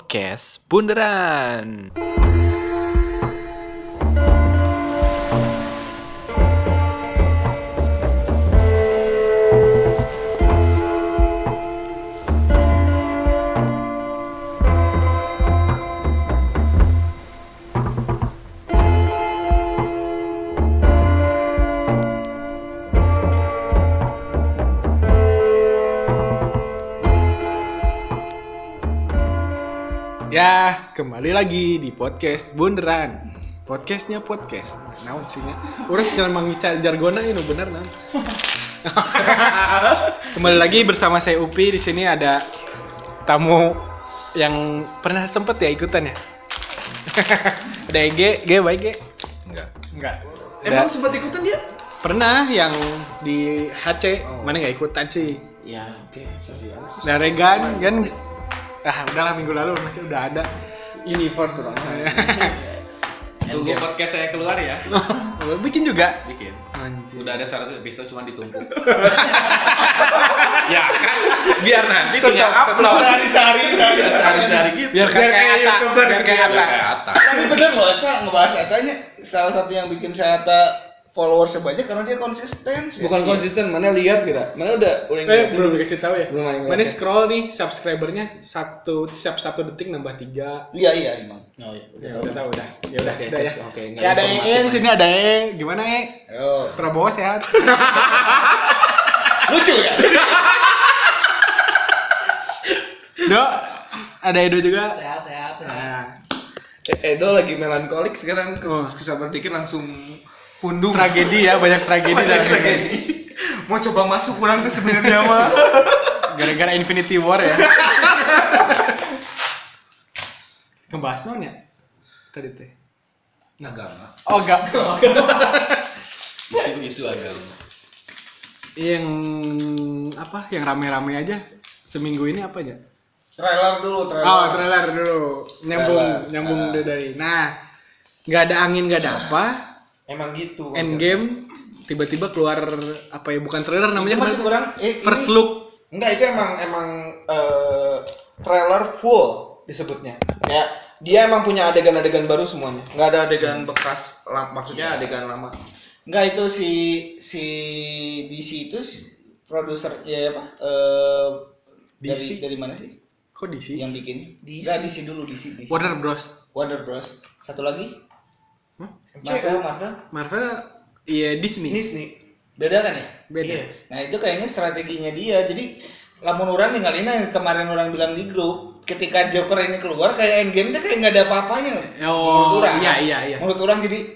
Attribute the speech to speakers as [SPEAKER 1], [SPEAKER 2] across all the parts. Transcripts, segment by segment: [SPEAKER 1] Podcast Bunderan. Ya, kembali lagi di podcast Bunderan. Podcastnya podcast. Nah, maksudnya, orang cuma mangica jargona ini bener nah. kembali lagi bersama saya Upi di sini ada tamu yang pernah sempet ya ikutan ya. ada Ege, Ge baik Ge.
[SPEAKER 2] Enggak.
[SPEAKER 1] Enggak.
[SPEAKER 3] Emang sempat ikutan dia?
[SPEAKER 1] pernah yang di HC mana nggak ikutan sih?
[SPEAKER 3] Ya, oke, sorry.
[SPEAKER 1] Dan Regan kan ah udahlah minggu lalu masih udah ada.
[SPEAKER 3] Universe lah.
[SPEAKER 4] Iya.
[SPEAKER 2] Tunggu podcast saya keluar ya.
[SPEAKER 1] Bikin juga.
[SPEAKER 2] Bikin.
[SPEAKER 1] Anjir.
[SPEAKER 2] Udah ada 100 episode cuma ditumpuk. ya kan biar nanti tinggal upload
[SPEAKER 3] sehari-sehari.
[SPEAKER 2] Iya, sehari-sehari gitu.
[SPEAKER 1] biar kayak
[SPEAKER 3] kayak
[SPEAKER 1] Ata,
[SPEAKER 3] youtuber
[SPEAKER 1] biar
[SPEAKER 3] gitu
[SPEAKER 1] kayak
[SPEAKER 3] ya.
[SPEAKER 1] Ata.
[SPEAKER 2] kelihatan.
[SPEAKER 3] Tapi bener loh, Eta ngebahas Etanya salah satu yang bikin saya Eta followersnya banyak karena dia konsisten sih.
[SPEAKER 2] Iya.
[SPEAKER 4] Bukan konsisten, mana lihat kita. Mana udah udah
[SPEAKER 1] Eh,
[SPEAKER 4] ngeliatin.
[SPEAKER 1] belum dikasih tahu ya.
[SPEAKER 4] Belum ada yang
[SPEAKER 1] Mana
[SPEAKER 4] ngeliat.
[SPEAKER 1] scroll nih subscribernya satu setiap satu detik nambah tiga.
[SPEAKER 3] Iya, iya, emang.
[SPEAKER 4] Oh, iya, udah
[SPEAKER 1] Ya,
[SPEAKER 4] tahu.
[SPEAKER 1] udah tahu udah. Ya udah,
[SPEAKER 4] Oke,
[SPEAKER 1] udah ya.
[SPEAKER 4] guys, oke, nggak
[SPEAKER 1] Ya ada
[SPEAKER 4] informatif
[SPEAKER 1] Ee di
[SPEAKER 4] lagi.
[SPEAKER 1] sini ada Ee. Gimana Ee?
[SPEAKER 3] Yo.
[SPEAKER 1] Prabowo sehat.
[SPEAKER 3] Lucu ya?
[SPEAKER 1] Dok, ada Edo juga.
[SPEAKER 5] sehat sehat sehat
[SPEAKER 1] Nah,
[SPEAKER 3] E,
[SPEAKER 4] Eh, Edo lagi melankolik sekarang ke
[SPEAKER 1] Oh.
[SPEAKER 4] kesabar dikit langsung pundung.
[SPEAKER 1] tragedi ya, banyak tragedi dalam ini.
[SPEAKER 4] Mau coba masuk kurang tuh sebenarnya mah.
[SPEAKER 1] gara-gara Infinity War ya ngebahas non ya tadi teh
[SPEAKER 2] Agama.
[SPEAKER 1] oh enggak
[SPEAKER 2] Isu-isu agama.
[SPEAKER 1] yang apa yang rame-rame aja seminggu ini apa aja
[SPEAKER 3] Trailer dulu, trailer.
[SPEAKER 1] oh trailer dulu nyambung
[SPEAKER 3] Trailer.
[SPEAKER 1] nyambung
[SPEAKER 3] Ah.
[SPEAKER 1] dulu dari nah nggak ada angin nggak ada apa
[SPEAKER 4] Emang gitu.
[SPEAKER 1] Endgame tiba-tiba keluar apa ya bukan trailer namanya
[SPEAKER 3] Cuma
[SPEAKER 1] apa itu?
[SPEAKER 3] kurang eh,
[SPEAKER 1] first
[SPEAKER 3] ini-
[SPEAKER 1] look
[SPEAKER 4] Enggak, itu emang emang eh, trailer full disebutnya. Ya, dia emang punya adegan-adegan baru semuanya. Enggak ada adegan bekas, la- maksudnya adegan lama.
[SPEAKER 3] Hmm. Iya. Enggak itu si si DC itu si produser ya apa? Eh dari
[SPEAKER 1] DC?
[SPEAKER 3] dari mana sih
[SPEAKER 1] kok di sini
[SPEAKER 3] yang bikin? Enggak DC dulu DC DC.
[SPEAKER 1] Warner Bros
[SPEAKER 3] Wonder Bros. Satu lagi?
[SPEAKER 1] Hah?
[SPEAKER 4] kan?
[SPEAKER 3] Marvel, Marvel.
[SPEAKER 1] Marvel iya Disney
[SPEAKER 4] Disney.
[SPEAKER 3] Beda kan ya?
[SPEAKER 1] beda
[SPEAKER 3] Nah, itu kayaknya strateginya dia. Jadi lamun orang ninggalin yang kemarin orang bilang di grup, ketika Joker ini keluar kayak endgame-nya kayak nggak ada apa-apanya.
[SPEAKER 1] oh
[SPEAKER 3] Menurut orang.
[SPEAKER 1] iya iya iya
[SPEAKER 3] Menurut orang jadi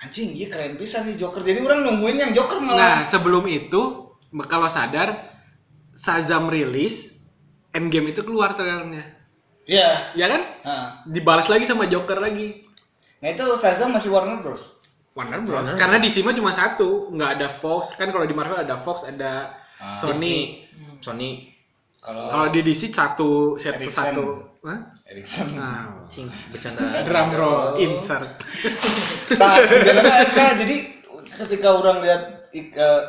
[SPEAKER 3] anjing iya keren pisan nih Joker. Jadi orang nungguin yang Joker
[SPEAKER 1] Nah,
[SPEAKER 3] malah.
[SPEAKER 1] sebelum itu kalau sadar Shazam rilis Endgame itu keluar trailernya.
[SPEAKER 3] Iya.
[SPEAKER 1] Ya kan?
[SPEAKER 3] Nah.
[SPEAKER 1] Dibalas lagi sama Joker lagi.
[SPEAKER 3] Nah itu Shazam masih Warner Bros.
[SPEAKER 1] Warner Bros. Karena di sini cuma satu, nggak ada Fox. Kan kalau di Marvel ada Fox, ada
[SPEAKER 2] Ah,
[SPEAKER 1] Sony.
[SPEAKER 4] Sony.
[SPEAKER 2] Kalau
[SPEAKER 1] Kalau di DC satu satu
[SPEAKER 3] Ericsson.
[SPEAKER 1] satu. Hah?
[SPEAKER 3] Hmm,
[SPEAKER 2] Erickson
[SPEAKER 1] Nah,
[SPEAKER 4] Cing, bercanda.
[SPEAKER 1] drum roll insert.
[SPEAKER 3] Nah, sebenarnya Eka, jadi ketika orang lihat ik, eh,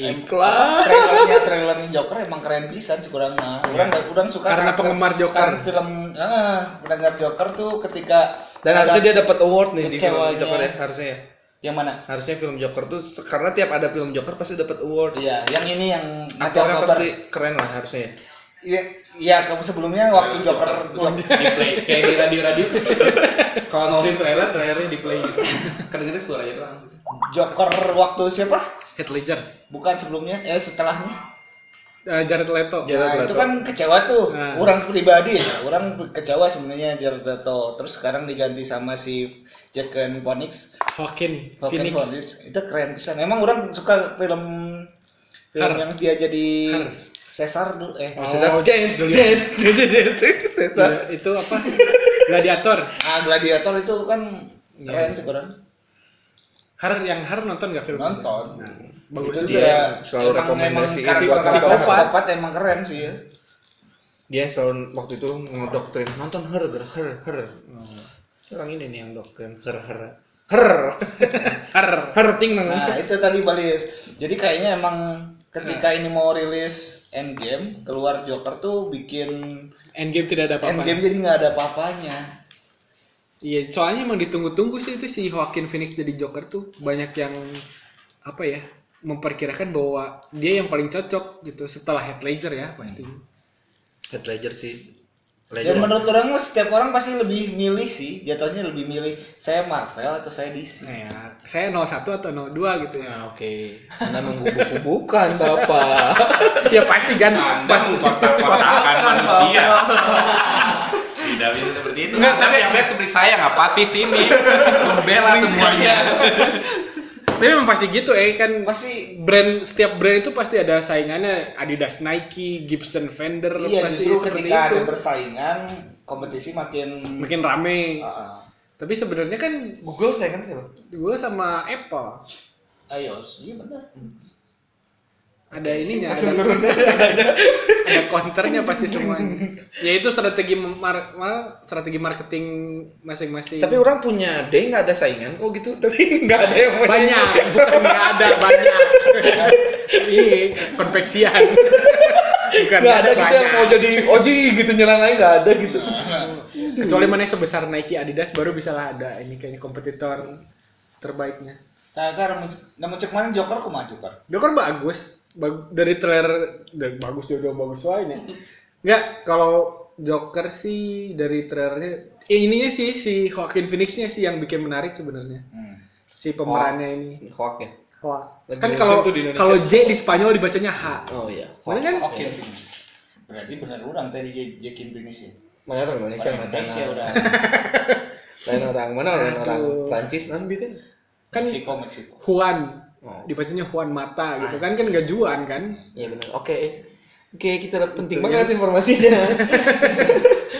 [SPEAKER 3] eh,
[SPEAKER 4] Iklan. Iya.
[SPEAKER 3] trailernya trailernya Joker emang keren pisan sih kurang mah. Orang orang suka
[SPEAKER 1] Karena
[SPEAKER 3] karakter-
[SPEAKER 1] penggemar Joker.
[SPEAKER 3] Karena film eh, pendengar Joker tuh ketika
[SPEAKER 4] Dan harusnya dia dapat award nih di film
[SPEAKER 3] Kecewanya.
[SPEAKER 4] Joker ya, harusnya ya.
[SPEAKER 3] yang mana?
[SPEAKER 4] Harusnya film Joker tuh karena tiap ada film Joker pasti dapat award.
[SPEAKER 3] Iya, yang ini yang nanti
[SPEAKER 4] Aktornya
[SPEAKER 3] Oktober.
[SPEAKER 4] pasti keren lah harusnya. ya.
[SPEAKER 3] Iya, iya kamu sebelumnya waktu
[SPEAKER 4] Iya,
[SPEAKER 3] Joker, Joker.
[SPEAKER 2] di play kayak di radio-radio.
[SPEAKER 4] Kalau nonton trailer, trailernya di play.
[SPEAKER 2] Kedengeran suaranya doang.
[SPEAKER 3] Joker waktu siapa?
[SPEAKER 1] Heath Ledger.
[SPEAKER 3] Bukan sebelumnya, ya setelahnya.
[SPEAKER 1] Eh, Jared Leto.
[SPEAKER 4] Jared
[SPEAKER 3] Nah,
[SPEAKER 4] Leto.
[SPEAKER 3] itu kan kecewa tuh.
[SPEAKER 1] Nah.
[SPEAKER 3] Orang pribadi ya, orang kecewa sebenarnya Jared Leto. Terus sekarang diganti sama si Jacken Phoenix.
[SPEAKER 1] Hawking.
[SPEAKER 3] Joaquin
[SPEAKER 1] Phoenix.
[SPEAKER 3] Phoenix. Itu keren pisan. Emang orang suka film film
[SPEAKER 1] Her.
[SPEAKER 3] yang dia jadi
[SPEAKER 1] Her.
[SPEAKER 3] Caesar dulu eh.
[SPEAKER 1] Oh,
[SPEAKER 4] Sesat Jen,
[SPEAKER 1] Juliet.
[SPEAKER 4] Jen, Jen, Jen, Jen, Sesat.
[SPEAKER 6] Iya,
[SPEAKER 1] Gila, itu apa? Gladiator.
[SPEAKER 3] Nah, Gladiator itu kan
[SPEAKER 1] Iya.
[SPEAKER 3] keren sih orang.
[SPEAKER 1] Har yang Har nonton nggak film?
[SPEAKER 3] Nonton.
[SPEAKER 1] Nah, bagus
[SPEAKER 3] Itu
[SPEAKER 1] juga. ya.
[SPEAKER 4] dia selalu rekomendasiin
[SPEAKER 3] emang
[SPEAKER 4] buat
[SPEAKER 3] karakter
[SPEAKER 4] psikopat.
[SPEAKER 3] psikopat emang keren sih ya.
[SPEAKER 4] Dia selalu waktu itu ngedoktrin nonton her, her, her, her. Orang ini nih yang doktrin her, her, her,
[SPEAKER 1] Har.
[SPEAKER 4] her ting nang.
[SPEAKER 3] Nah, itu tadi balik. Jadi kayaknya emang ketika ini mau rilis Endgame keluar Joker tuh bikin
[SPEAKER 6] Endgame tidak ada apa-apa.
[SPEAKER 3] Endgame jadi nggak ada apa-apanya
[SPEAKER 6] Iya, soalnya emang ditunggu-tunggu sih itu si Joaquin Phoenix jadi Joker tuh banyak yang apa ya memperkirakan bahwa dia yang paling cocok gitu setelah Heath Ledger ya pasti.
[SPEAKER 3] Hmm.
[SPEAKER 2] Head Ledger sih.
[SPEAKER 3] ya menurut orang mah setiap orang pasti lebih milih sih jatuhnya lebih milih saya Marvel atau saya DC
[SPEAKER 6] Nah, ya, saya 01 atau 02 gitu
[SPEAKER 4] Nah.
[SPEAKER 6] ya.
[SPEAKER 2] Nah, oke. Anda menggubuk-gubukan, Bapak.
[SPEAKER 6] ya pasti kan
[SPEAKER 2] Anda
[SPEAKER 6] pasti.
[SPEAKER 2] mengkotak-kotakan manusia. Tidak bisa seperti itu.
[SPEAKER 6] Nggak,
[SPEAKER 2] Anda
[SPEAKER 6] tapi-
[SPEAKER 2] yang baik seperti saya nggak patis ini. Membela semuanya.
[SPEAKER 6] Tapi memang pasti gitu eh kan
[SPEAKER 3] pasti
[SPEAKER 6] brand setiap brand itu pasti ada saingannya Adidas, Nike, Gibson, Fender
[SPEAKER 3] iya
[SPEAKER 6] pasti
[SPEAKER 3] justru
[SPEAKER 6] seperti
[SPEAKER 3] ketika
[SPEAKER 6] itu.
[SPEAKER 3] ada persaingan kompetisi makin
[SPEAKER 6] Makin rame.
[SPEAKER 3] Ah,
[SPEAKER 6] Tapi sebenarnya kan
[SPEAKER 1] Google saya kan siapa?
[SPEAKER 6] gue sama Apple
[SPEAKER 3] ah. iOS iya benar
[SPEAKER 6] ada ininya
[SPEAKER 1] Langsung
[SPEAKER 6] ada
[SPEAKER 1] turun.
[SPEAKER 6] ada counternya pasti semuanya yaitu strategi mar- mar- strategi marketing masing-masing
[SPEAKER 1] Tapi orang punya D nggak ada saingan kok gitu, tapi nggak ada yang punya.
[SPEAKER 6] banyak bukan nggak ada banyak ini konveksian bukan
[SPEAKER 1] Nggak ada gitu yang mau jadi Oji gitu nyerang aja nggak ada gitu.
[SPEAKER 6] kecuali mana yang sebesar Nike Adidas baru bisa lah ada ini kayaknya kompetitor terbaiknya
[SPEAKER 3] nah kan namun cek mana Joker kumaha Joker
[SPEAKER 6] Joker kan bagus Bag- dari trailer dari bagus jodoh bagus lainnya ya. nggak kalau Joker sih dari trailernya eh, ininya sih si Joaquin Phoenixnya sih yang bikin menarik sebenarnya
[SPEAKER 3] hmm.
[SPEAKER 6] si pemerannya ini
[SPEAKER 1] Hoak ya.
[SPEAKER 6] Hoa.
[SPEAKER 1] Lagi
[SPEAKER 6] kan
[SPEAKER 1] musim
[SPEAKER 6] kalau
[SPEAKER 1] tuh di Indonesia.
[SPEAKER 6] kalau J di Spanyol dibacanya H
[SPEAKER 1] Oh iya.
[SPEAKER 6] mana kan
[SPEAKER 3] Oke. Berarti benar orang tadi J- Jack Indonesia.
[SPEAKER 1] Mana orang Indonesia
[SPEAKER 3] Orang Indonesia udah.
[SPEAKER 1] Lain orang mana orang orang
[SPEAKER 6] Aduh.
[SPEAKER 1] Prancis kan gitu.
[SPEAKER 6] kan
[SPEAKER 3] Meksiko, Meksiko.
[SPEAKER 6] Juan
[SPEAKER 1] Oh.
[SPEAKER 6] dibacanya Juan Mata gitu kan kan nggak Juan kan
[SPEAKER 1] Iya benar. Oke. Oke, kita dapat penting
[SPEAKER 6] Betul,
[SPEAKER 1] banget informasinya.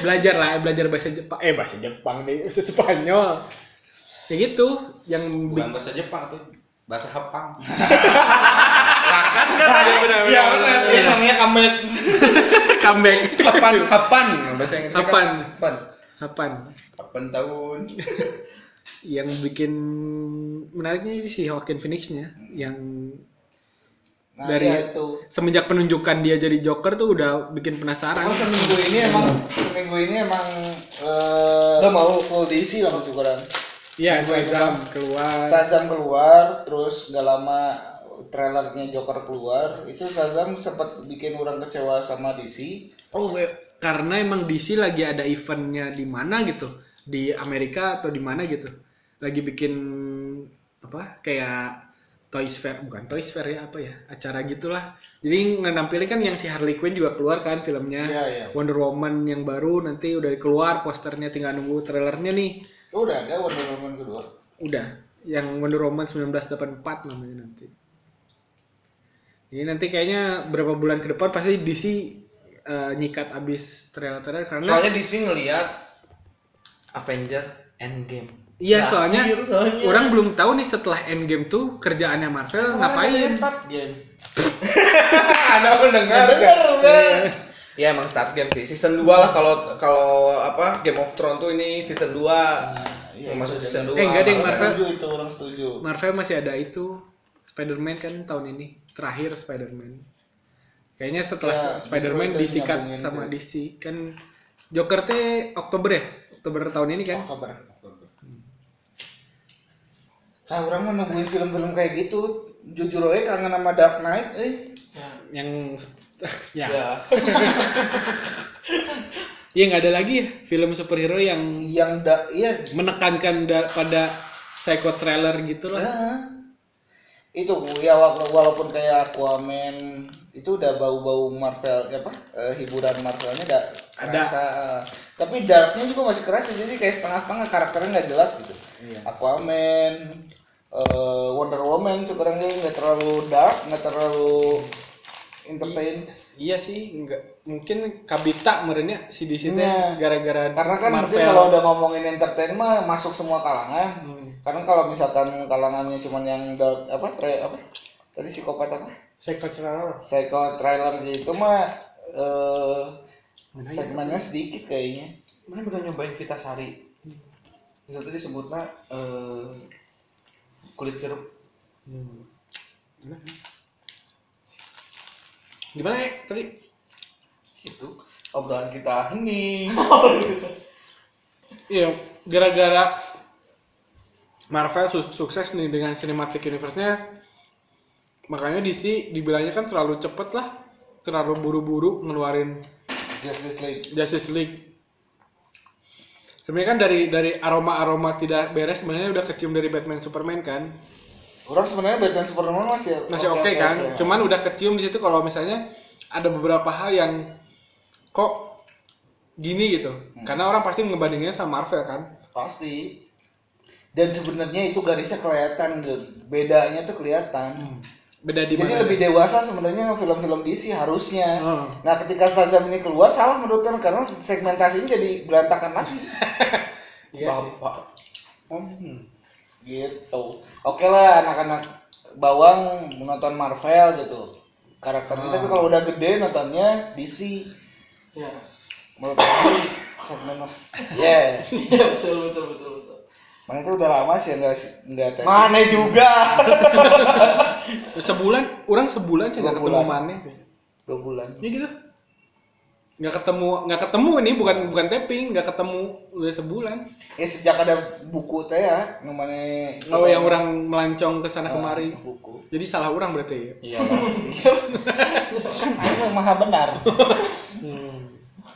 [SPEAKER 6] belajar lah belajar bahasa Jepang eh bahasa Jepang nih bahasa Spanyol ya gitu yang
[SPEAKER 2] Bukan bahasa Jepang tuh. Bahasa Hepang.
[SPEAKER 3] Iya, benar. Dia namanya comeback.
[SPEAKER 6] comeback
[SPEAKER 1] Kapan? Kapan? Bahasa Inggris.
[SPEAKER 6] Kapan?
[SPEAKER 1] Kapan?
[SPEAKER 6] kapan
[SPEAKER 1] Kapan tahun?
[SPEAKER 6] yang bikin menariknya sih Joaquin Phoenix-nya yang
[SPEAKER 3] Nah,
[SPEAKER 6] Dari-
[SPEAKER 3] iya itu.
[SPEAKER 6] semenjak penunjukan dia jadi Joker tuh udah bikin penasaran.
[SPEAKER 3] Emang Nah, seminggu ini emang seminggu ini emang eh
[SPEAKER 1] Lo mau?
[SPEAKER 3] full DC lah maksud orang.
[SPEAKER 6] Iya,
[SPEAKER 3] Gua
[SPEAKER 6] Shazam keluar.
[SPEAKER 3] Shazam keluar, terus nggak lama trailernya Joker keluar, itu Shazam sempat bikin orang kecewa sama DC.
[SPEAKER 6] Oh, we- karena emang DC lagi ada eventnya di mana gitu, di Amerika atau di mana gitu, lagi bikin apa kayak Toys Fair bukan Toys Fair ya apa ya acara gitulah. Jadi ngenampilin kan yang si Harley Quinn juga keluar kan filmnya.
[SPEAKER 3] Iya, iya.
[SPEAKER 6] Wonder Woman yang baru nanti udah keluar posternya tinggal nunggu trailernya nih.
[SPEAKER 3] Udah ada Wonder Woman kedua.
[SPEAKER 6] Udah, yang Wonder Woman 1984 namanya nanti. Ini nanti kayaknya berapa bulan ke depan pasti DC eh, nyikat abis trailer-trailer karena
[SPEAKER 1] Soalnya di sini ngelihat Avenger Endgame. Nah,
[SPEAKER 3] ya,
[SPEAKER 6] iya soalnya
[SPEAKER 1] iya, soalnya.
[SPEAKER 6] orang belum tahu nih setelah Endgame tuh kerjaannya Marvel
[SPEAKER 3] Kemarin
[SPEAKER 6] ngapain. Iya.
[SPEAKER 3] katanya Start game.
[SPEAKER 1] Ada pendengar.
[SPEAKER 3] Nah, Bener, bener.
[SPEAKER 1] Ya emang start game sih. Season 2 lah kalau kalau apa Game of Thrones tuh ini season 2.
[SPEAKER 3] iya,
[SPEAKER 1] Mau masuk
[SPEAKER 3] itu
[SPEAKER 1] season 2.
[SPEAKER 6] Eh, nggak ada yang
[SPEAKER 1] Marvel.
[SPEAKER 6] Marvel.
[SPEAKER 3] Setuju itu orang setuju.
[SPEAKER 6] Marvel masih ada itu Spider-Man kan tahun ini terakhir Spider-Man. Kayaknya setelah
[SPEAKER 3] Ya, justru itu
[SPEAKER 6] Spider-Man
[SPEAKER 3] yang
[SPEAKER 6] disikat
[SPEAKER 3] nyambungin
[SPEAKER 6] sama
[SPEAKER 3] itu.
[SPEAKER 6] DC kan Joker teh Oktober ya? Oktober tahun ini kan?
[SPEAKER 3] Oh, kabar. Ah, orang mah nungguin film-film kayak gitu. Jujur aja kangen sama Dark Knight, eh.
[SPEAKER 6] yang ya
[SPEAKER 1] Ya.
[SPEAKER 6] ya nggak ada lagi ya film superhero yang
[SPEAKER 3] Yang da iya.
[SPEAKER 6] menekankan da- pada psycho trailer gitu lah
[SPEAKER 3] Ah. Itu ya wala- walaupun kayak Aquaman itu udah bau-bau Marvel ya apa eh, hiburan Marvelnya udah
[SPEAKER 6] Ada.
[SPEAKER 3] kerasa. eh. tapi darknya juga masih kerasa jadi kayak setengah-setengah karakternya nggak jelas gitu
[SPEAKER 6] Iya.
[SPEAKER 3] Aquaman eh, Wonder Woman sekarang dia nggak terlalu dark nggak terlalu entertain
[SPEAKER 6] iya sih nggak mungkin kabita merenya si di situ
[SPEAKER 3] Iya.
[SPEAKER 6] gara-gara
[SPEAKER 3] Karena kan mungkin
[SPEAKER 6] Marvel.
[SPEAKER 3] kalau udah ngomongin entertain mah masuk semua kalangan.
[SPEAKER 6] Hmm.
[SPEAKER 3] Karena kalau misalkan kalangannya cuman yang dark apa tra- apa tadi psikopat apa
[SPEAKER 6] psycho trailer
[SPEAKER 3] psycho trailer gitu mah eh segmennya sedikit kayaknya.
[SPEAKER 1] Mana udah nyobain Vita Sari? Itu tadi sebutnya eh, kulit jeruk.
[SPEAKER 6] Hmm. Enak, enak. Gimana ya tadi?
[SPEAKER 3] gitu.
[SPEAKER 1] Itu obrolan kita hening.
[SPEAKER 6] Iya, gara-gara Marvel su- sukses nih dengan cinematic universe-nya makanya DC dibilangnya kan terlalu cepet lah terlalu buru-buru ngeluarin
[SPEAKER 3] Justice League.
[SPEAKER 6] Justice League sebenarnya kan dari dari aroma-aroma tidak beres sebenarnya udah kecium dari Batman Superman kan
[SPEAKER 3] Orang sebenarnya Batman Superman masih
[SPEAKER 6] masih oke kan cuman udah kecium di situ kalau misalnya ada beberapa hal yang kok gini gitu karena orang pasti ngebandinginnya sama Marvel kan
[SPEAKER 3] pasti. Dan sebenarnya itu garisnya kelihatan, Gun. bedanya tuh
[SPEAKER 6] Hmm.
[SPEAKER 3] kelihatan.
[SPEAKER 6] beda di
[SPEAKER 3] Jadi
[SPEAKER 6] mana
[SPEAKER 1] ya?
[SPEAKER 3] lebih dewasa sebenarnya film-film DC harusnya.
[SPEAKER 1] Oh.
[SPEAKER 6] Hmm.
[SPEAKER 3] Nah, ketika Shazam ini keluar salah menurut kan karena segmentasinya jadi berantakan lagi.
[SPEAKER 6] Iya sih.
[SPEAKER 3] Bapak. Hmm. Gitu. Oke lah anak-anak bawang menonton Marvel gitu. Karakternya tapi kalau udah gede nontonnya DC.
[SPEAKER 1] Ah. Ya.
[SPEAKER 3] Menurut aku segmen of- Yeah.
[SPEAKER 1] Iya, betul betul betul betul.
[SPEAKER 3] Mana itu udah lama sih nggak nggak ada.
[SPEAKER 1] Mana juga.
[SPEAKER 6] sebulan orang sebulan sih
[SPEAKER 3] Dua
[SPEAKER 6] nggak ketemu
[SPEAKER 3] bulan.
[SPEAKER 6] mana sih
[SPEAKER 3] dua bulan.
[SPEAKER 6] ya gitu nggak ketemu nggak ketemu ini bukan bukan tapping nggak ketemu udah sebulan
[SPEAKER 3] Ya sejak ada buku teh ya, nu mana Ah,
[SPEAKER 6] kalau yang orang melancong ke sana kemari
[SPEAKER 3] buku.
[SPEAKER 6] jadi salah orang berarti ya
[SPEAKER 3] Iya. kan aku maha benar.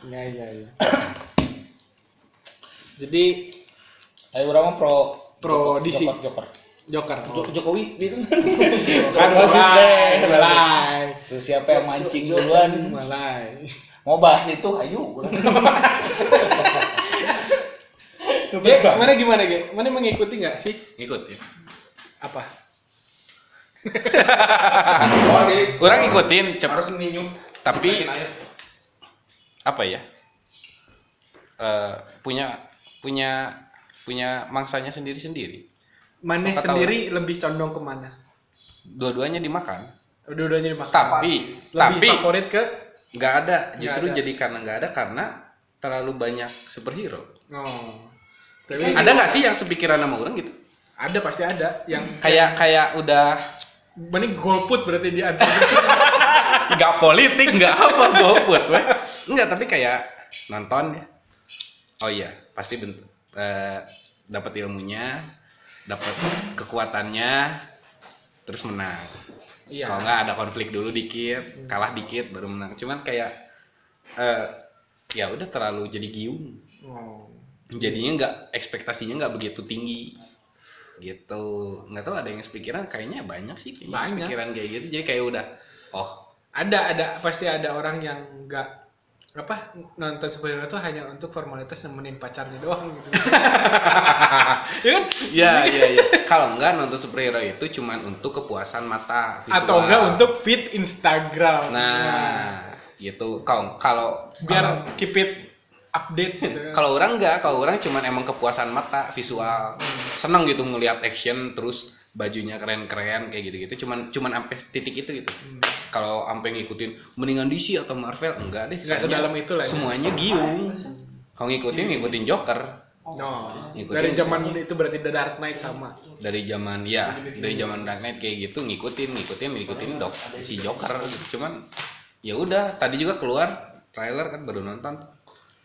[SPEAKER 6] iya iya iya jadi
[SPEAKER 3] Ayo orang mah pro Joker-
[SPEAKER 6] Pro DC.
[SPEAKER 3] Joker, Joker. Jo-
[SPEAKER 6] Joker
[SPEAKER 3] Jokowi gitu
[SPEAKER 6] kan
[SPEAKER 3] kan basis
[SPEAKER 6] malai
[SPEAKER 3] deh.
[SPEAKER 6] malai
[SPEAKER 3] Terus siapa yang mancing duluan?
[SPEAKER 6] malai
[SPEAKER 3] Mau bahas itu, ayo.
[SPEAKER 6] Ge, mana gimana ge mana mengikuti nggak sih
[SPEAKER 2] Ikutin.
[SPEAKER 6] apa
[SPEAKER 3] Oh,
[SPEAKER 2] Orang ikutin cepet,
[SPEAKER 1] harus meninju.
[SPEAKER 2] tapi apa ya? Eh, punya punya punya mangsanya sendiri-sendiri.
[SPEAKER 6] mana
[SPEAKER 2] Apa tahu?
[SPEAKER 6] sendiri lebih condong kemana
[SPEAKER 2] Dua-duanya dimakan.
[SPEAKER 6] udah-udahnya dimakan
[SPEAKER 2] Tapi
[SPEAKER 6] lebih
[SPEAKER 2] tapi
[SPEAKER 6] favorit ke
[SPEAKER 2] nggak ada justru
[SPEAKER 6] ada.
[SPEAKER 2] jadi karena nggak ada karena terlalu banyak superhero
[SPEAKER 6] oh tapi
[SPEAKER 2] ada nggak sih yang sepikiran sama orang gitu
[SPEAKER 6] ada pasti ada yang
[SPEAKER 2] kayak kayak udah
[SPEAKER 6] ini golput berarti di antara
[SPEAKER 2] nggak politik nggak apa golput weh nggak tapi kayak nonton ya oh iya pasti bent- eh, dapat ilmunya dapat kekuatannya terus menang kalau nggak ada konflik dulu dikit kalah dikit baru menang cuman kayak eh, ya udah terlalu jadi giung
[SPEAKER 6] oh.
[SPEAKER 2] jadinya nggak ekspektasinya nggak begitu tinggi gitu nggak tahu ada yang sepikiran kayaknya banyak sih kayaknya
[SPEAKER 6] Banyak.
[SPEAKER 2] sepikiran kayak gitu jadi kayak udah oh
[SPEAKER 6] ada ada pasti ada orang yang nggak apa nonton superhero itu hanya untuk formalitas nemenin pacarnya doang gitu ya kan
[SPEAKER 2] ya ya ya kalau nggak nonton superhero itu cuman untuk kepuasan mata visual
[SPEAKER 6] atau enggak untuk fit Instagram
[SPEAKER 2] nah gitu kalau kalau kalau-
[SPEAKER 6] biar keep it update gitu kan.
[SPEAKER 2] kalau orang nggak kalau orang cuman emang kepuasan mata visual seneng gitu ngelihat action terus bajunya keren-keren kayak gitu-gitu cuman cuman sampai titik itu gitu kalau sampai ngikutin mendingan DC atau Marvel enggak deh
[SPEAKER 6] Nggak
[SPEAKER 2] soalnya
[SPEAKER 6] sedalam itu lah ya. Iya.
[SPEAKER 2] semuanya giung kalau ngikutin ngikutin Joker
[SPEAKER 6] no
[SPEAKER 2] Oh. Ngikutin
[SPEAKER 6] Oh. dari
[SPEAKER 2] itu.
[SPEAKER 6] zaman itu berarti The Dark Knight sama
[SPEAKER 2] dari zaman ya dari zaman Dark Knight kayak gitu ngikutin ngikutin ngikutin dok si Joker gitu. cuman ya udah tadi juga keluar trailer kan baru nonton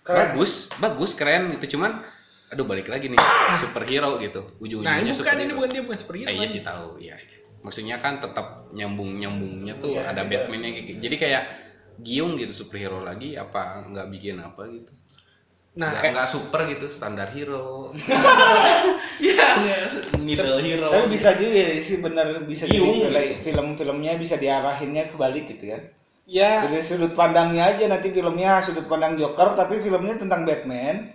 [SPEAKER 3] Kan
[SPEAKER 2] bagus bagus keren gitu cuman aduh balik lagi nih superhero gitu
[SPEAKER 6] nah
[SPEAKER 2] ujung-ujungnya
[SPEAKER 6] ini bukan ini
[SPEAKER 2] superhero.
[SPEAKER 6] bukan dia bukan superhero
[SPEAKER 2] Eh, iya
[SPEAKER 6] kan?
[SPEAKER 2] sih tahu, iya. iya. Maksudnya kan tetap nyambung nyambungnya tuh ada Batman-nya kayak gitu. Jadi kayak giung gitu superhero lagi apa nggak bikin apa gitu.
[SPEAKER 6] nah
[SPEAKER 2] nggak,
[SPEAKER 6] kayak
[SPEAKER 2] nggak super gitu standar hero. Iya, middle hero.
[SPEAKER 3] Tapi bisa juga sih bener bisa jadi
[SPEAKER 2] Giung,
[SPEAKER 3] film- film-filmnya bisa diarahinnya ke balik gitu ya.
[SPEAKER 6] ya
[SPEAKER 3] Dari sudut pandangnya aja nanti filmnya sudut pandang Joker tapi filmnya tentang Batman.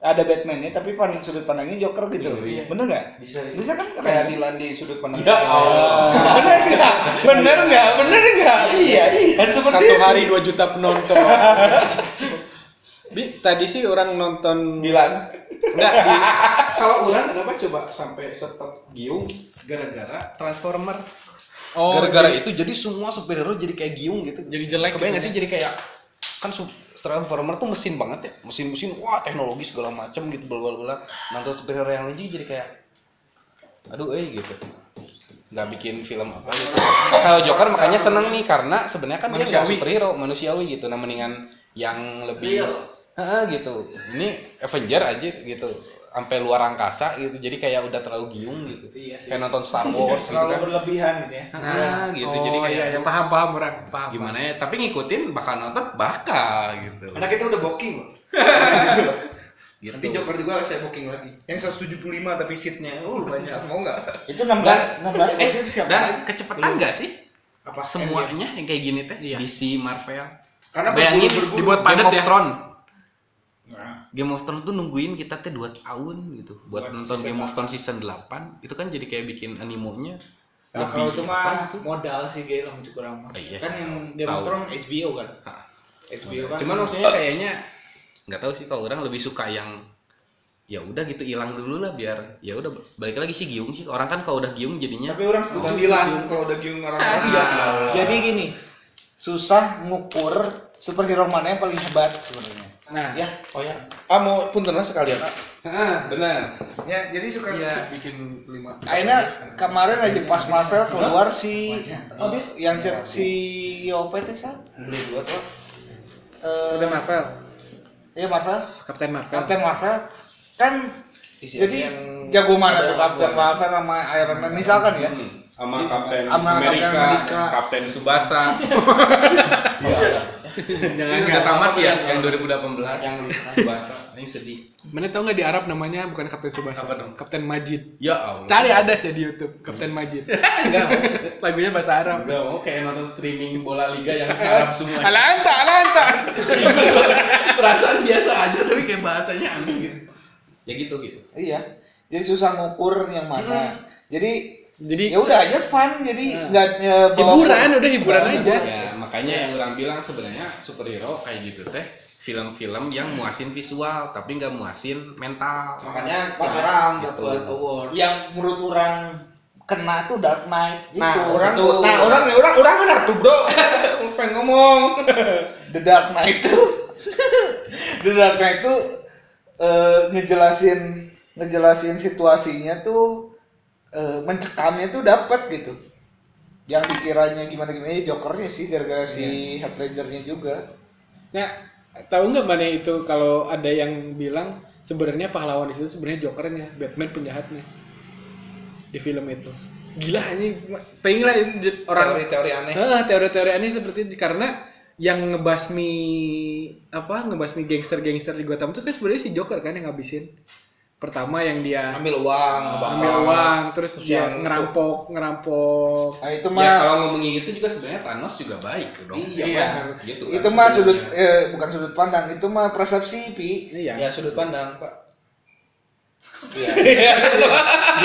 [SPEAKER 3] Ada Batman-nya tapi pan- sudut pandangnya Joker gitu. Bener nggak?
[SPEAKER 1] Iya, Bisa
[SPEAKER 3] Bisa kan
[SPEAKER 1] kayak
[SPEAKER 3] keren.
[SPEAKER 1] Dilan di sudut pandang. Iya.
[SPEAKER 3] Ya Allah. Bener nggak? Bener nggak? Bener nggak? Iya, iya seperti
[SPEAKER 6] satu
[SPEAKER 3] itu.
[SPEAKER 6] hari 2 juta penonton Bi, tadi sih orang nonton
[SPEAKER 1] Dilan.
[SPEAKER 6] enggak
[SPEAKER 1] Kalau orang kenapa coba sampai stop giung gara-gara Transformer.
[SPEAKER 6] oh
[SPEAKER 2] Gara-gara itu jadi semua superhero jadi kayak giung gitu.
[SPEAKER 6] Jadi jelek
[SPEAKER 2] Kebayang
[SPEAKER 6] gitu
[SPEAKER 2] nggak
[SPEAKER 6] ya.
[SPEAKER 2] sih jadi kayak kan su- Transformer tuh mesin banget ya, mesin-mesin, wah teknologi segala macam Nah, gitu berulang-ulang. Nonton superhero yang lain juga jadi kayak, aduh eh gitu. nggak bikin film apa gitu. Kalau Joker makanya seneng nih karena sebenarnya kan dia nggak
[SPEAKER 6] Manusiawi.
[SPEAKER 2] superhero, manusiawi gitu. Nah mendingan yang lebih
[SPEAKER 1] Real.
[SPEAKER 2] Heeh, gitu. Ini Avenger aja gitu, sampai luar angkasa gitu. Jadi kayak udah terlalu giung gitu.
[SPEAKER 1] Iya sih.
[SPEAKER 2] Kayak nonton Star Wars gitu
[SPEAKER 1] Terlalu
[SPEAKER 2] kan.
[SPEAKER 1] berlebihan gitu ya.
[SPEAKER 2] Heeh, gitu.
[SPEAKER 6] Oh,
[SPEAKER 2] Jadi kayak
[SPEAKER 6] iya, yang paham paham orang paham.
[SPEAKER 2] gimana ya? Tapi ngikutin bakal nonton bakal gitu.
[SPEAKER 1] Karena kita udah booking loh.
[SPEAKER 2] Gitu.
[SPEAKER 1] Nanti Joker juga saya booking lagi. Yang 175 tapi seatnya, uh banyak. Mau nggak?
[SPEAKER 3] Itu 16 16
[SPEAKER 2] Eh,
[SPEAKER 3] kursi bisa
[SPEAKER 2] dan kecepatan nggak sih?
[SPEAKER 1] Apa? Endgame.
[SPEAKER 2] Semuanya yang kayak gini teh,
[SPEAKER 6] Iya.
[SPEAKER 2] DC, Marvel.
[SPEAKER 1] Karena
[SPEAKER 2] Bayangin
[SPEAKER 1] berburu-buru.
[SPEAKER 6] dibuat padat
[SPEAKER 2] Game
[SPEAKER 6] ya?
[SPEAKER 2] of Thrones.
[SPEAKER 1] Nah,
[SPEAKER 2] Game of Thrones tuh nungguin kita teh 2 tahun gitu buat
[SPEAKER 1] Buat
[SPEAKER 2] nonton
[SPEAKER 1] season
[SPEAKER 2] Game of
[SPEAKER 1] delapan.
[SPEAKER 2] Thrones season 8 itu kan jadi kayak bikin animonya
[SPEAKER 3] Nah, kalau itu
[SPEAKER 2] apa
[SPEAKER 3] mah
[SPEAKER 2] gitu.
[SPEAKER 3] modal sih gila masih kurang mah.
[SPEAKER 2] Oh, iya,
[SPEAKER 3] kan
[SPEAKER 2] sih,
[SPEAKER 3] yang
[SPEAKER 2] tahu.
[SPEAKER 3] Game of
[SPEAKER 2] Tahu.
[SPEAKER 3] Thrones HBO kan.
[SPEAKER 2] Hah.
[SPEAKER 3] HBO kan.
[SPEAKER 2] Cuman maksudnya kayaknya nggak tahu sih kalau orang lebih suka yang ya udah gitu hilang dulu lah biar ya udah balik lagi sih giung sih orang kan kalau udah giung jadinya
[SPEAKER 1] Tapi orang setuju Dilan
[SPEAKER 3] gitu.
[SPEAKER 1] kalau udah giung orang
[SPEAKER 2] Ah,
[SPEAKER 1] orang.
[SPEAKER 2] iya.
[SPEAKER 3] Jadi gini, susah ngukur superhero mana yang paling hebat sebenarnya.
[SPEAKER 6] Nah,
[SPEAKER 3] Ya,
[SPEAKER 1] Oh ya.
[SPEAKER 3] ah mau punten lah sekalian.
[SPEAKER 2] Heeh,
[SPEAKER 6] Ah,
[SPEAKER 2] benar
[SPEAKER 1] Ya, jadi suka
[SPEAKER 6] Iya.
[SPEAKER 1] bikin lima.
[SPEAKER 3] Akhirnya kemarin aja pas Marvel keluar si
[SPEAKER 1] Oh,
[SPEAKER 3] yang cek si
[SPEAKER 1] iya.
[SPEAKER 3] IOP itu sa?
[SPEAKER 1] beli dua tuh.
[SPEAKER 6] Captain Marvel,
[SPEAKER 3] Iya Marvel,
[SPEAKER 6] Captain Marvel.
[SPEAKER 3] Captain Marvel kan
[SPEAKER 1] Isi
[SPEAKER 3] jadi
[SPEAKER 1] yang-
[SPEAKER 3] jago mana
[SPEAKER 1] ada
[SPEAKER 3] tuh Captain
[SPEAKER 1] yang-
[SPEAKER 3] Marvel sama Iron Man misalkan ya.
[SPEAKER 2] Hmm, sama
[SPEAKER 1] Kapten
[SPEAKER 3] Sama Amerika, Kapten Amerika.
[SPEAKER 2] Kapten Subasa
[SPEAKER 6] Jangan
[SPEAKER 2] Ini udah
[SPEAKER 6] nggak.
[SPEAKER 2] tamat sih ya
[SPEAKER 1] Apa
[SPEAKER 2] yang
[SPEAKER 1] yang-
[SPEAKER 2] 2018
[SPEAKER 1] yang-
[SPEAKER 2] Subasa ini sedih
[SPEAKER 6] Mana tau nggak di Arab namanya bukan Captain Subasa,
[SPEAKER 2] Apa dong?
[SPEAKER 6] Captain Majid.
[SPEAKER 2] ya Allah
[SPEAKER 6] Cari ada sih di YouTube, Captain Majid.
[SPEAKER 2] enggak
[SPEAKER 6] Lagunya bahasa Arab.
[SPEAKER 2] enggak mau kayak nonton streaming bola liga yang Arab semua
[SPEAKER 6] Alanta, alanta.
[SPEAKER 2] perasaan biasa aja tapi kayak bahasanya aneh gitu ya gitu gitu
[SPEAKER 3] Iya. Jadi susah ngukur yang
[SPEAKER 6] Hmm.
[SPEAKER 3] mana. Jadi
[SPEAKER 6] Jadi
[SPEAKER 3] ya udah aja fun jadi nggak ya, bawa-
[SPEAKER 6] Nah. hiburan, udah hiburan
[SPEAKER 3] Nggak,
[SPEAKER 6] aja.
[SPEAKER 2] ya makanya yang orang bilang sebenarnya superhero kayak gitu teh film-film yang muasin visual tapi nggak muasin mental
[SPEAKER 1] Makanya
[SPEAKER 3] Makanya
[SPEAKER 1] orang
[SPEAKER 2] gitu.
[SPEAKER 1] dapat award.
[SPEAKER 3] yang menurut orang kena tuh Dark Knight gitu.
[SPEAKER 1] Nah,
[SPEAKER 3] itu,
[SPEAKER 1] orang
[SPEAKER 3] itu.
[SPEAKER 1] nah orang orang orang kan tuh, Bro. Pengen ngomong.
[SPEAKER 3] The Dark Knight itu The Dark Knight itu eh, ngejelasin ngejelasin situasinya tuh eh, mencekamnya tuh dapat gitu yang pikirannya gimana gimana ya jokernya sih gara-gara si
[SPEAKER 1] Iya.
[SPEAKER 3] Heath Ledger-nya juga
[SPEAKER 6] Nah, tahu nggak mana itu kalau ada yang bilang sebenarnya pahlawan itu sebenarnya Jokernya, Batman penjahatnya di film itu. Gila ini, pengen lah itu j- orang
[SPEAKER 1] teori-teori aneh.
[SPEAKER 6] Ah, teori-teori aneh seperti itu karena yang ngebasmi apa ngebasmi gangster-gangster di Gotham itu kan sebenarnya si Joker kan yang ngabisin. Pertama yang dia
[SPEAKER 1] Ambil
[SPEAKER 3] Ah.
[SPEAKER 1] uang,
[SPEAKER 6] ambil uang, terus
[SPEAKER 1] terus
[SPEAKER 6] dia
[SPEAKER 1] yang-
[SPEAKER 6] ngerampok, ngerampok.
[SPEAKER 3] nah itu
[SPEAKER 2] ya
[SPEAKER 3] mah
[SPEAKER 2] kalau ngomongin itu juga sebenarnya Thanos juga baik dong
[SPEAKER 1] Iya,
[SPEAKER 6] Iya.
[SPEAKER 1] benar.
[SPEAKER 2] gitu kan
[SPEAKER 3] itu mah
[SPEAKER 2] sebenarnya.
[SPEAKER 3] sudut eh, bukan sudut pandang itu mah persepsi pi
[SPEAKER 6] Iya.
[SPEAKER 1] Ya sudut pandang, Pak.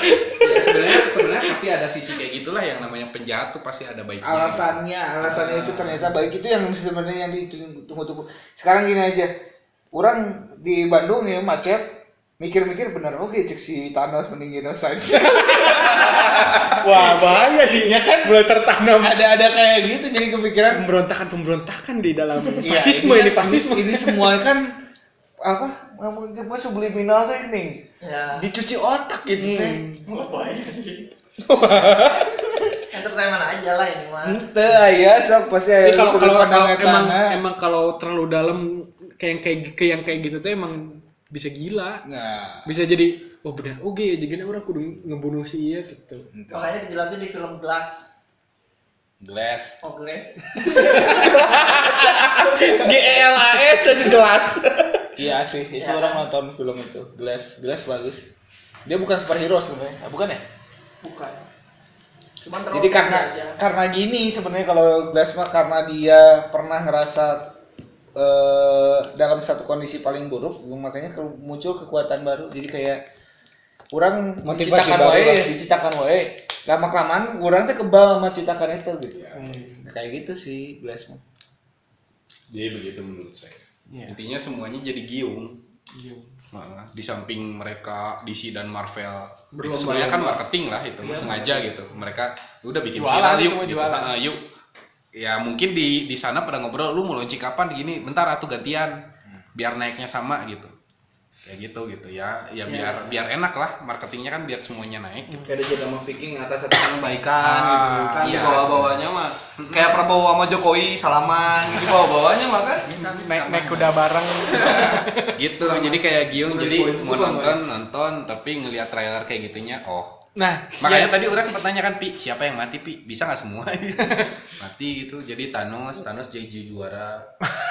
[SPEAKER 2] Ya, sebenarnya sebenarnya pasti ada sisi kayak gitulah yang namanya penjahat tuh pasti ada baiknya
[SPEAKER 3] alasannya alasannya itu ternyata baik itu yang sebenarnya yang ditunggu-tunggu sekarang gini aja orang di Bandung ya macet mikir-mikir benar oke cek si Thanos mending Genosage
[SPEAKER 6] Wah, bahaya sih. Ya kan mulai tertanam
[SPEAKER 3] ada ada kayak gitu jadi kepikiran
[SPEAKER 6] pemberontakan-pemberontakan di dalam
[SPEAKER 3] iya,
[SPEAKER 6] fasisme ini
[SPEAKER 3] kan-
[SPEAKER 6] fasisme.
[SPEAKER 3] ini semua kan apa ngomong apa subliminal teknik
[SPEAKER 6] Iya.
[SPEAKER 3] dicuci otak gitu teh
[SPEAKER 7] entertainment aja lah ini mah
[SPEAKER 3] ente ya sok pasti
[SPEAKER 6] Jadi
[SPEAKER 3] ada
[SPEAKER 6] kalau
[SPEAKER 3] sudut
[SPEAKER 6] kalau
[SPEAKER 3] pandang
[SPEAKER 6] kalau emang
[SPEAKER 3] etana.
[SPEAKER 8] eh.
[SPEAKER 6] emang kalau terlalu dalam kayak yang kayak kayak yang kayak gitu tuh emang bisa gila.
[SPEAKER 3] nah
[SPEAKER 6] Bisa jadi oh benar oke jadi orang kudu ngebunuh si iya gitu.
[SPEAKER 7] makanya dijelasin di film Glass
[SPEAKER 2] glass
[SPEAKER 7] oh Glass
[SPEAKER 1] GLAS dan gelas.
[SPEAKER 3] Iya sih, itu
[SPEAKER 7] Iya.
[SPEAKER 3] orang nonton film itu. Glass, Glass bagus. Dia bukan superhero sebenarnya, Ah, bukan ya?
[SPEAKER 7] bukan cuman terlalu
[SPEAKER 3] Jadi karena
[SPEAKER 7] sisi aja.
[SPEAKER 3] karena gini sebenarnya kalau Glass mah karena dia pernah ngerasa eh, dalam satu kondisi paling buruk, makanya ke- muncul kekuatan baru. Jadi kayak orang
[SPEAKER 1] Motivasi
[SPEAKER 3] menciptakan
[SPEAKER 1] baru
[SPEAKER 3] wae,
[SPEAKER 1] lah.
[SPEAKER 3] diciptakan wae. Lama kelamaan orang tuh kebal sama citakan itu gitu. Kayak gitu sih Glass mah.
[SPEAKER 2] Jadi begitu menurut saya.
[SPEAKER 6] Iya.
[SPEAKER 2] Intinya semuanya jadi giung. Nah, di samping mereka DC dan Marvel
[SPEAKER 6] Berlomba-lomba. Iya,
[SPEAKER 2] itu sebenarnya kan marketing lah itu mah sengaja gitu. Mereka udah bikin
[SPEAKER 6] Jualan,
[SPEAKER 2] viral
[SPEAKER 6] itu
[SPEAKER 2] yuk
[SPEAKER 6] mah
[SPEAKER 2] gitu.
[SPEAKER 6] jualan.
[SPEAKER 2] Ah, yuk. Ya mungkin di di
[SPEAKER 6] Hmm.
[SPEAKER 2] sana pada ngobrol lu mau launching kapan gini, bentar atuh gantian biar naiknya sama gitu. kayak gitu gitu ya
[SPEAKER 6] Iya,
[SPEAKER 2] ya biar biar enak lah marketingnya kan biar semuanya naik gitu.
[SPEAKER 1] Kayak ada jadi sama Viking atas atas yang baikan
[SPEAKER 2] Ah,
[SPEAKER 1] gitu kan
[SPEAKER 2] iya.
[SPEAKER 1] di bawah bawahnya mah kayak Prabowo sama Jokowi salaman di bawah bawahnya mah kan
[SPEAKER 8] naik naik kuda bareng
[SPEAKER 2] gitu jadi kayak Giung
[SPEAKER 1] Kurang
[SPEAKER 2] jadi
[SPEAKER 1] poin
[SPEAKER 2] mau
[SPEAKER 1] sepuluh,
[SPEAKER 2] nonton nonton tapi ngelihat trailer kayak gitunya oh
[SPEAKER 6] Nah,
[SPEAKER 2] makanya tadi orang sempat nanya kan pi siapa yang mati pi bisa nggak semua mati gitu jadi Thanos Thanos jadi juara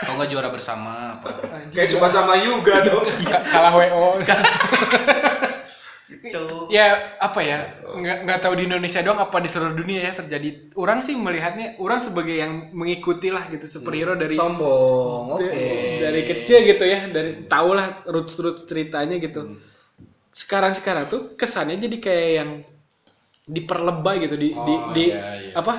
[SPEAKER 2] kalau nggak juara bersama apa
[SPEAKER 1] kayak suka sama Yuga dong
[SPEAKER 8] kalah wo
[SPEAKER 1] Gitu.
[SPEAKER 8] ya apa ya nggak nggak tahu di Indonesia doang apa di seluruh dunia ya terjadi orang sih melihatnya orang sebagai yang mengikuti lah gitu superhero dari
[SPEAKER 1] sombong oke
[SPEAKER 6] dari kecil gitu ya dari tahulah roots roots ceritanya
[SPEAKER 2] Hmm.
[SPEAKER 6] gitu sekarang sekarang tuh kesannya jadi kayak yang diperlebay gitu di di,
[SPEAKER 2] Oh,
[SPEAKER 6] di
[SPEAKER 2] iya, iya.
[SPEAKER 6] apa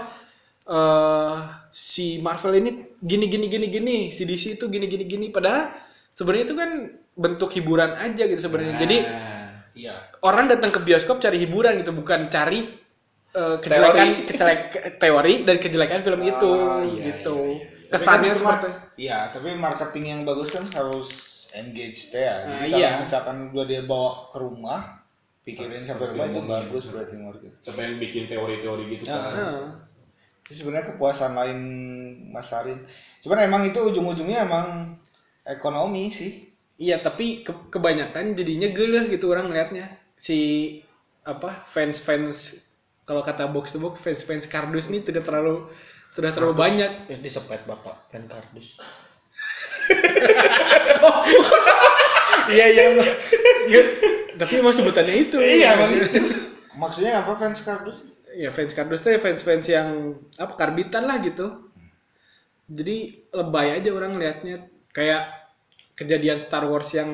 [SPEAKER 6] eh si Marvel ini gini gini gini gini si DC itu gini gini gini padahal sebenarnya itu kan bentuk hiburan aja gitu sebenarnya jadi
[SPEAKER 2] Nah, iya
[SPEAKER 6] orang datang ke bioskop cari hiburan gitu bukan cari eh, kejelekan kejelek teori dan kejelekan film itu
[SPEAKER 2] Oh, iya,
[SPEAKER 6] gitu
[SPEAKER 2] iya, iya, iya.
[SPEAKER 6] kesannya
[SPEAKER 3] Tapi kan cuma-
[SPEAKER 6] seperti
[SPEAKER 3] Iya, tapi marketing yang bagus kan harus engage teh ya.
[SPEAKER 6] Ah,
[SPEAKER 3] Jadi
[SPEAKER 6] iya.
[SPEAKER 3] kalau misalkan gua dia bawa ke rumah, pikirin sampai rumah itu bagus berarti marketing.
[SPEAKER 9] Sampai bikin teori-teori gitu kan.
[SPEAKER 6] Heeh.
[SPEAKER 3] Itu sebenarnya kepuasan lain Mas Arin. Cuman emang itu ujung-ujungnya emang ekonomi sih.
[SPEAKER 6] Iya, tapi ke- kebanyakan jadinya geleh gitu orang ngeliatnya. Si apa fans-fans kalau kata box to box fans-fans kardus nih tidak terlalu sudah terlalu banyak.
[SPEAKER 1] terus disepet bapak dan kardus
[SPEAKER 6] Iya, iya. Iya, tapi emang sebutannya itu.
[SPEAKER 3] Iya, emang Maksudnya apa fans kardus?
[SPEAKER 6] Ya fans kardus tuh ya fans-fans yang apa karbitan lah gitu. Jadi lebay aja orang ngelihatnya kayak kejadian Star Wars yang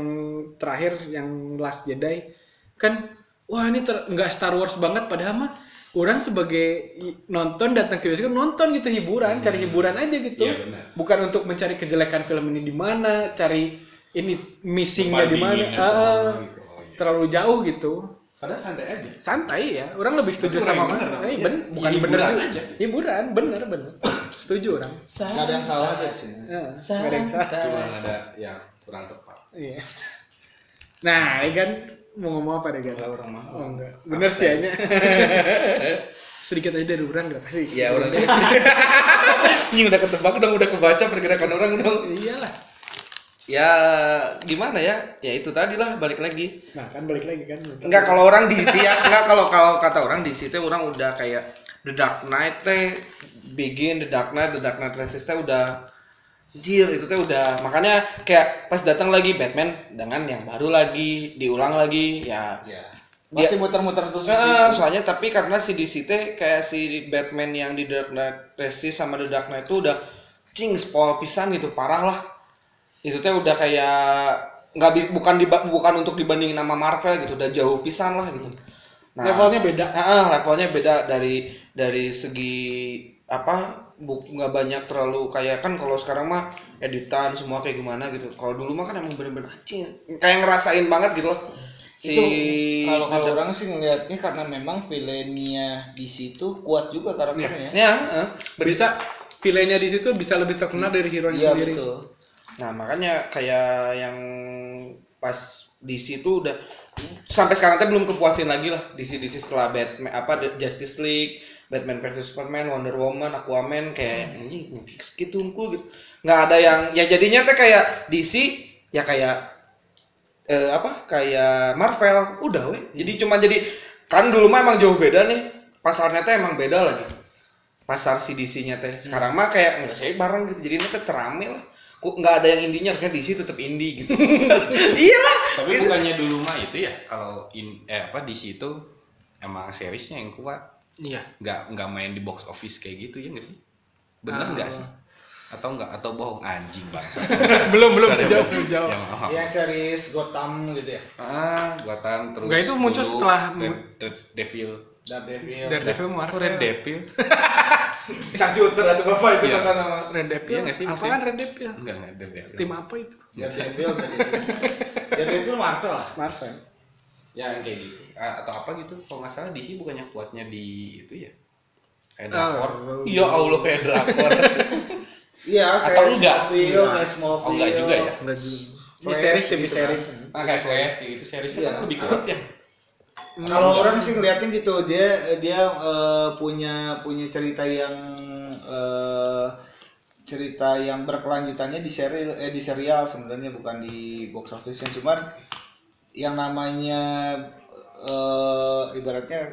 [SPEAKER 6] terakhir yang Last Jedi kan wah ini ter- nggak Star Wars banget padahal mah orang sebagai i- nonton datang ke bioskop nonton gitu hiburan cari hiburan aja gitu
[SPEAKER 9] Iya, benar.
[SPEAKER 6] bukan untuk mencari kejelekan film ini di mana cari ini missingnya di mana
[SPEAKER 9] Perbandingannya
[SPEAKER 6] Ah, ah,
[SPEAKER 9] kemana gitu. Oh, iya.
[SPEAKER 6] terlalu jauh gitu
[SPEAKER 2] padahal santai aja
[SPEAKER 6] santai ya orang lebih setuju
[SPEAKER 2] Tapi orang
[SPEAKER 6] sama
[SPEAKER 2] yang bener
[SPEAKER 6] mana
[SPEAKER 2] dong.
[SPEAKER 6] Eh,
[SPEAKER 2] Ya,
[SPEAKER 6] ben-
[SPEAKER 2] ya
[SPEAKER 6] bukan
[SPEAKER 2] hiburan
[SPEAKER 6] bener juga
[SPEAKER 2] aja.
[SPEAKER 6] hiburan bener bener setuju orang
[SPEAKER 3] Gak ada yang salah dari sini.
[SPEAKER 6] Eh, nggak ada yang salah.
[SPEAKER 2] cuma ada yang kurang tepat
[SPEAKER 6] Iya. nah Egan mau ngomong apa Egan
[SPEAKER 1] enggak orang mah
[SPEAKER 6] oh enggak bener sih hanya sedikit aja dari orang enggak sih
[SPEAKER 1] Iya orang ini udah ketebak dong, udah kebaca pergerakan orang dong.
[SPEAKER 6] iyalah
[SPEAKER 1] Ya gimana ya? Ya itu tadi lah balik lagi.
[SPEAKER 6] nah kan balik lagi kan
[SPEAKER 1] Enggak kalau orang diisi ya, enggak kalau kalau kata orang diisi teh orang udah kayak The Dark Knight teh begin The Dark Knight, The Dark Knight Rises teh udah jir itu teh udah makanya kayak pas datang lagi Batman dengan yang baru lagi diulang lagi ya
[SPEAKER 3] Masih muter-muter terus.
[SPEAKER 1] Heeh,
[SPEAKER 3] di situ.
[SPEAKER 1] Iya, soalnya tapi karena si DC teh kayak si Batman yang di Dark Knight Rises sama The Dark Knight itu udah cing spoil pisan gitu parah lah itu teh udah kayak nggak bi- bukan diba- bukan untuk dibandingin sama Marvel gitu udah jauh pisan lah gitu nah
[SPEAKER 6] levelnya beda
[SPEAKER 1] heeh, levelnya beda dari dari segi apa bu- nggak banyak terlalu kayak kan kalau sekarang mah editan semua kayak gimana gitu kalau dulu mah kan emang bener-bener anjing kayak ngerasain banget gitu loh si
[SPEAKER 3] Itu kalau kalau orang sih ngelihatnya karena memang filmnya di situ kuat juga karakternya.
[SPEAKER 1] ya heeh.
[SPEAKER 6] bisa villainnya di situ bisa lebih terkenal dari hero
[SPEAKER 3] Iya
[SPEAKER 6] sendiri
[SPEAKER 3] betul.
[SPEAKER 1] Nah, makanya kayak yang pas DC itu udah sampai sekarang teh belum kepuasin lagi lah DC DC setelah Batman apa The Justice League, Batman versus Superman, Wonder Woman, Aquaman kayak anjing gitu gitu. Nggak ada yang ya jadinya teh kayak DC ya kayak eh, apa kayak Marvel udah weh. Jadi cuma jadi kan dulu mah emang jauh beda nih. Pasarnya teh emang beda lagi. Pasar CDC-nya
[SPEAKER 2] Hmm.
[SPEAKER 1] teh. Sekarang mah kayak enggak sih bareng gitu. Jadinya teh terame lah. Kok nggak ada yang indinya harusnya DC tetap indie gitu. Iyalah.
[SPEAKER 2] tapi bukannya dulu mah itu ya kalau in eh apa di situ emang seriesnya yang kuat
[SPEAKER 6] iya
[SPEAKER 2] nggak nggak main di box office kayak gitu ya nggak sih bener
[SPEAKER 6] Ah.
[SPEAKER 2] nggak sih atau nggak atau bohong anjing bangsa
[SPEAKER 6] belum belum
[SPEAKER 2] Sorry,
[SPEAKER 6] jauh
[SPEAKER 2] belum.
[SPEAKER 6] jauh
[SPEAKER 2] Ya, maaf.
[SPEAKER 3] Yang Iya, series Gotham gitu ya.
[SPEAKER 2] ah buatan terus
[SPEAKER 6] Nggak, itu muncul
[SPEAKER 2] dulu
[SPEAKER 6] setelah
[SPEAKER 2] Red,
[SPEAKER 6] mu-
[SPEAKER 2] Red Devil
[SPEAKER 3] Daredevil.
[SPEAKER 6] Daredevil Marvel
[SPEAKER 2] Red Devil
[SPEAKER 1] Cangcut ternyata Bapak itu
[SPEAKER 2] Iya.
[SPEAKER 1] kata nama.
[SPEAKER 6] Red Devil
[SPEAKER 2] Iya nggak sih,
[SPEAKER 6] apa
[SPEAKER 2] maksudnya?
[SPEAKER 6] kan Red Devil
[SPEAKER 2] enggak enggak Red Devil
[SPEAKER 6] tim apa itu
[SPEAKER 3] Iya. Daredevil. Daredevil. Daredevil Marvel lah.
[SPEAKER 6] Marvel
[SPEAKER 2] ya kayak gitu Ah, atau apa gitu kalau nggak salah DC bukannya kuatnya di itu ya kayak drakor
[SPEAKER 6] Oh,
[SPEAKER 1] Ya Allah kayak drakor.
[SPEAKER 3] Iya,
[SPEAKER 2] Atau enggak?
[SPEAKER 3] Smallville,
[SPEAKER 2] Enggak.
[SPEAKER 3] kayak Smallville.
[SPEAKER 2] oh enggak juga ya
[SPEAKER 6] Nggak juga. Ini series
[SPEAKER 3] Flash
[SPEAKER 6] TV
[SPEAKER 3] gitu
[SPEAKER 6] series.
[SPEAKER 3] kan.
[SPEAKER 2] Nah, kayak Flash kayak gitu seriesnya
[SPEAKER 3] Iya.
[SPEAKER 2] kan lebih kuat ya.
[SPEAKER 3] Kalau orang sih ngeliatin gitu dia dia eh, punya punya cerita yang eh, cerita yang berkelanjutannya di seri eh, di serial sebenarnya bukan di box office yang cuman yang namanya eh, ibaratnya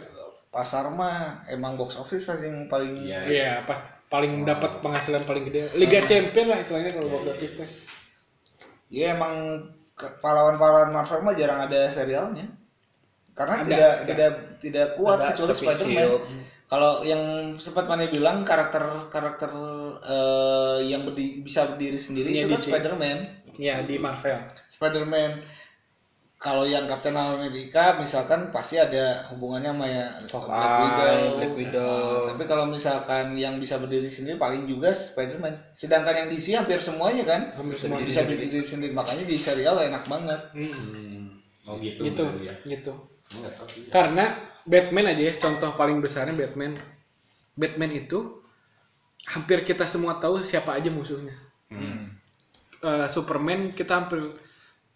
[SPEAKER 3] pasar mah emang box office pasti yang paling
[SPEAKER 2] Iya.
[SPEAKER 6] Iya, pas
[SPEAKER 3] Oh.
[SPEAKER 6] paling dapat penghasilan paling gede. Liga Champion lah istilahnya
[SPEAKER 3] Iya,
[SPEAKER 6] kalau box office teh.
[SPEAKER 3] ya emang ke- pahlawan-pahlawan Marvel mah jarang ada serialnya karena
[SPEAKER 6] Ada,
[SPEAKER 3] tidak
[SPEAKER 6] ada.
[SPEAKER 3] tidak tidak kuat
[SPEAKER 1] Ada,
[SPEAKER 3] kecuali
[SPEAKER 1] tapi
[SPEAKER 3] Spider-Man.
[SPEAKER 1] siup.
[SPEAKER 3] Kalau yang sempat mana bilang karakter karakter eh, yang berdi- bisa berdiri sendiri
[SPEAKER 6] Iya,
[SPEAKER 3] itu kan
[SPEAKER 6] DC.
[SPEAKER 3] Spider-Man.
[SPEAKER 6] Iya, di Marvel.
[SPEAKER 3] Spider-Man. Kalau yang Captain America misalkan pasti ada hubungannya sama ya Black Widow.
[SPEAKER 1] Black Widow.
[SPEAKER 3] Nah, tapi kalau misalkan yang bisa berdiri sendiri paling juga Spider-Man. Sedangkan yang DC hampir semuanya kan
[SPEAKER 6] Hampir semua
[SPEAKER 3] bisa berdiri sendiri. Makanya di serial enak banget. Iya,
[SPEAKER 2] Oh gitu.
[SPEAKER 6] Gitu,
[SPEAKER 2] ya.
[SPEAKER 6] gitu.
[SPEAKER 2] Enggak tahu sih.
[SPEAKER 6] Karena Batman aja ya, contoh paling besarnya Batman. Batman itu hampir kita semua tahu siapa aja musuhnya.
[SPEAKER 3] Hmm.
[SPEAKER 6] Eh, Superman kita hampir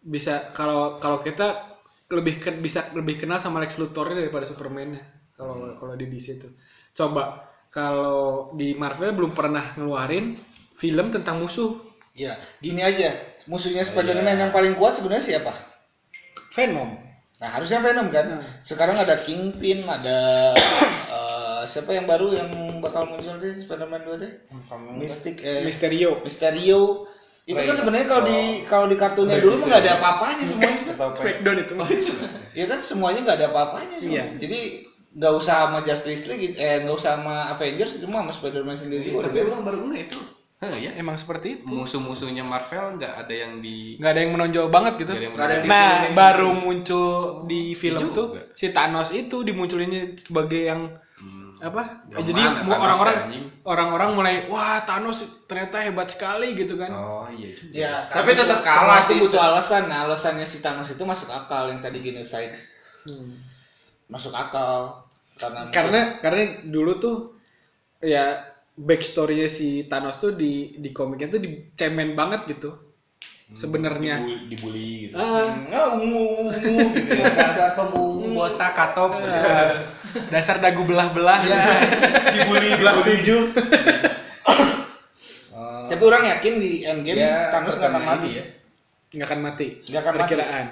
[SPEAKER 6] bisa kalau kalau kita lebih ke- bisa lebih kenal sama Lex Luthor daripada Superman ya,
[SPEAKER 8] Hmm.
[SPEAKER 6] kalau kalau di DC itu. Coba kalau di Marvel belum pernah ngeluarin film tentang musuh
[SPEAKER 3] Ya, gini aja. Musuhnya Spider-Man yang paling kuat sebenarnya siapa?
[SPEAKER 6] Venom.
[SPEAKER 3] Nah, harusnya Venom kan.
[SPEAKER 6] Hmm.
[SPEAKER 3] Sekarang ada Kingpin, ada eh, siapa yang baru yang bakal muncul di Spider-Man 2 teh? Hmm, Mystic eh
[SPEAKER 6] Misterio.
[SPEAKER 3] Mysterio. Itu kan sebenarnya kalau di kalau di kartunnya dulu mah nggak ada apa-apanya semuanya kan.
[SPEAKER 6] Smackdown Oh, itu.
[SPEAKER 3] Ya kan semuanya nggak ada apa-apanya semua.
[SPEAKER 6] Iya.
[SPEAKER 3] Jadi nggak usah sama Justice League, eh nggak usah sama Avengers, cuma sama Spider-Man sendiri.
[SPEAKER 1] Tapi
[SPEAKER 3] udah beda.
[SPEAKER 1] orang baru nggak itu.
[SPEAKER 2] Hah, ya.
[SPEAKER 8] Emang seperti itu.
[SPEAKER 2] Musuh-musuhnya Marvel nggak ada yang di
[SPEAKER 8] Nggak ada yang menonjol banget gitu.
[SPEAKER 2] nggak ada yang
[SPEAKER 1] Nggak ada yang
[SPEAKER 2] menarik.
[SPEAKER 8] Nah, baru muncul di film
[SPEAKER 2] Iya
[SPEAKER 8] tuh
[SPEAKER 2] juga.
[SPEAKER 8] si Thanos itu dimunculinnya sebagai yang
[SPEAKER 2] Hmm.
[SPEAKER 8] apa?
[SPEAKER 2] Yang
[SPEAKER 8] Jadi mu-
[SPEAKER 2] mana Thanos
[SPEAKER 8] orang-orang
[SPEAKER 2] teh, anjing?
[SPEAKER 8] orang-orang mulai wah Thanos ternyata hebat sekali gitu kan.
[SPEAKER 2] Oh iya. juga.
[SPEAKER 3] Ya,
[SPEAKER 1] Tapi tetap kalah
[SPEAKER 3] semua itu
[SPEAKER 1] sih.
[SPEAKER 3] butuh alasan. Nah, alasannya si Thanos itu masuk akal yang tadi genocide.
[SPEAKER 6] Hmm.
[SPEAKER 3] Masuk akal karena
[SPEAKER 6] karena karena dulu tuh ya backstorynya si Thanos tuh di di komiknya tuh dicemen banget gitu
[SPEAKER 3] Hmm.
[SPEAKER 6] sebenarnya
[SPEAKER 9] Dibully, dibully gitu.
[SPEAKER 6] Ah,
[SPEAKER 1] Nggak ungu ungu gitu ya. Dasar pembungu botak katop.
[SPEAKER 2] Gitu.
[SPEAKER 8] Dasar dagu belah-belah.
[SPEAKER 2] Ya,
[SPEAKER 9] dibully, dibully.
[SPEAKER 3] tapi orang yakin di endgame
[SPEAKER 2] Ya,
[SPEAKER 3] Thanos Iya, nggak akan
[SPEAKER 2] pertanyaan
[SPEAKER 3] habis.
[SPEAKER 2] ini ya.
[SPEAKER 6] nggak akan mati
[SPEAKER 3] Nggak akan mati. Iya.
[SPEAKER 6] perkiraan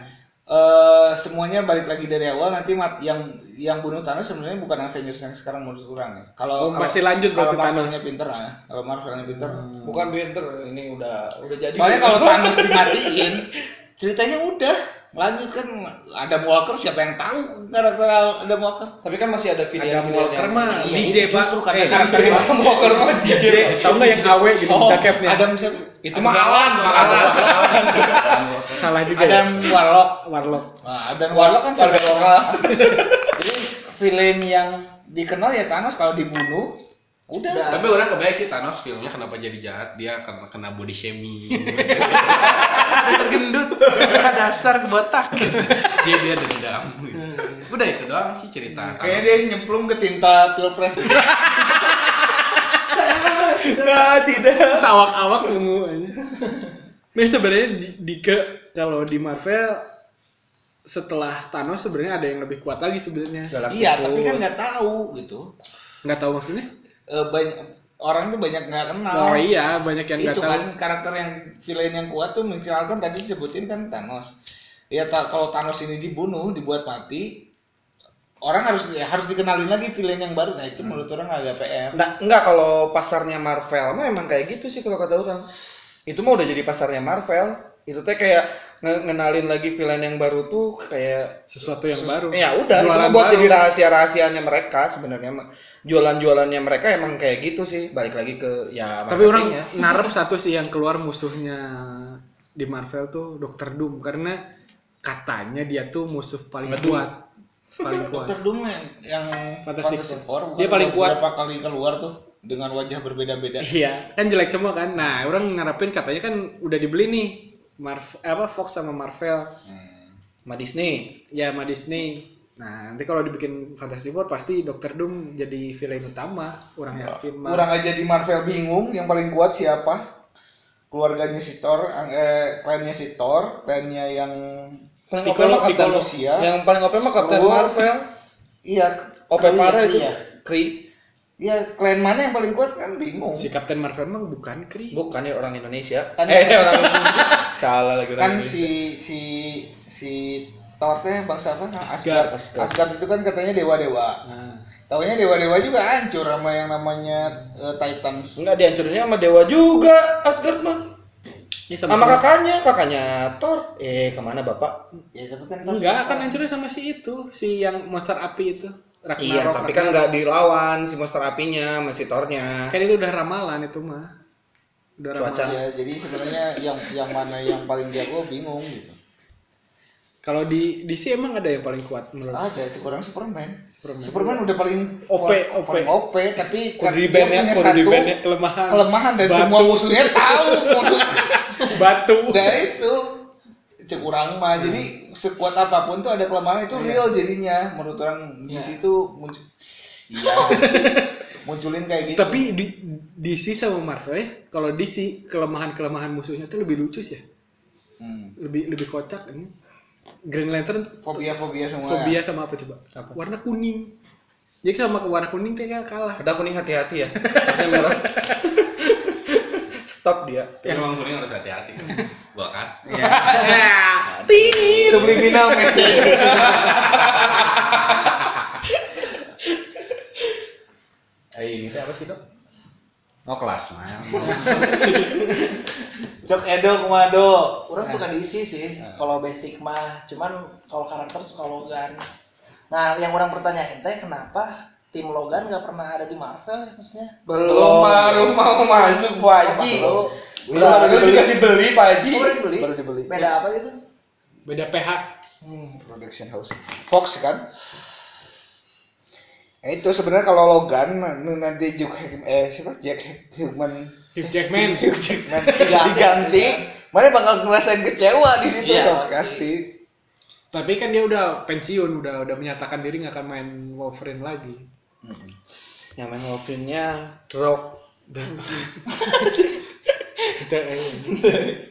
[SPEAKER 3] Eh, semuanya balik lagi dari awal nanti mat- yang yang bunuh Thanos sebenarnya bukan Avengers yang sekarang menurut orang ya.
[SPEAKER 6] Oh,
[SPEAKER 3] Kalau kalau-
[SPEAKER 6] masih lanjut
[SPEAKER 3] kalau
[SPEAKER 6] berarti Thanos. Hmm.
[SPEAKER 3] Marvelnya pinter ah, kalau Marvelnya pinter.
[SPEAKER 1] Bukan winter ini udah udah jadi. gitu.
[SPEAKER 3] Soalnya kalau Thanos dimatiin ceritanya udah lanjut kan ada Walker siapa yang tahu karakter ada Walker?
[SPEAKER 1] tapi kan masih ada
[SPEAKER 6] ada
[SPEAKER 1] pilihan
[SPEAKER 6] Walker mah
[SPEAKER 3] Iya,
[SPEAKER 6] DJ
[SPEAKER 3] itu
[SPEAKER 6] pak
[SPEAKER 3] justru karena
[SPEAKER 6] eh
[SPEAKER 3] karakter
[SPEAKER 6] DJ.
[SPEAKER 3] Adam
[SPEAKER 1] Walker mah
[SPEAKER 6] DJ tau nggak yang awe gitu
[SPEAKER 3] Oh,
[SPEAKER 6] jaketnya
[SPEAKER 3] Adam siapa?
[SPEAKER 1] itu mah alan alan
[SPEAKER 6] salah juga ya
[SPEAKER 3] Adam Warlock.
[SPEAKER 6] Warlock
[SPEAKER 3] Nah, Adam Warlock kan saudara lokal. Jadi villain yang dikenal ya Thanos kalau dibunuh udah.
[SPEAKER 2] Tapi orang kebayang sih Thanos filmnya kenapa jadi jahat dia kena, kena body shaming.
[SPEAKER 1] gendut dasar botak
[SPEAKER 2] dia dia dendam. gitu. Udah itu doang sih cerita.
[SPEAKER 3] Hmm. Kayaknya
[SPEAKER 2] Thanos.
[SPEAKER 3] dia nyemplung ke tinta pilpres.
[SPEAKER 1] nah tidak
[SPEAKER 6] terus awak-awak nemu aja nah sebenarnya di, di ke kalau di Marvel setelah Thanos sebenarnya ada yang lebih kuat lagi sebenarnya
[SPEAKER 3] iya, tapi kan nggak tahu gitu.
[SPEAKER 6] nggak tahu maksudnya
[SPEAKER 3] Eh, banyak orang tuh banyak nggak kenal.
[SPEAKER 6] oh iya banyak yang nggak
[SPEAKER 3] itu
[SPEAKER 6] tahu
[SPEAKER 3] kan karakter yang villain yang kuat tuh misalkan tadi disebutin kan Thanos. Ya ta- kalau Thanos ini dibunuh, dibuat mati, orang harus ya, harus dikenalin lagi villain yang baru. Nah itu menurut orang agak PR.
[SPEAKER 1] Hmm. Nah, enggak kalau pasarnya Marvel mah emang kayak gitu sih kalau kata orang. Itu mah udah jadi pasarnya Marvel. Itu teh kayak nge- ngenalin lagi villain yang baru tuh kayak
[SPEAKER 6] sesuatu yang baru
[SPEAKER 1] ya udah itu
[SPEAKER 6] Jualan
[SPEAKER 1] mah buat
[SPEAKER 6] baru.
[SPEAKER 1] jadi rahasia-rahasianya mereka sebenarnya mah. Jualan-jualannya mereka emang kayak gitu sih. Balik lagi ke ya
[SPEAKER 6] Tapi orang
[SPEAKER 1] marketingnya.
[SPEAKER 6] narap satu sih yang keluar musuhnya di Marvel tuh Dr. Doom karena katanya dia tuh musuh paling kuat. Paling kuat.
[SPEAKER 3] Dokter Doom yang yang
[SPEAKER 6] Fantastic
[SPEAKER 3] bukan
[SPEAKER 6] Four. Dia paling kuat.
[SPEAKER 3] Beberapa kali keluar tuh dengan wajah berbeda-beda.
[SPEAKER 6] Iya, kan jelek semua kan. Nah, orang ngarepin katanya kan udah dibeli nih Marvel apa Fox sama Marvel
[SPEAKER 1] Hmm. sama Disney.
[SPEAKER 6] ya sama Disney. Nah, nanti kalau dibikin Fantastic Four pasti Dr. Doom jadi
[SPEAKER 1] Iya.
[SPEAKER 6] villain utama, orang yakin. mah.
[SPEAKER 3] Kurang aja di Marvel bingung yang paling kuat siapa? keluarganya si Thor, ang- eh, klannya si Thor, klannya yang
[SPEAKER 1] Paling OP
[SPEAKER 3] Piccolo-
[SPEAKER 1] mah Captain
[SPEAKER 3] Piccolo Sia.
[SPEAKER 1] Yang paling OP mah Captain
[SPEAKER 6] Oh.
[SPEAKER 3] Screw.
[SPEAKER 1] Marvel.
[SPEAKER 3] iya
[SPEAKER 1] OP
[SPEAKER 3] Kree ya,
[SPEAKER 1] parah
[SPEAKER 3] Kree
[SPEAKER 1] itu.
[SPEAKER 3] ya.
[SPEAKER 1] Kree.
[SPEAKER 3] Iya, klan mana yang paling kuat kan bingung.
[SPEAKER 6] Si Captain Marvel emang bukan Kree.
[SPEAKER 1] Bukan ya orang Indonesia.
[SPEAKER 3] Kan-
[SPEAKER 1] eh orang salah lagi orang
[SPEAKER 3] kan
[SPEAKER 1] Indonesia.
[SPEAKER 3] si si si Thornya bangsa apa?
[SPEAKER 6] Asgard.
[SPEAKER 3] Nah, Asgard. Asgard. itu kan katanya dewa-dewa.
[SPEAKER 6] Nah,
[SPEAKER 3] Taunya dewa-dewa juga hancur sama yang namanya eh, Titans.
[SPEAKER 1] Enggak dihancurinnya sama dewa juga Asgard mah.
[SPEAKER 6] ini sama,
[SPEAKER 1] Sama kakaknya, kakaknya Thor. Eh kemana bapak?
[SPEAKER 3] Ya tapi kan Thor-
[SPEAKER 6] Enggak, kan hancurnya sama si itu, si yang monster api itu. Ragnarok.
[SPEAKER 1] Iya, tapi kan nggak dilawan si monster apinya, masih Thornya.
[SPEAKER 6] Kan itu udah ramalan itu mah. Udah
[SPEAKER 1] Cuaca.
[SPEAKER 6] ramalan.
[SPEAKER 3] Ya, jadi sebenarnya yang yang mana yang paling jago bingung gitu.
[SPEAKER 6] Kalau di DC emang ada yang paling kuat menurut
[SPEAKER 3] Ada kurang Superman.
[SPEAKER 6] Superman.
[SPEAKER 3] Superman udah paling
[SPEAKER 6] OP,
[SPEAKER 3] paling- paling
[SPEAKER 6] OP.
[SPEAKER 3] OP tapi kan
[SPEAKER 6] Kudu di
[SPEAKER 3] dia
[SPEAKER 6] ban ya,
[SPEAKER 3] punya
[SPEAKER 6] kudu di
[SPEAKER 3] satu
[SPEAKER 6] ban ya, kelemahan.
[SPEAKER 3] kelemahan dan
[SPEAKER 6] Batu.
[SPEAKER 3] semua musuhnya tahu musuh
[SPEAKER 6] Batu.
[SPEAKER 3] Nah itu cek orang
[SPEAKER 6] Hmm.
[SPEAKER 3] mah jadi sekuat apapun tuh ada kelemahan itu
[SPEAKER 6] Iya.
[SPEAKER 3] real jadinya menurut orang di situ muncul iya munculin kayak gitu
[SPEAKER 6] Tapi di DC sama Marvel ya, kalau DC kelemahan-kelemahan musuhnya tuh lebih lucu sih ya.
[SPEAKER 3] hmm.
[SPEAKER 6] Lebih lebih kocak ini. Green Lantern
[SPEAKER 3] fobia fobia semua
[SPEAKER 6] fobia sama apa coba? Warna kuning. Jadi sama ke warna kuning kayaknya kalah.
[SPEAKER 1] Ada kuning hati-hati ya. Harusnya merah. Stop dia.
[SPEAKER 2] Tapi emang kuning harus hati-hati. Gua kan.
[SPEAKER 3] subliminal message
[SPEAKER 2] Eh ini teh apa sih dok? Oh kelas mah.
[SPEAKER 3] cok edo kumado
[SPEAKER 7] Orang suka diisi sih, kalau basic mah. Cuman kalau karakter suka Logan. Nah, yang orang pertanyain teh kenapa tim Logan nggak pernah ada di Marvel ya maksudnya?
[SPEAKER 3] belum baru mau masuk Pak Haji
[SPEAKER 7] Baru,
[SPEAKER 3] belum baru juga dibeli Pak Haji
[SPEAKER 7] baru dibeli.
[SPEAKER 3] baru dibeli
[SPEAKER 7] Beda apa gitu?
[SPEAKER 6] Beda pH.
[SPEAKER 3] Hmm, production house. Fox kan? Eh, itu sebenarnya kalau Logan nu nanti juga eh siapa Jack Human
[SPEAKER 6] Hugh Jackman.
[SPEAKER 3] diganti, mana bakal ngerasain kecewa di situ
[SPEAKER 7] Iya,
[SPEAKER 3] sok
[SPEAKER 7] pasti.
[SPEAKER 3] pasti.
[SPEAKER 6] Tapi kan dia udah pensiun, udah udah menyatakan diri nggak akan main Wolverine lagi.
[SPEAKER 1] Yang main Wolverine-nya Drog.
[SPEAKER 6] Dan Itu, eh,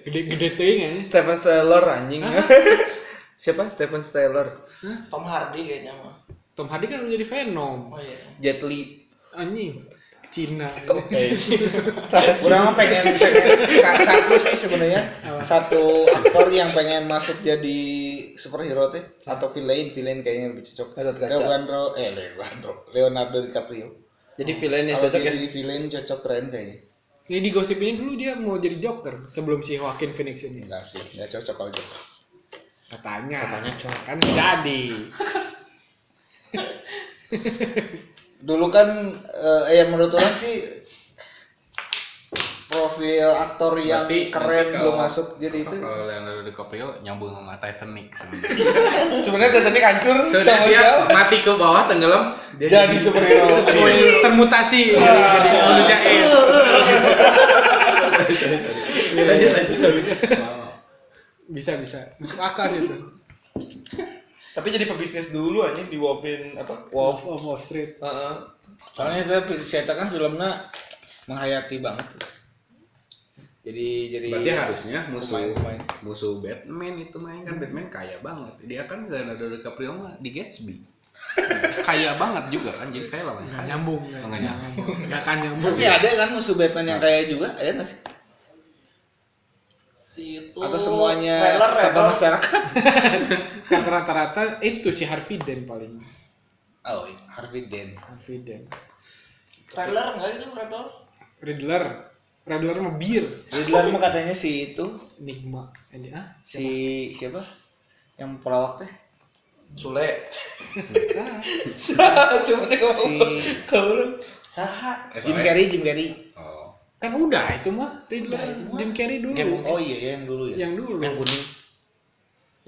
[SPEAKER 6] gede gede teuing ya.
[SPEAKER 1] Stephen Steller anjing. Siapa Stephen Steller?
[SPEAKER 7] Tom Hardy kayaknya mah.
[SPEAKER 6] Tom Hardy kan udah jadi Venom.
[SPEAKER 7] Oh iya.
[SPEAKER 1] Jet Li.
[SPEAKER 6] Anjing. Cina.
[SPEAKER 3] Kurang mah pengen pengen sa- satu sih sebenarnya
[SPEAKER 6] Apa?
[SPEAKER 3] satu aktor yang pengen masuk jadi superhero teh atau villain villain kayaknya lebih cocok.
[SPEAKER 1] Gatot kaca.
[SPEAKER 3] Leonardo eh Leonardo Leonardo DiCaprio.
[SPEAKER 1] Jadi villain yang
[SPEAKER 3] Kalau
[SPEAKER 1] cocok
[SPEAKER 3] dia
[SPEAKER 1] ya.
[SPEAKER 3] jadi villain cocok keren kayaknya.
[SPEAKER 6] Jadi digosipin dulu dia mau jadi Joker sebelum si Joaquin Phoenix ini.
[SPEAKER 3] Enggak sih, enggak cocok kalau gitu. cocok.
[SPEAKER 6] Katanya. Katanya Kan jadi.
[SPEAKER 3] dulu kan eh ya menurut orang sih profil aktor yang
[SPEAKER 2] Nanti-
[SPEAKER 3] keren
[SPEAKER 2] nanti
[SPEAKER 3] belum
[SPEAKER 2] kalau-
[SPEAKER 3] masuk jadi itu
[SPEAKER 2] Kalau Leonardo DiCaprio nyambung sama Titanic sebenarnya.
[SPEAKER 3] sebenarnya Titanic hancur
[SPEAKER 2] Sebenarnya
[SPEAKER 3] sama
[SPEAKER 2] dia
[SPEAKER 3] siapa
[SPEAKER 2] mati ke bawah tenggelam dia
[SPEAKER 3] jadi superhero
[SPEAKER 6] Oh, iya. Termutasi jadi jadi manusia es.
[SPEAKER 2] lanjut lanjut Oh.
[SPEAKER 6] Bisa bisa. Masuk akal itu.
[SPEAKER 1] Tapi jadi pebisnis dulu anjing di Wolverine apa?
[SPEAKER 6] Wolf of Wall Street.
[SPEAKER 1] Heeh.
[SPEAKER 3] soalnya dia cerita kan filmnya menghayati banget jadi jadi
[SPEAKER 2] Berarti harusnya musuh
[SPEAKER 3] Pemain-pemain.
[SPEAKER 2] musuh Batman itu main kan Batman kaya banget. Dia kan Leonardo DiCaprio mah di Gatsby. kaya banget juga kan jadi kaya lah.
[SPEAKER 6] Nggak nyambung.
[SPEAKER 2] Nggak
[SPEAKER 6] Nggak nyambung. ya, Nggak akan nyambung.
[SPEAKER 3] tapi ada kan musuh Batman yang kaya juga ada nggak sih
[SPEAKER 7] Si
[SPEAKER 1] Oh,
[SPEAKER 7] itu
[SPEAKER 3] atau semuanya
[SPEAKER 7] Trailer,
[SPEAKER 3] sama
[SPEAKER 7] trailer.
[SPEAKER 3] masyarakat
[SPEAKER 6] Kan rata-rata itu si Harvey Dent paling.
[SPEAKER 3] oh iya. Harvey Dent
[SPEAKER 6] Harvey Dent.
[SPEAKER 7] Trailer enggak gitu trailer?
[SPEAKER 6] Riddler. Riddler mah bir.
[SPEAKER 3] Riddler mah katanya si itu
[SPEAKER 6] Enigma. Ini ah.
[SPEAKER 3] si siapa yang pelawak teh
[SPEAKER 1] Sule.
[SPEAKER 6] Bisa.
[SPEAKER 3] si
[SPEAKER 7] Saha.
[SPEAKER 3] Jim Carrey Jim Carrey
[SPEAKER 2] Oh.
[SPEAKER 6] kan udah itu mah
[SPEAKER 7] Udah
[SPEAKER 6] Riddler
[SPEAKER 7] itu mah.
[SPEAKER 6] Jim Carrey dulu.
[SPEAKER 3] oh iya yang dulu ya
[SPEAKER 6] yang dulu.
[SPEAKER 1] Yang kuning.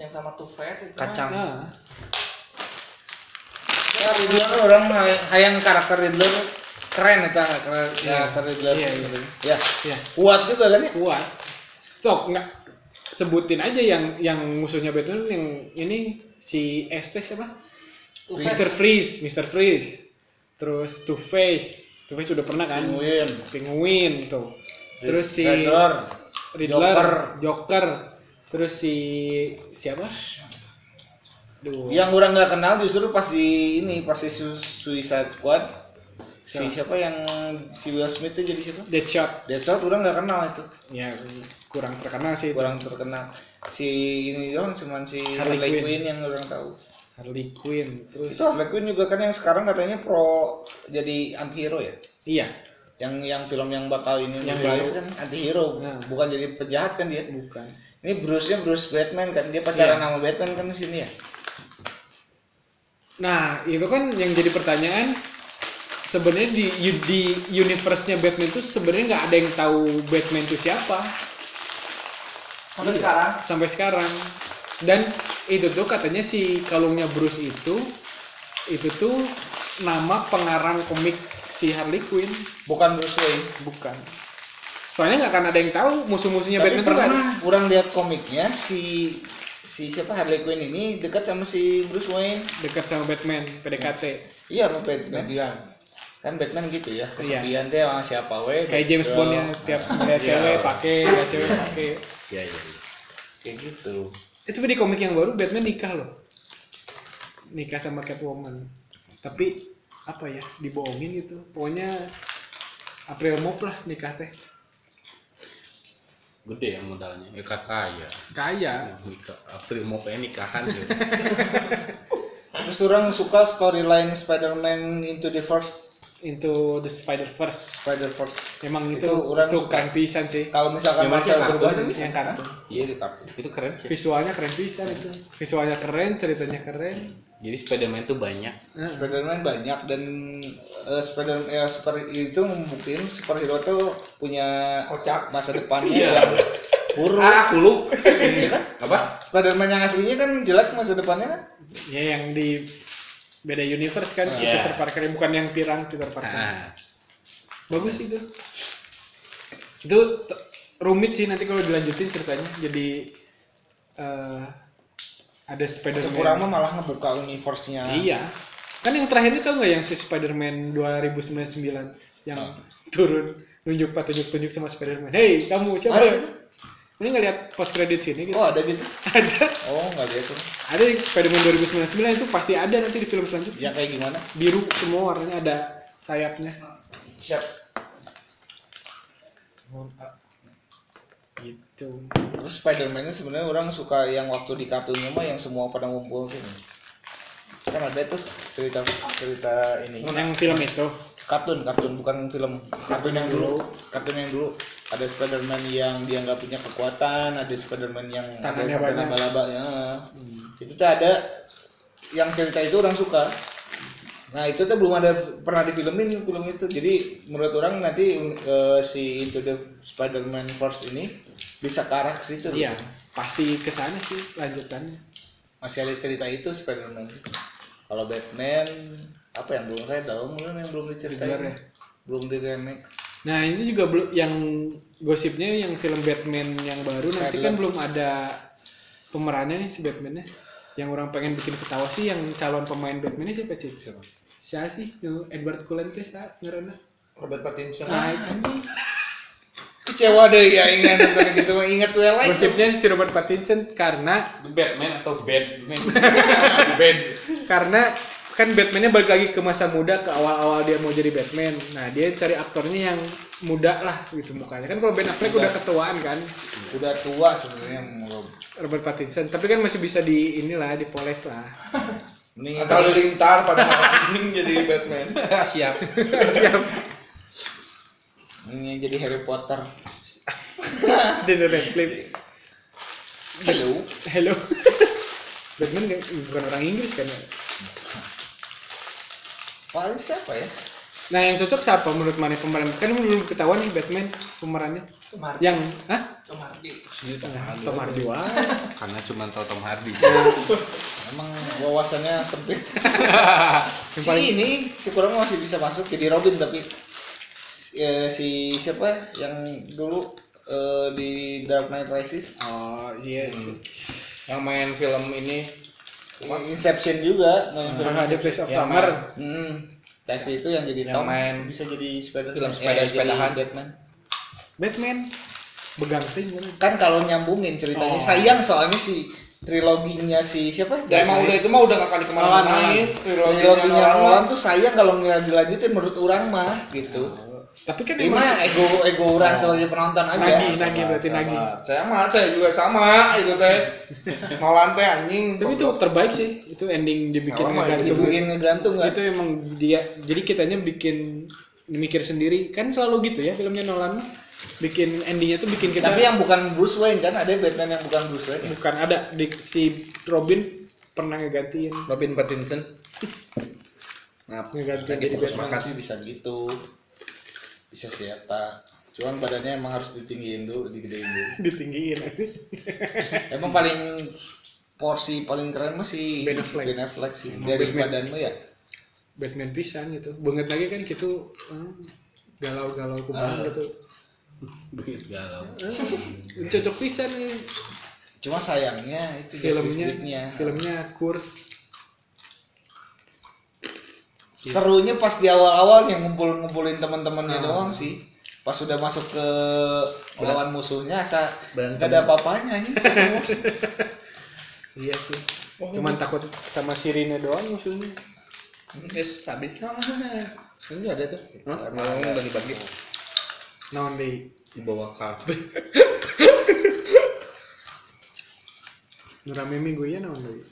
[SPEAKER 7] Yang sama Two Face itu.
[SPEAKER 1] Kacang.
[SPEAKER 6] Nah,
[SPEAKER 3] Ya, Riddler orang hay- hayang karakter Riddler keren eta keren karakter Riddler.
[SPEAKER 6] Iya,
[SPEAKER 3] Ya,
[SPEAKER 6] ya
[SPEAKER 3] kuat juga kan ya?
[SPEAKER 6] kuat. Sok nggak sebutin aja yang yang musuhnya Batman yang ini si S teh siapa?
[SPEAKER 7] Two
[SPEAKER 6] Mr.
[SPEAKER 7] Face.
[SPEAKER 6] Freeze, Mr. Freeze. Terus Two Face, Two Face udah pernah kan?
[SPEAKER 3] Penguin.
[SPEAKER 6] Penguin tuh. Terus si
[SPEAKER 3] Riddler,
[SPEAKER 6] Riddler,
[SPEAKER 3] Joker.
[SPEAKER 6] Joker, terus si siapa? Duh.
[SPEAKER 3] Yang orang nggak kenal justru pas di ini pas di Su- Suicide Squad. Si siapa
[SPEAKER 6] Siapa?
[SPEAKER 3] yang si Will Smith itu jadi situ?
[SPEAKER 6] Deadshot.
[SPEAKER 3] Deadshot orang nggak kenal itu,
[SPEAKER 6] Ya kurang terkenal sih itu.
[SPEAKER 3] kurang terkenal. Si ini doang cuman si
[SPEAKER 6] Harley
[SPEAKER 3] Harley,
[SPEAKER 6] Quinn.
[SPEAKER 3] Quinn yang orang tahu.
[SPEAKER 6] Harley Quinn terus
[SPEAKER 3] Itu Harley Quinn juga kan yang sekarang katanya pro jadi anti-hero ya?
[SPEAKER 6] iya
[SPEAKER 3] Yang yang film yang bakal ini
[SPEAKER 6] Yang
[SPEAKER 3] dirilis
[SPEAKER 6] baru.
[SPEAKER 3] kan anti-hero,
[SPEAKER 6] Nah.
[SPEAKER 3] bukan jadi penjahat kan dia.
[SPEAKER 6] bukan
[SPEAKER 3] Ini Bruce-nya Bruce Batman kan, dia
[SPEAKER 6] Iya.
[SPEAKER 3] pacaran sama Batman kan di sini ya?
[SPEAKER 6] Nah, itu kan yang jadi pertanyaan sebenarnya di di universe-nya Batman itu sebenarnya nggak ada yang tahu Batman itu siapa
[SPEAKER 7] Sampai sekarang
[SPEAKER 6] sampai sekarang. Dan itu tuh katanya si kalungnya Bruce itu itu tuh nama pengarang komik si Harley Quinn,
[SPEAKER 3] Bukan Bruce Wayne.
[SPEAKER 6] bukan. Soalnya nggak akan ada yang tahu musuh-musuhnya
[SPEAKER 3] Tapi
[SPEAKER 6] Iya, Batman kan itu nggak
[SPEAKER 3] pernah
[SPEAKER 6] ada.
[SPEAKER 3] kurang lihat komiknya si si siapa Harley Quinn ini dekat sama si Bruce Wayne.
[SPEAKER 6] dekat sama Batman PDKT.
[SPEAKER 3] Iya, sama Batman. Kan Batman gitu ya,
[SPEAKER 6] Iya.
[SPEAKER 3] kesepian teh sama siapa we.
[SPEAKER 6] Kayak James Bond ya, tiap
[SPEAKER 3] Iya.
[SPEAKER 6] lihat cewek pakai, lihat cewek pakai.
[SPEAKER 2] Iya, iya, iya.
[SPEAKER 3] Kayak gitu.
[SPEAKER 6] Itu di komik yang baru Batman nikah loh. Nikah sama Catwoman. Tapi apa ya, dibohongin gitu. Pokoknya April Mop lah nikah teh.
[SPEAKER 2] Gede ya modalnya. Ya kakak ya.
[SPEAKER 6] Kaya.
[SPEAKER 2] Nikah. April mau pengen nikahan gitu.
[SPEAKER 3] Terus orang suka storyline Spider-Man Into the First
[SPEAKER 6] Into the Spider-Verse.
[SPEAKER 3] Spider-Verse.
[SPEAKER 6] Emang itu
[SPEAKER 3] Itu orang
[SPEAKER 6] itu
[SPEAKER 3] suka.
[SPEAKER 6] keren pisan sih.
[SPEAKER 3] Kalau misalkan
[SPEAKER 2] Yang masih
[SPEAKER 3] Marvel
[SPEAKER 2] kartun
[SPEAKER 3] berubah
[SPEAKER 2] itu
[SPEAKER 6] Yang kartun.
[SPEAKER 3] Iya, di kartun.
[SPEAKER 2] itu keren sih.
[SPEAKER 6] Visualnya keren pisan itu. Visualnya keren, ceritanya keren. Nah,
[SPEAKER 2] Jadi Spiderman tuh banyak.
[SPEAKER 6] Heeh.
[SPEAKER 3] Spider-Man banyak dan eh, Spider eh, super itu membuktiin superhero tuh punya
[SPEAKER 1] Kocak.
[SPEAKER 3] masa depannya yang buruk.
[SPEAKER 2] Ah, hulu.
[SPEAKER 3] Iya kan?
[SPEAKER 2] Apa?
[SPEAKER 3] Spider-Man yang aslinya kan jelek masa depannya kan?
[SPEAKER 6] Ya yang di beda universe kan si
[SPEAKER 2] Iya.
[SPEAKER 6] Peter Parker bukan yang pirang Peter Parker.
[SPEAKER 2] Ah,
[SPEAKER 6] Bagus itu. Itu t- rumit sih nanti kalau dilanjutin ceritanya. Jadi eh ada
[SPEAKER 3] Kurang mah
[SPEAKER 6] Spider-Man.
[SPEAKER 3] malah ngebuka universe-nya.
[SPEAKER 6] Iya. Kan yang terakhir itu tau nggak yang si Spider-Man 2099 yang turun nunjuk tunjuk-tunjuk sama Spider-Man. Hey, kamu siapa?
[SPEAKER 3] Ada itu?
[SPEAKER 6] Ini nggak lihat post credit sini gitu.
[SPEAKER 3] Oh, ada gitu.
[SPEAKER 6] Ada.
[SPEAKER 3] Oh, nggak gitu.
[SPEAKER 6] Ada yang Spider-Man 2099 itu pasti ada nanti di film
[SPEAKER 3] Yang
[SPEAKER 6] selanjutnya.
[SPEAKER 3] Ya, kayak gimana?
[SPEAKER 6] Biru semua warnanya ada sayapnya.
[SPEAKER 3] Siap.
[SPEAKER 6] Gitu.
[SPEAKER 3] Terus Spider-Man-nya sebenarnya orang suka yang waktu di kartunnya mah yang semua pada ngumpul sini. Kan ada tuh cerita cerita ini.
[SPEAKER 6] Yang film itu.
[SPEAKER 3] kartun kartun bukan film kartun yang dulu kartun yang dulu ada Spiderman yang dia nggak punya kekuatan ada Spiderman yang ada
[SPEAKER 6] Tangannya
[SPEAKER 3] sampai
[SPEAKER 6] banyak.
[SPEAKER 3] laba-laba ya itu tuh ada yang cerita itu orang suka nah itu tuh belum ada pernah difilmin film itu jadi menurut orang nanti eh, si Into the Spiderman Force ini bisa ke arah ke situ
[SPEAKER 6] Iya, pasti ke sana sih lanjutannya.
[SPEAKER 3] masih ada cerita itu Spiderman kalau Batman apa yang belum saya tahu mungkin yang belum diceritain
[SPEAKER 6] Riddler ya?
[SPEAKER 3] belum di remake
[SPEAKER 6] Nah, ini juga belum yang gosipnya yang film Batman yang baru nanti kan
[SPEAKER 3] Scarlet.
[SPEAKER 6] belum ada pemerannya nih si Batmannya. Yang orang pengen bikin ketawa sih yang calon pemain Batmannya siapa sih? Siapa? Siapa sih? Yang Edward Cullen teh sa ngaranna?
[SPEAKER 1] Robert Pattinson.
[SPEAKER 6] Nah, anjing.
[SPEAKER 3] kecewa deh ya ingat nonton gitu mah ingat tuh yang lain
[SPEAKER 6] Gosipnya si Robert Pattinson karena
[SPEAKER 2] The Batman atau Batman? Bad.
[SPEAKER 6] karena kan Batmannya balik lagi ke masa muda ke awal-awal dia mau jadi Batman. Nah dia cari aktornya yang muda lah gitu mukanya. Kan kalau Ben Affleck udah ketuaan kan.
[SPEAKER 3] udah tua sebenarnya menurut
[SPEAKER 6] Robert Pattinson, tapi kan masih bisa di inilah dipoles lah.
[SPEAKER 3] mending
[SPEAKER 1] Atau lintar pada malam ini jadi Batman. Siap.
[SPEAKER 3] mending yang jadi Harry Potter
[SPEAKER 6] Daniel Radcliffe.
[SPEAKER 3] hello
[SPEAKER 6] Hello. Batman nggak- bukan orang Inggris kan ya?
[SPEAKER 3] paling siapa ya
[SPEAKER 6] Nah yang cocok siapa menurut mana pemeran? Kan belum ketahuan nih Batman pemerannya.
[SPEAKER 7] kemarin
[SPEAKER 6] Yang, hah?
[SPEAKER 7] kemarin
[SPEAKER 6] Nah, Tom Hardy wae.
[SPEAKER 2] Karena cuma tahu Tom Hardy.
[SPEAKER 3] emang wawasannya sempit si
[SPEAKER 6] Yang paling-
[SPEAKER 3] ini Cikurang masih bisa masuk jadi Robin tapi eh, si siapa ya? yang dulu eh, di Dark Knight Rises
[SPEAKER 6] Oh iya. sih.
[SPEAKER 1] Yang main film ini
[SPEAKER 3] Inception juga main film
[SPEAKER 6] Nah, The Place of
[SPEAKER 1] Yang
[SPEAKER 6] Summer.
[SPEAKER 3] hmm. Dan si itu yang jadi
[SPEAKER 1] Yang
[SPEAKER 3] Tom
[SPEAKER 1] main
[SPEAKER 3] bisa jadi Spider
[SPEAKER 1] film
[SPEAKER 3] eh,
[SPEAKER 1] sepeda-sepedahan.
[SPEAKER 3] jadi Batman
[SPEAKER 6] Batman. Begang ting kan.
[SPEAKER 3] kan kalau nyambungin ceritanya
[SPEAKER 6] Oh.
[SPEAKER 3] sayang soalnya si triloginya si siapa?
[SPEAKER 1] Dan Ya, emang udah itu mah udah gak kali
[SPEAKER 6] Nolan,
[SPEAKER 1] kemana-mana
[SPEAKER 6] Nolan.
[SPEAKER 1] Triloginya
[SPEAKER 3] triloginya
[SPEAKER 1] Nolan mah.
[SPEAKER 3] Nolan tuh sayang kalau nggak dilanjutin menurut orang mah gitu.
[SPEAKER 1] Oh.
[SPEAKER 6] Tapi kan
[SPEAKER 3] Ini mah ego ego orang sebagai penonton aja.
[SPEAKER 6] nagi nagi berarti nagi.
[SPEAKER 1] Saya mah saya juga sama itu teh. Nolan teh anjing.
[SPEAKER 6] Tapi itu terbaik sih. Itu ending
[SPEAKER 3] Nah,
[SPEAKER 6] dibikin
[SPEAKER 1] Sama,
[SPEAKER 6] ngegantung.
[SPEAKER 3] Dibikin ngegantung kan.
[SPEAKER 6] Itu emang dia jadi kitanya bikin mikir sendiri kan selalu gitu ya filmnya Nolan mah. bikin endingnya tuh bikin kita
[SPEAKER 3] Tapi yang bukan Bruce Wayne kan ada Batman yang bukan Bruce Wayne.
[SPEAKER 6] bukan ada di, si Robin pernah ngegantiin
[SPEAKER 1] Robin Pattinson.
[SPEAKER 3] Nah,
[SPEAKER 6] Ngeganti
[SPEAKER 3] kan di
[SPEAKER 6] jadi
[SPEAKER 3] fokus
[SPEAKER 6] Batman.
[SPEAKER 3] makasih bisa gitu. Bisa siapa. Cuman badannya emang harus ditinggiin dulu, digedein dulu.
[SPEAKER 6] ditinggiin
[SPEAKER 3] Emang paling porsi paling keren masih
[SPEAKER 6] Ben Affleck.
[SPEAKER 3] Ben Affleck sih. Dari
[SPEAKER 6] Batman.
[SPEAKER 3] badanmu ya.
[SPEAKER 6] Batman pisan gitu banget lagi kan gitu hmm, galau-galau
[SPEAKER 3] Eh.
[SPEAKER 6] kumaha gitu
[SPEAKER 2] Galau.
[SPEAKER 6] Eh, cocok pisan nih
[SPEAKER 3] Cuma sayangnya itu
[SPEAKER 6] filmnya
[SPEAKER 3] Justice League-nya.
[SPEAKER 6] filmnya kurs
[SPEAKER 3] Serunya pas di awal-awal yang ngumpul-ngumpulin teman-temannya doang sih. Pas sudah masuk ke lawan musuhnya asa
[SPEAKER 1] Berantem.
[SPEAKER 3] nggak ada apa-apanya ini.
[SPEAKER 6] iya sih
[SPEAKER 3] Oh,
[SPEAKER 6] cuman takut sama sirine doang musuhnya
[SPEAKER 1] Yes, habis.
[SPEAKER 3] Ini ada tuh.
[SPEAKER 1] Mau bagi-bagi
[SPEAKER 6] non di
[SPEAKER 1] di bawah kafe.
[SPEAKER 6] nurame minggu ya non di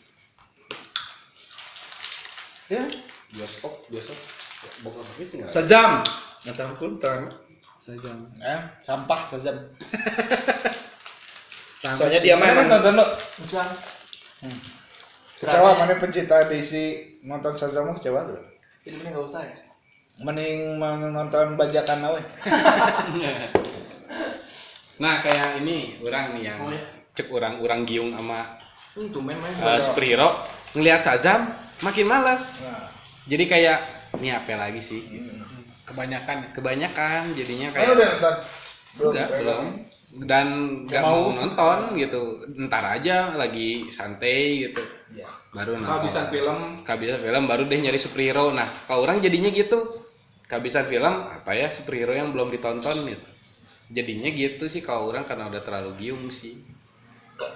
[SPEAKER 1] Ya,
[SPEAKER 2] Bioskop, bioskop. Box office nggak?
[SPEAKER 1] sejam. Ntar pun terang.
[SPEAKER 6] sejam
[SPEAKER 3] Eh, sampah sejam.
[SPEAKER 1] Soalnya dia mah
[SPEAKER 3] Mana
[SPEAKER 1] emang
[SPEAKER 3] nonton lo?
[SPEAKER 7] Hujan.
[SPEAKER 3] Kecewa mana pencinta DC nonton Shazam mah kecewa tuh.
[SPEAKER 7] Filmnya nggak usah ya.
[SPEAKER 3] Mending menonton bajakan awe.
[SPEAKER 2] Nah kayak ini orang nih yang
[SPEAKER 7] Oh, iya.
[SPEAKER 2] cek orang-orang giung sama
[SPEAKER 7] Ini main
[SPEAKER 3] Ah,
[SPEAKER 7] main.
[SPEAKER 2] eh, superhero ngelihat Shazam makin malas. Jadi kayak ini apa lagi sih? gitu. Kebanyakan, ya? kebanyakan jadinya
[SPEAKER 3] Mana
[SPEAKER 2] kayak
[SPEAKER 3] udah nonton?
[SPEAKER 2] Enggak, belum. Dan nggak mau. nonton gitu. Ntar aja lagi santai gitu.
[SPEAKER 3] Iya.
[SPEAKER 2] Baru nonton.
[SPEAKER 9] Kehabisan film.
[SPEAKER 2] Kehabisan film baru deh nyari superhero. Nah, kalau orang jadinya gitu. Kehabisan film apa ya superhero yang belum ditonton gitu. Jadinya gitu sih kalau orang karena udah terlalu giung sih.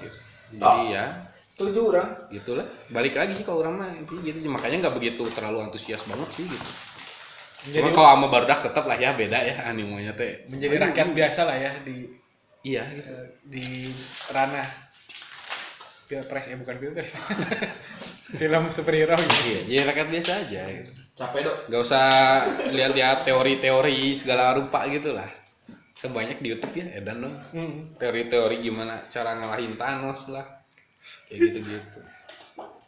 [SPEAKER 2] Gitu. Jadi ya
[SPEAKER 3] Setuju orang.
[SPEAKER 2] gitulah balik lagi sih kalau orang mah intinya gitu makanya nggak begitu terlalu antusias banget sih gitu cuma kalau sama barudak tetap lah ya beda ya animonya teh
[SPEAKER 6] menjadi rakyat biasa lah ya di
[SPEAKER 2] iya gitu
[SPEAKER 6] eh, di ranah pilpres eh bukan pilpres film superhero gitu
[SPEAKER 2] iya jadi rakyat biasa aja gitu.
[SPEAKER 9] Capek dok.
[SPEAKER 2] nggak usah lihat-lihat teori-teori segala rupa gitu lah Kan banyak di YouTube ya edan dong
[SPEAKER 6] Hmm.
[SPEAKER 2] teori-teori gimana cara ngalahin Thanos lah kayak gitu-gitu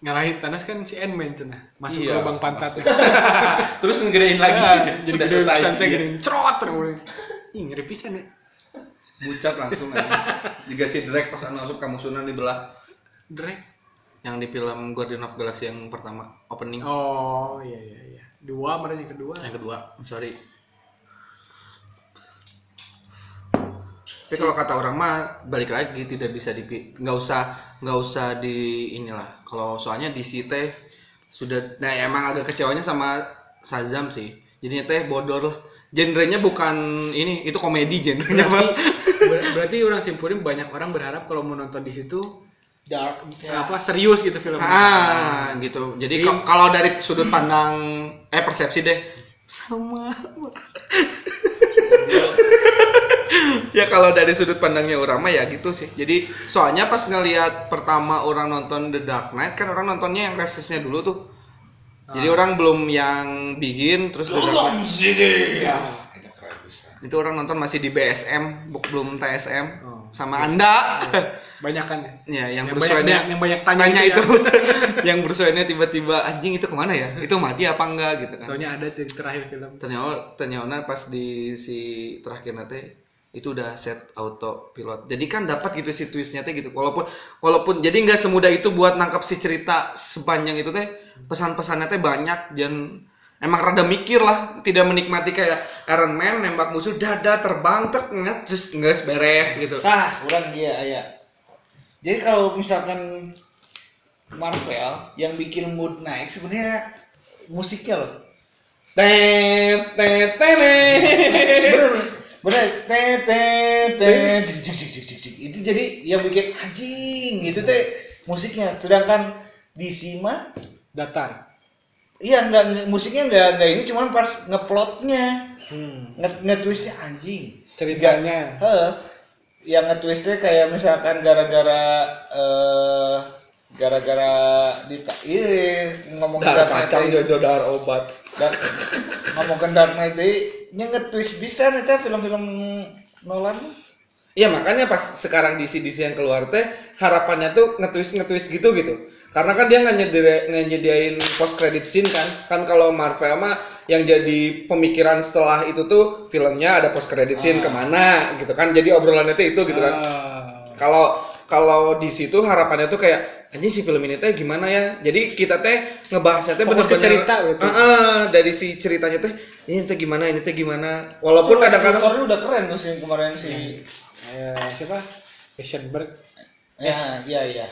[SPEAKER 6] ngalahin Thanos kan si Ant-Man cenah masuk
[SPEAKER 2] Iya,
[SPEAKER 6] ke lubang pantatnya
[SPEAKER 2] terus ngegedein lagi
[SPEAKER 6] Ah, jadi
[SPEAKER 2] udah
[SPEAKER 6] gede
[SPEAKER 2] selesai
[SPEAKER 6] santai
[SPEAKER 2] iya.
[SPEAKER 6] gini cerot terus mulai. ih ngeri pisan ya
[SPEAKER 1] bucat langsung aja. Juga si Drake pas anu asup kamu sunan dibelah
[SPEAKER 6] Drake
[SPEAKER 1] yang di film Guardian of Galaxy yang pertama
[SPEAKER 2] Hmm.
[SPEAKER 1] opening
[SPEAKER 6] oh iya iya iya dua merenya kedua
[SPEAKER 1] yang kedua sorry tapi kalau kata orang mah balik lagi tidak bisa di nggak usah nggak usah di inilah kalau soalnya di teh sudah nah emang agak kecewanya sama Shazam sih jadinya teh bodor lah genrenya bukan ini itu komedi genrenya mah
[SPEAKER 6] Ber- berarti orang simpulin banyak orang berharap kalau mau nonton di situ
[SPEAKER 3] Dark.
[SPEAKER 6] apa serius gitu filmnya
[SPEAKER 1] ah gitu jadi
[SPEAKER 6] Jadi-
[SPEAKER 1] ke- kalau dari sudut pandang eh persepsi deh sama ya kalau dari sudut pandangnya orang mah ya gitu sih jadi soalnya pas ngelihat pertama orang nonton The Dark Knight kan orang nontonnya yang resisnya dulu tuh jadi
[SPEAKER 6] Ah.
[SPEAKER 1] orang belum yang begin terus The Dark Knight.
[SPEAKER 6] iya.
[SPEAKER 1] itu orang nonton masih di BSM bu- belum TSM
[SPEAKER 6] Oh.
[SPEAKER 1] sama anda
[SPEAKER 6] banyak kan ya
[SPEAKER 1] ya yang,
[SPEAKER 6] yang banyak,
[SPEAKER 1] bersuara
[SPEAKER 6] banyak- yang banyak tanya,
[SPEAKER 1] tanya itu,
[SPEAKER 6] ya.
[SPEAKER 1] yang bersuaranya tiba-tiba anjing itu kemana ya itu mati apa enggak gitu kan
[SPEAKER 6] Taunya ada di terakhir film
[SPEAKER 1] ternyata ternyata pas di si terakhir nanti itu udah set autopilot jadi kan dapat gitu si twistnya teh gitu walaupun walaupun jadi nggak semudah itu buat nangkap si cerita sepanjang itu teh pesan-pesannya teh banyak dan emang rada mikir lah tidak menikmati kayak Iron Man nembak musuh dada terbang tek nggak just nggak beres gitu
[SPEAKER 3] Nah, orang dia
[SPEAKER 1] ya.
[SPEAKER 3] aya. Jadi kalau misalkan Marvel yang bikin mood naik sebenarnya musiknya loh.
[SPEAKER 1] tet tet tet
[SPEAKER 3] Bener, bener. Bener. Tet, tet, tet.
[SPEAKER 1] musik itu jadi yang bikin anjing gitu teh musiknya sedangkan DC mah
[SPEAKER 6] datar
[SPEAKER 1] iya nggak nggak- musiknya nggak nggak ini cuman pas ngeplotnya
[SPEAKER 6] Hmm.
[SPEAKER 1] nge- nge-twistnya anjing
[SPEAKER 6] ceritanya
[SPEAKER 1] Heeh. yang nge-twistnya kayak misalkan gara-gara eh gara-gara di iya ngomong
[SPEAKER 3] Dar kacang jojo dar obat.
[SPEAKER 1] dan ngomongin Dark Knight deh, nya nge-twist bisa nih teh film-film Nolan mah.
[SPEAKER 3] Iya makanya pas sekarang DC DC yang keluar teh harapannya tuh nge-twist nge-twist gitu gitu. Karena kan dia nggak nyedi- nggak nyediain post credit scene kan. Kan kalau Marvel mah yang jadi pemikiran setelah itu tuh filmnya ada post credit
[SPEAKER 6] Ah.
[SPEAKER 3] scene kemana gitu kan. Jadi obrolannya tuh itu gitu kan.
[SPEAKER 6] Ah.
[SPEAKER 3] Kalau kalau di situ harapannya tuh kayak anjing si film ini teh gimana ya? Jadi kita teh ngebahasnya teh
[SPEAKER 6] Fokus ke
[SPEAKER 3] bener-bener
[SPEAKER 6] cerita berarti.
[SPEAKER 2] Ah.
[SPEAKER 3] Heeh, dari si ceritanya teh ini teh gimana, ini teh gimana. Walaupun
[SPEAKER 1] Tuh,
[SPEAKER 3] kadang-kadang
[SPEAKER 1] aktornya udah keren tuh sih kemarin si
[SPEAKER 6] Eh, siapa Eisenberg
[SPEAKER 1] ya iya iya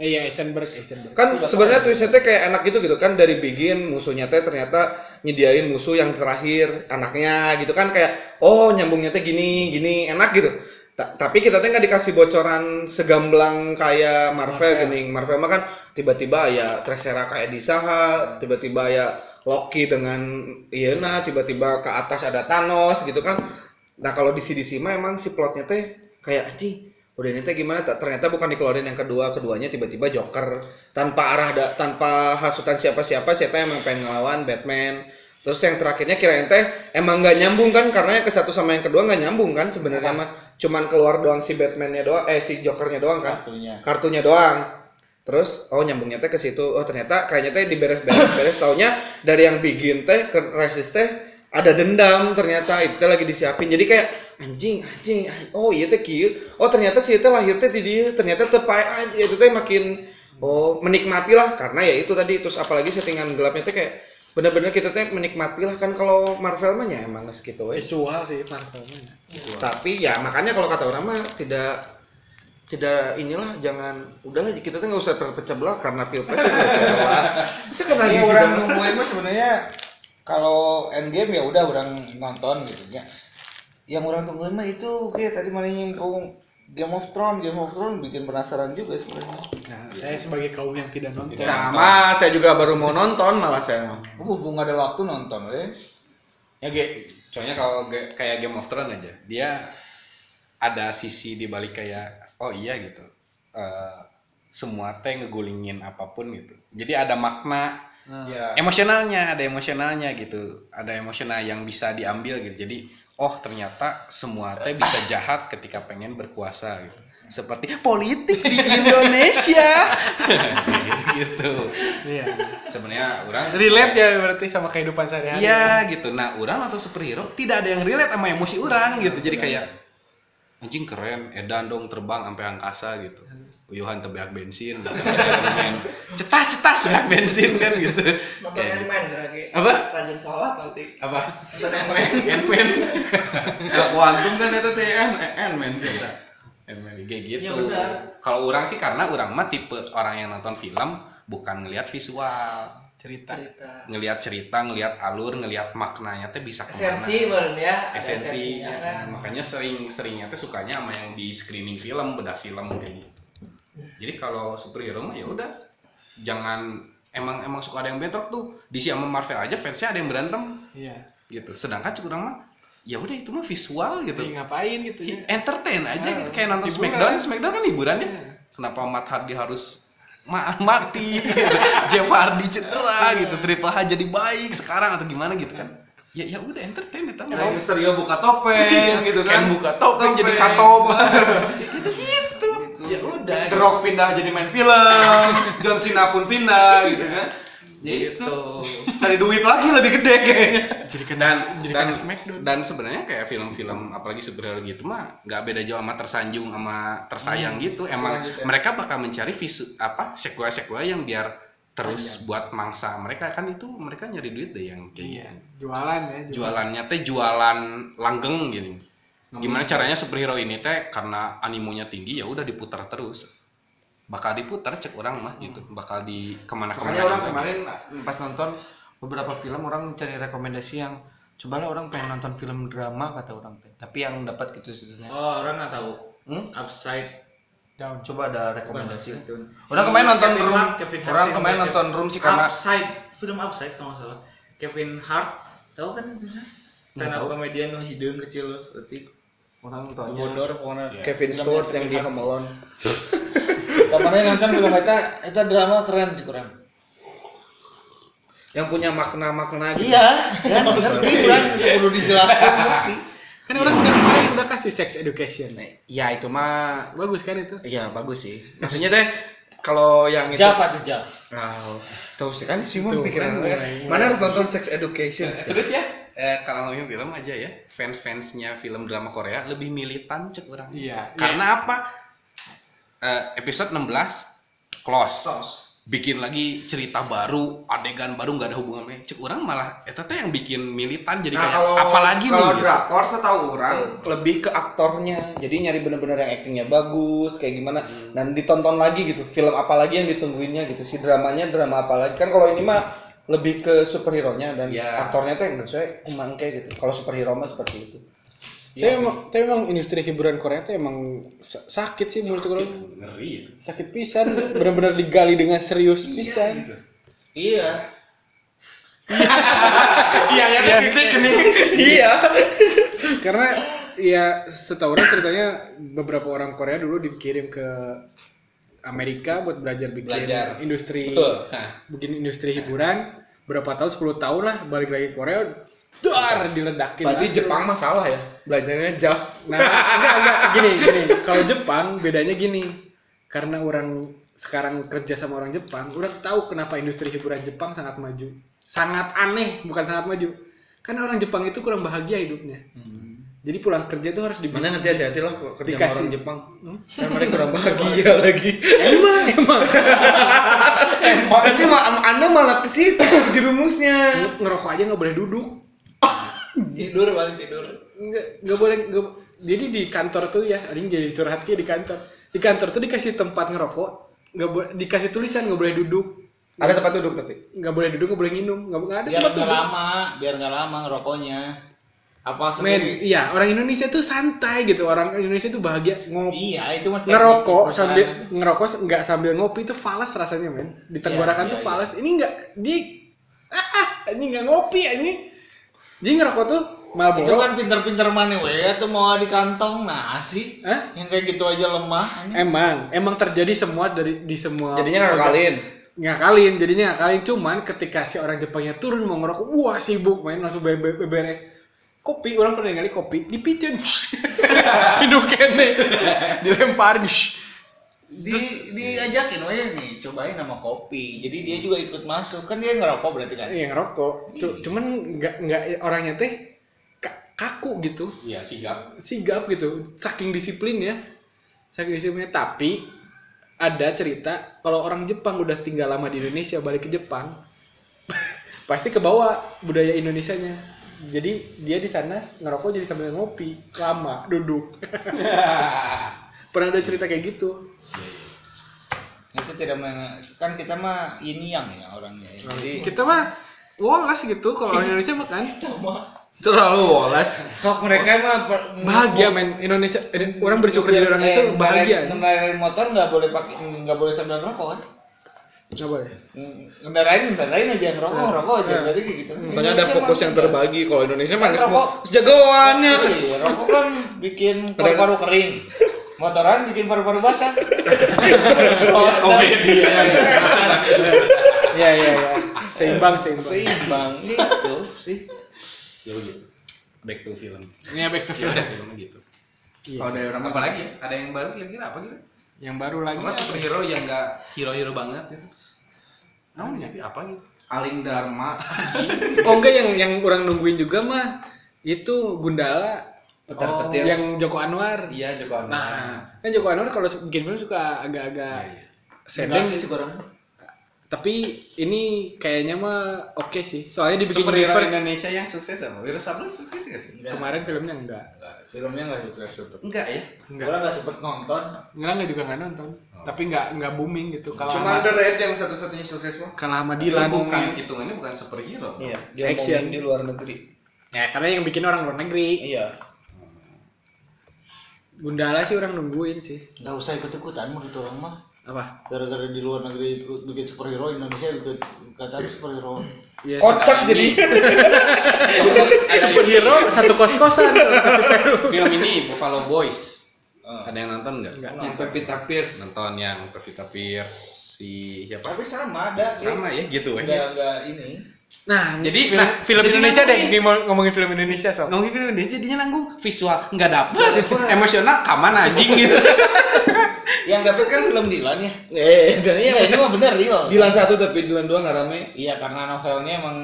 [SPEAKER 6] eh, iya Eisenberg Eisenberg
[SPEAKER 3] kan sebenarnya twistnya teh kayak enak gitu gitu kan dari begin musuhnya teh ternyata nyediain musuh yang terakhir anaknya gitu kan kayak oh nyambungnya teh gini gini enak gitu Ta- tapi kita teh nggak dikasih bocoran segamblang kayak Marvel gini Marvel mah kan tiba-tiba ya Tresera kayak disaha tiba-tiba ya Loki dengan Iena tiba-tiba ke atas ada Thanos gitu kan nah kalau di CDC mah emang si plotnya teh kayak anjing udah ini teh gimana Ta- ternyata bukan dikeluarin yang kedua keduanya tiba-tiba Joker tanpa arah da- tanpa hasutan siapa-siapa siapa yang emang pengen ngelawan Batman terus yang terakhirnya kirain teh emang nggak nyambung kan karena yang ke satu sama yang kedua nggak nyambung kan sebenarnya mah cuman keluar doang si Batmannya doang eh si Jokernya doang kan
[SPEAKER 1] kartunya
[SPEAKER 3] kartunya doang terus oh nyambungnya teh ke situ oh ternyata kayaknya teh diberes beres beres taunya dari yang bikin teh ke resist teh ada dendam ternyata itu teh lagi disiapin jadi kayak anjing anjing an- oh iya teh kieu oh ternyata si teh lahir teh di dieu ternyata tepai anjing itu teh makin oh menikmati lah karena ya itu tadi terus apalagi settingan gelapnya teh kayak bener-bener kita teh menikmati lah kan kalau Marvel mah ya emang geus gitu we
[SPEAKER 6] visual sih Marvelnya
[SPEAKER 3] tapi ya makanya kalau kata orang mah tidak tidak inilah jangan udahlah kita tuh nggak usah terpecah belah karena pilpres ya nggak usah belah. Itu kena
[SPEAKER 1] Iya
[SPEAKER 3] gizi
[SPEAKER 1] orang
[SPEAKER 3] doang.
[SPEAKER 1] nungguin mah sebenarnya kalau endgame ya udah orang nonton gitu ya. Yang orang tungguin mah itu oke tadi mana nyinggung Game of Thrones, Game of Thrones bikin penasaran juga sebenarnya.
[SPEAKER 6] nah saya sebagai kaum yang tidak nonton
[SPEAKER 3] sama saya juga baru mau nonton malah saya mah.
[SPEAKER 1] Hubung nggak ada waktu nonton, eh.
[SPEAKER 2] Ya, Ge, soalnya kalau ge- kayak Game of Thrones aja, dia ada sisi di balik kayak oh iya gitu. Eh, semua teh ngegulingin apapun gitu. Jadi ada makna
[SPEAKER 1] Ya.
[SPEAKER 2] emosionalnya, ada emosionalnya gitu. Ada emosional yang bisa diambil gitu. Jadi oh ternyata semua teh bisa jahat ketika pengen berkuasa gitu. Seperti politik di Indonesia. gitu.
[SPEAKER 10] Iya.
[SPEAKER 2] Sebenarnya orang
[SPEAKER 10] Relate ya berarti sama kehidupan sehari-hari.
[SPEAKER 2] Iya gitu. Nah, orang atau superhero tidak ada yang relate sama emosi orang gitu. Jadi kayak anjing keren, edan dong terbang sampai angkasa gitu. Uyuhan tebeak bensin, cetas-cetas beak bensin kan gitu.
[SPEAKER 7] Nonton
[SPEAKER 2] Kayak gitu.
[SPEAKER 7] Ant-Man gerak ya.
[SPEAKER 2] Apa?
[SPEAKER 7] Rajin sholat nanti.
[SPEAKER 2] Apa?
[SPEAKER 7] Nonton Ant-Man.
[SPEAKER 2] Ant-Man. Kalau kuantum kan itu TN, Ant-Man sih. eta. Ant-Man kayak gitu. Kalau orang sih karena orang mah tipe orang yang nonton film bukan ngelihat visual cerita
[SPEAKER 7] Cerita.
[SPEAKER 2] ngelihat cerita, ngelihat alur, ngelihat maknanya teh bisa kemana
[SPEAKER 7] Esensi meren ya. Ada
[SPEAKER 2] esensinya
[SPEAKER 7] esensinya
[SPEAKER 2] kan. makanya sering-seringnya tuh sukanya sama yang di screening film bedah film kayak gitu jadi kalau superhero mah ya udah jangan emang emang suka ada yang bentrok tuh di si sama Marvel aja fansnya ada yang berantem
[SPEAKER 10] Iya.
[SPEAKER 2] gitu sedangkan kurang mah ya udah itu mah visual gitu
[SPEAKER 6] Iya.
[SPEAKER 10] Ih, ngapain gitu ya?
[SPEAKER 2] entertain aja
[SPEAKER 10] Ah,
[SPEAKER 2] gitu. kayak nonton
[SPEAKER 10] hiburan.
[SPEAKER 2] Smackdown Smackdown kan hiburannya
[SPEAKER 10] Iya.
[SPEAKER 2] kenapa Matt Hardy harus ma- mati gitu. Jeff Hardy cedera gitu Triple H jadi baik sekarang atau gimana gitu kan ya ya udah entertain itu mah.
[SPEAKER 3] Misterio buka topeng gitu kan.
[SPEAKER 2] kan buka topeng jadi
[SPEAKER 3] Topeng.
[SPEAKER 2] katop gitu gitu ya udah
[SPEAKER 3] The Rock pindah jadi main film, John Cena pun pindah gitu kan. Ya itu.
[SPEAKER 2] gitu
[SPEAKER 3] Cari duit lagi lebih gede kayaknya.
[SPEAKER 10] Jadi kena
[SPEAKER 2] dan
[SPEAKER 10] jadi
[SPEAKER 2] dan
[SPEAKER 10] kena Smackdown.
[SPEAKER 2] dan sebenarnya kayak film-film apalagi superhero gitu mah nggak beda jauh sama tersanjung sama tersayang gitu emang mereka bakal mencari visu apa sequel-sequel yang biar terus buat mangsa mereka kan itu mereka nyari duit deh yang kayak
[SPEAKER 10] Iya.
[SPEAKER 2] gitu
[SPEAKER 10] Jualan ya.
[SPEAKER 2] jualannya teh jualan langgeng gini gimana caranya superhero ini teh karena animonya tinggi ya udah diputar terus bakal diputar cek orang mah gitu bakal di gitu. kemana kemana
[SPEAKER 3] Makanya orang kemarin eh, pas nonton beberapa film orang cari rekomendasi yang cobalah orang pengen nonton film drama kata orang teh. Tapi yang dapat gitu Hmm? situsnya.
[SPEAKER 1] Oh, orang nggak tahu.
[SPEAKER 9] Upside.
[SPEAKER 8] Down.
[SPEAKER 1] Coba ada rekomendasi.
[SPEAKER 9] Bukan,
[SPEAKER 3] gitu.
[SPEAKER 9] Upside Down.
[SPEAKER 1] Orang
[SPEAKER 9] Si
[SPEAKER 1] kemarin nonton
[SPEAKER 9] Kevin
[SPEAKER 1] room,
[SPEAKER 9] Hart, Kevin Hart
[SPEAKER 1] orang
[SPEAKER 9] yang
[SPEAKER 1] kemarin
[SPEAKER 9] main
[SPEAKER 1] nonton
[SPEAKER 9] Kevin-
[SPEAKER 1] room sih karena
[SPEAKER 9] Upside, film Upside kalau nggak salah. Kevin Hart, tahu kan? Stand up
[SPEAKER 1] tahu.
[SPEAKER 9] komedian hidung kecil, letik,
[SPEAKER 1] orang tanya
[SPEAKER 9] bodor
[SPEAKER 3] Iya.
[SPEAKER 9] pokoknya.
[SPEAKER 1] Kevin Stewart yang di Home Alone.
[SPEAKER 3] Kemarin nonton film eta eta drama keren sih kurang.
[SPEAKER 1] Yang punya makna-makna gitu.
[SPEAKER 3] Iya, kan ngerti kurang perlu dijelaskan ngerti.
[SPEAKER 6] Kan orang udah kemarin udah kasih sex education.
[SPEAKER 1] Ya itu mah
[SPEAKER 6] Bagus kan itu?
[SPEAKER 1] ya bagus sih. Maksudnya teh kalau yang itu
[SPEAKER 3] Java tuh Java.
[SPEAKER 1] Nah, tahu sih kan sih mah
[SPEAKER 6] Tuh,
[SPEAKER 1] pikiran gue.
[SPEAKER 6] kan, mulai-
[SPEAKER 1] Mana harus nonton Sex Education. sih.
[SPEAKER 2] Terus ya, eh, kalau ngomongin film aja ya, fans-fansnya film drama Korea lebih militan cek orang.
[SPEAKER 6] Iya.
[SPEAKER 2] Karena apa? Eh, episode 16 close. Bikin lagi cerita baru, adegan baru nggak ada hubungannya. Cek orang malah eta teh yang bikin militan jadi kayak apalagi nih.
[SPEAKER 1] Nah, kalau
[SPEAKER 2] gitu.
[SPEAKER 1] drakor setahu orang lebih ke aktornya. Jadi nyari bener-bener yang aktingnya bagus kayak gimana dan ditonton lagi gitu. Film apa lagi yang ditungguinnya gitu. Si dramanya drama apa lagi. Kan kalau ini mah lebih ke superhero-nya dan
[SPEAKER 2] Iya.
[SPEAKER 1] aktornya tuh yang menurut saya emang kayak gitu. Kalau superhero mah seperti itu.
[SPEAKER 10] Iya
[SPEAKER 6] Tapi emang, tapi emang industri hiburan Korea tuh emang sa- sakit sih menurut gue.
[SPEAKER 2] Ngeri itu.
[SPEAKER 6] Sakit pisan, benar-benar digali dengan serius pisan.
[SPEAKER 3] Iya.
[SPEAKER 2] Iya, ya teh gede gini.
[SPEAKER 6] Karena ya setahu orang ceritanya beberapa orang Korea dulu dikirim ke Amerika buat belajar bikin
[SPEAKER 2] Belajar.
[SPEAKER 6] industri
[SPEAKER 2] Betul. Nah,
[SPEAKER 6] bikin industri hiburan berapa tahun 10 tahun lah balik lagi ke Korea dar diledakin
[SPEAKER 1] Berarti
[SPEAKER 6] langsung.
[SPEAKER 1] Jepang mah salah ya. Belajarnya jauh.
[SPEAKER 6] Nah, enggak, enggak. Gini, gini. Kalau Jepang bedanya gini. Karena orang sekarang kerja sama orang Jepang, orang tahu kenapa industri hiburan Jepang sangat maju. Sangat aneh, bukan sangat maju. Karena orang Jepang itu kurang bahagia hidupnya. Jadi pulang kerja itu harus dibikin.
[SPEAKER 1] Hmm. Mana nanti hati-hati lah kalau kerja sama
[SPEAKER 6] Dikasih.
[SPEAKER 1] orang Jepang.
[SPEAKER 6] Hmm?
[SPEAKER 1] Kan mereka kurang bahagia lagi.
[SPEAKER 6] Emang, emang.
[SPEAKER 1] Berarti ma- Anda malah ke situ jerumusnya.
[SPEAKER 6] Ngerokok aja nggak boleh duduk.
[SPEAKER 7] tidur paling tidur
[SPEAKER 6] Nggak, nggak boleh. nggak- Jadi di kantor tuh ya, ini jadi curhat ya di kantor. Di kantor tuh dikasih tempat ngerokok, nggak boleh dikasih tulisan nggak boleh duduk.
[SPEAKER 1] Ada tempat duduk tapi.
[SPEAKER 6] nggak boleh duduk nggak boleh minum nggak nggak ada
[SPEAKER 3] Biar Iya, nggak
[SPEAKER 6] tempat duduk
[SPEAKER 3] lama, biar nggak lama ngerokoknya. Apa
[SPEAKER 6] men
[SPEAKER 3] sendiri?
[SPEAKER 6] iya orang Indonesia tuh santai gitu orang Indonesia tuh bahagia ngopi
[SPEAKER 3] Iya, itu mah teknik
[SPEAKER 6] ngerokok
[SPEAKER 3] perusahaan.
[SPEAKER 6] sambil ngerokok nggak sambil ngopi itu falas rasanya men di tenggorokan
[SPEAKER 3] Iya,
[SPEAKER 6] tuh
[SPEAKER 3] iya,
[SPEAKER 6] falas ini nggak di ah, ah ini nggak ngopi ini jadi ngerokok tuh
[SPEAKER 3] Itu
[SPEAKER 6] Marlboro
[SPEAKER 3] kan pinter-pinter mana we, itu mau di kantong nah sih.
[SPEAKER 6] Hah?
[SPEAKER 3] Yang kayak gitu aja lemah. anjing.
[SPEAKER 6] eh, emang emang terjadi semua dari di semua
[SPEAKER 1] Jadinya ngakalin.
[SPEAKER 6] ngakalin jadinya ngakalin cuman ketika si orang Jepangnya turun mau ngerokok wah sibuk main langsung be- be- beberes kopi orang pernah ngali kopi dipicen hidup kene dilemparin
[SPEAKER 3] Di diajakin we nih, cobain sama kopi. Jadi dia juga ikut masuk. Kan dia ngerokok berarti kan.
[SPEAKER 6] yang Iya, ngerokok Cu- cuman nggak nggak orangnya teh ka- kaku gitu
[SPEAKER 2] iya sigap.
[SPEAKER 6] sigap gitu saking disiplin ya saking disiplinnya tapi ada cerita kalau orang Jepang udah tinggal lama di Indonesia balik ke Jepang pasti kebawa budaya Indonesianya jadi dia di sana ngerokok jadi sambil ngopi lama duduk pernah ada cerita kayak gitu
[SPEAKER 3] Itu tidak men- kan kita mah ini yang ya orangnya. ya. Jadi
[SPEAKER 6] kita mah wolas gitu kalau orang Indonesia mah kan
[SPEAKER 1] Terlalu wolas.
[SPEAKER 3] sok mereka mah per-
[SPEAKER 6] bahagia men Indonesia eh, orang
[SPEAKER 3] Hmm,
[SPEAKER 6] bersyukur jadi orang Indonesia
[SPEAKER 3] Eh,
[SPEAKER 6] bahagia
[SPEAKER 3] ngendarain- Ngendarain motor nggak boleh pakai nggak boleh sambil ngerokok kan?
[SPEAKER 6] nggak boleh
[SPEAKER 3] Ngendarain ngendarain aja ngerokok
[SPEAKER 6] Hmm.
[SPEAKER 3] ngerokok aja berarti kayak gitu.
[SPEAKER 1] Soalnya ada fokus yang terbagi kalau Indonesia mana
[SPEAKER 3] Ngerokok.
[SPEAKER 1] semua sejagoannya.
[SPEAKER 3] Iya, rokok kan bikin paru-paru kering. Motoran bikin paru-paru basah.
[SPEAKER 1] Oh, iya,
[SPEAKER 3] Komedi.
[SPEAKER 6] ya ya ya seimbang seimbang
[SPEAKER 3] Seimbang gitu sih.
[SPEAKER 2] Ya gitu. Back to film.
[SPEAKER 6] ini back to
[SPEAKER 2] Ya udah filmnya gitu.
[SPEAKER 6] Iya.
[SPEAKER 2] Kalau dari orang apa lagi? Ada yang baru kira-kira apa gitu?
[SPEAKER 6] yang baru lagi
[SPEAKER 2] Apa superhero yang nggak hero-hero banget gitu? Namun jadi apa gitu?
[SPEAKER 1] Aling Dharma.
[SPEAKER 6] oh enggak yang yang orang nungguin juga mah itu Gundala
[SPEAKER 1] Petir
[SPEAKER 6] Oh,
[SPEAKER 1] petir.
[SPEAKER 6] yang Joko Anwar
[SPEAKER 2] Iya Joko Anwar.
[SPEAKER 6] nah kan Joko Anwar kalau bikin film suka agak-agak
[SPEAKER 2] iya.
[SPEAKER 6] sedang
[SPEAKER 3] sih kurang.
[SPEAKER 6] tapi ini kayaknya mah oke sih soalnya dibikin
[SPEAKER 2] Superhero
[SPEAKER 6] reverse
[SPEAKER 2] Indonesia yang sukses apa? Wiro Sableng sukses nggak sih?
[SPEAKER 6] kemarin filmnya enggak
[SPEAKER 3] Filmnya nggak sukses tetap.
[SPEAKER 2] Enggak ya?
[SPEAKER 6] enggak
[SPEAKER 3] Orang nggak sempet nonton.
[SPEAKER 6] enggak juga nggak nonton tapi enggak enggak booming gitu kalau
[SPEAKER 1] Cuma
[SPEAKER 6] sama,
[SPEAKER 1] The Red yang satu-satunya sukses mah.
[SPEAKER 6] kalah sama
[SPEAKER 2] Bukan,
[SPEAKER 6] Dilan
[SPEAKER 2] hitungannya bukan superhero.
[SPEAKER 1] Iya, dia
[SPEAKER 6] Action.
[SPEAKER 1] ngomongin di luar negeri.
[SPEAKER 3] Iya.
[SPEAKER 6] ya karena yang bikin orang luar negeri
[SPEAKER 1] Iya.
[SPEAKER 6] Gundala sih orang nungguin sih.
[SPEAKER 3] Gak usah ikut ikutan menurut orang mah.
[SPEAKER 6] Apa?
[SPEAKER 3] Gara-gara di luar negeri ikut- bikin superhero Indonesia ikut kata superhero.
[SPEAKER 6] Ya,
[SPEAKER 1] Kocak jadi.
[SPEAKER 6] superhero satu kos-kosan.
[SPEAKER 2] Film ini Buffalo Boys.
[SPEAKER 3] Eh.
[SPEAKER 2] Ada yang nonton nggak?
[SPEAKER 6] Enggak.
[SPEAKER 1] Yang Pevita Pierce.
[SPEAKER 2] Nonton yang Pevita Pierce si siapa?
[SPEAKER 3] Tapi sama ada sih.
[SPEAKER 1] iya.
[SPEAKER 2] Sama ya gitu
[SPEAKER 3] Nggak
[SPEAKER 2] ya.
[SPEAKER 3] nggak ini.
[SPEAKER 6] Nah,
[SPEAKER 2] Jadi,
[SPEAKER 6] film,
[SPEAKER 2] nah,
[SPEAKER 6] film
[SPEAKER 2] jadi
[SPEAKER 6] Indonesia deh,
[SPEAKER 2] ngomongin-
[SPEAKER 6] ini mau ngomongin film Indonesia soal.
[SPEAKER 2] Ngomongin film dia jadinya nanggung visual nggak dapet, emosional kaman anjing gitu.
[SPEAKER 3] Yang dapat kan film Dilan ya.
[SPEAKER 1] Eh, dan
[SPEAKER 3] Iya ini mah bener real.
[SPEAKER 1] Dilan satu tapi Dilan dua nggak rame.
[SPEAKER 3] Iya karena novelnya emang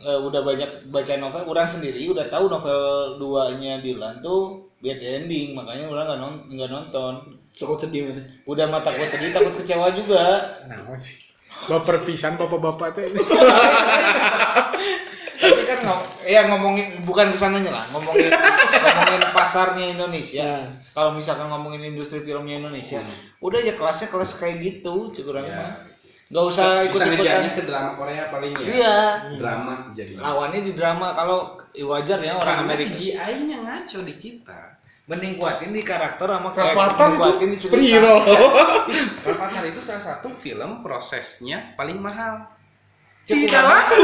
[SPEAKER 3] eh, udah banyak baca novel. Orang sendiri udah tahu novel duanya Dilan tuh bad ending makanya orang nggak non- nggak nonton.
[SPEAKER 6] Cukup sedih mana?
[SPEAKER 3] Udah mata takut sedih takut kecewa juga.
[SPEAKER 6] Nah, apa sih. Baper pisan bapak-bapak teh.
[SPEAKER 3] Tapi kan ngom ya ngomongin bukan kesananya lah ngomongin ngomongin pasarnya Indonesia.
[SPEAKER 1] Ya.
[SPEAKER 3] Kalau misalkan ngomongin industri filmnya Indonesia, udah ya kelasnya kelas kayak gitu, kurang
[SPEAKER 2] Ya.
[SPEAKER 3] mah. Gak usah
[SPEAKER 2] Bisa
[SPEAKER 3] ikut-ikutan.
[SPEAKER 2] ngejarnya Eh, ke drama Korea paling ya.
[SPEAKER 3] Iya,
[SPEAKER 2] Drama jadi.
[SPEAKER 3] lawannya di drama kalau eh, wajar ya orang
[SPEAKER 2] Karena
[SPEAKER 3] Amerika.
[SPEAKER 2] CGI-nya ngaco di kita.
[SPEAKER 3] Mending kuatin di karakter sama
[SPEAKER 1] Rapatan itu
[SPEAKER 3] mending kuatin di cerita.
[SPEAKER 1] Superhero.
[SPEAKER 2] Rapatar itu salah satu film prosesnya paling mahal.
[SPEAKER 3] Tidak laku.